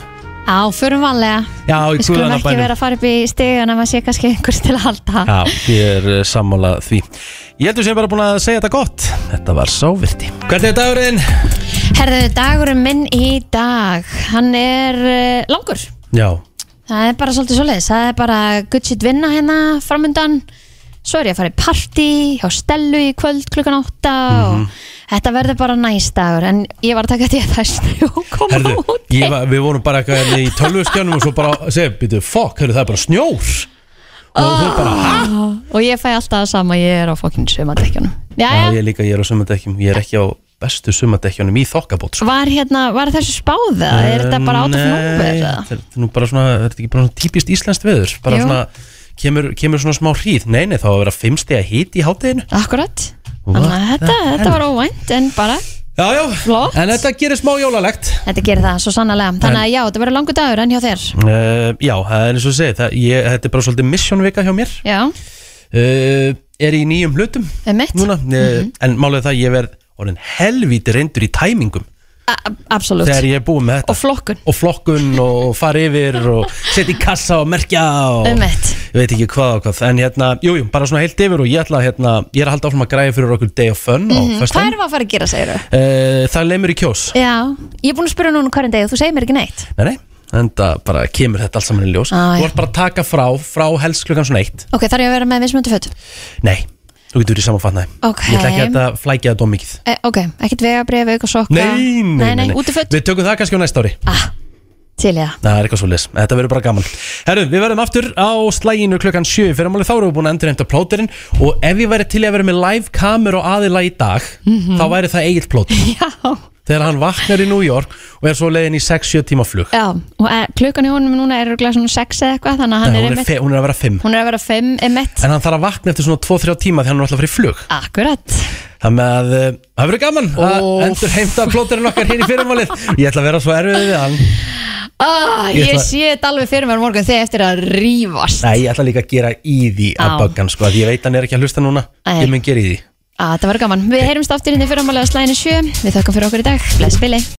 Speaker 2: á, förum vanlega
Speaker 1: Já, í
Speaker 2: Við skulum
Speaker 1: guðanna
Speaker 2: ekki vera að fara upp í stegan að maður sé kannski einhvers til að halda
Speaker 1: Já, ég er uh, sammála því Ég heldur sem bara búin að segja þetta gott Þetta var sávirti Hvernig er dagurinn?
Speaker 2: Herðu, dagurum minn í dag Hann er uh, langur
Speaker 1: Já,
Speaker 2: Það er bara svolítið svoleiðis Það er bara good shit vinna hérna framundan Svo er ég að fara í partí hjá Stellu í kvöld klukkan átta
Speaker 1: Mhm.
Speaker 2: og þetta verður bara næst dagur en ég var að taka þetta þess og koma
Speaker 1: herðu,
Speaker 2: út
Speaker 1: ég var, við vorum bara eitthvað hérna í tölvuskjánum og svo bara segja, býtu, fokk, herðu, það er bara snjór Og þú bara,
Speaker 2: Ah.
Speaker 1: hæ?
Speaker 2: og ég fæ alltaf það sama ég er á fokkinn sumandekkjunum
Speaker 1: Já,
Speaker 2: Jæja,
Speaker 1: ég líka, ég er á sumadekkjum Ég er ekki á bestu sumadekkjunum í þokkabót sko.
Speaker 2: var hérna, var þessu spáða? er þetta bara át af
Speaker 1: Nei,
Speaker 2: nóver?
Speaker 1: þetta er- þetta er nú bara svona, þetta er ekki bara svona típist íslenskt veður Bara
Speaker 2: Jú.
Speaker 1: svona, kemur, kemur svona smá hríð Nei, nei, þá að vera fimmstega hít í hátteginu
Speaker 2: Akkurat
Speaker 1: What
Speaker 2: Þannig að þetta,
Speaker 1: the
Speaker 2: þetta
Speaker 1: hell?
Speaker 2: var óvænt en bara,
Speaker 1: Já, já,
Speaker 2: Flott.
Speaker 1: en þetta gerir smá jólalegt
Speaker 2: þetta gerir það svo sannlega Þannig að já, þetta verður langur dagur enn hjá þér
Speaker 1: Uh, já, það er eins og ég segi, það, ég, þetta er bara svolítið missionvika hjá mér
Speaker 2: Já, um
Speaker 1: uh, Er í nýjum hlutum
Speaker 2: Einmitt. Mhm.
Speaker 1: núna, uh, En málið er það, ég verð orðin helvíti reyndur í tæmingum
Speaker 2: a- absolutt
Speaker 1: Þegar ég er búið með þetta
Speaker 2: Og flokkun,
Speaker 1: Og flokkun og fara yfir og setja í kassa og merkja og
Speaker 2: Einmitt.
Speaker 1: Ég veit ekki hvað og hvað En hérna, jújú, jú, bara svona heilt yfir og ég ætla að hérna, ég er að halda áfram að græja fyrir okkur day of fun mm -hmm.
Speaker 2: Mhm. hvað erum við að fara að gera, segirðu?
Speaker 1: uh, Það lemur í kjós
Speaker 2: Já, ég er búin að spyrja núna hverjum degi og þú segir mér ekki neitt
Speaker 1: Nei, nei, en það bara kemur þetta allt saman í ljós
Speaker 2: Á,
Speaker 1: Þú
Speaker 2: já.
Speaker 1: ert bara að taka frá, frá helst klukkan svona eitt
Speaker 2: Ok, þarf ég að vera með mismöndu fötum?
Speaker 1: Nei, þú getur verið samanfatnaði
Speaker 2: Ok.
Speaker 1: Ég ætla ekki að þetta flækja þetta of mikið
Speaker 2: E, ok, ekkert vegabrif, auka sokka
Speaker 1: Nei, nei, nei,
Speaker 2: út í föt
Speaker 1: Við tökum það kannski á næsta ári
Speaker 2: ah, Til ég
Speaker 1: Það er eitthvað svo les, þetta verður bara gaman Herru, við verðum aftur á slæginu klukkan 7 Fyrir máli þá erum við búin að endur heimta plóterinn Og ef ég væri til í að vera með live kamer og aðila í dag
Speaker 2: Mhm.
Speaker 1: Þá væri það eigið plóter
Speaker 2: Já,
Speaker 1: Þegar hann vaknar í New York Og er svo leiðin í 6-7 tíma flug
Speaker 2: já, og e, klukkan í honum núna er örugglega svona 6 eða eitthvað Þannig að hann
Speaker 1: Nei,
Speaker 2: er
Speaker 1: hún, er
Speaker 2: einmitt
Speaker 1: fe- hún er að vera 5
Speaker 2: Hún er að vera 5 einmitt
Speaker 1: En hann þarf að vakna eftir svona 2-3 tíma Því hann er alltaf að fara í flug
Speaker 2: Akkurat
Speaker 1: Þannig að uh, það verður gaman að endur heimta plóterinn okkar hér í fyrirmálið Ég ætla að vera svo erfið við hann
Speaker 2: Ah,
Speaker 1: Ég
Speaker 2: ég
Speaker 1: ætla-
Speaker 2: sé þetta alveg fyrir mér á morgun þegar eftir að rýfast
Speaker 1: Nei, ég ætla líka að gera í því að
Speaker 2: Á.
Speaker 1: baggan sko, að ég veit hann er ekki að hlusta núna
Speaker 2: Nei.
Speaker 1: Ég mun gera í því
Speaker 2: ah, Það var gaman, við heyrumst aftur inn í fyrramálega slæðinu sjö Við þökkum fyrir okkur í dag, bless Billy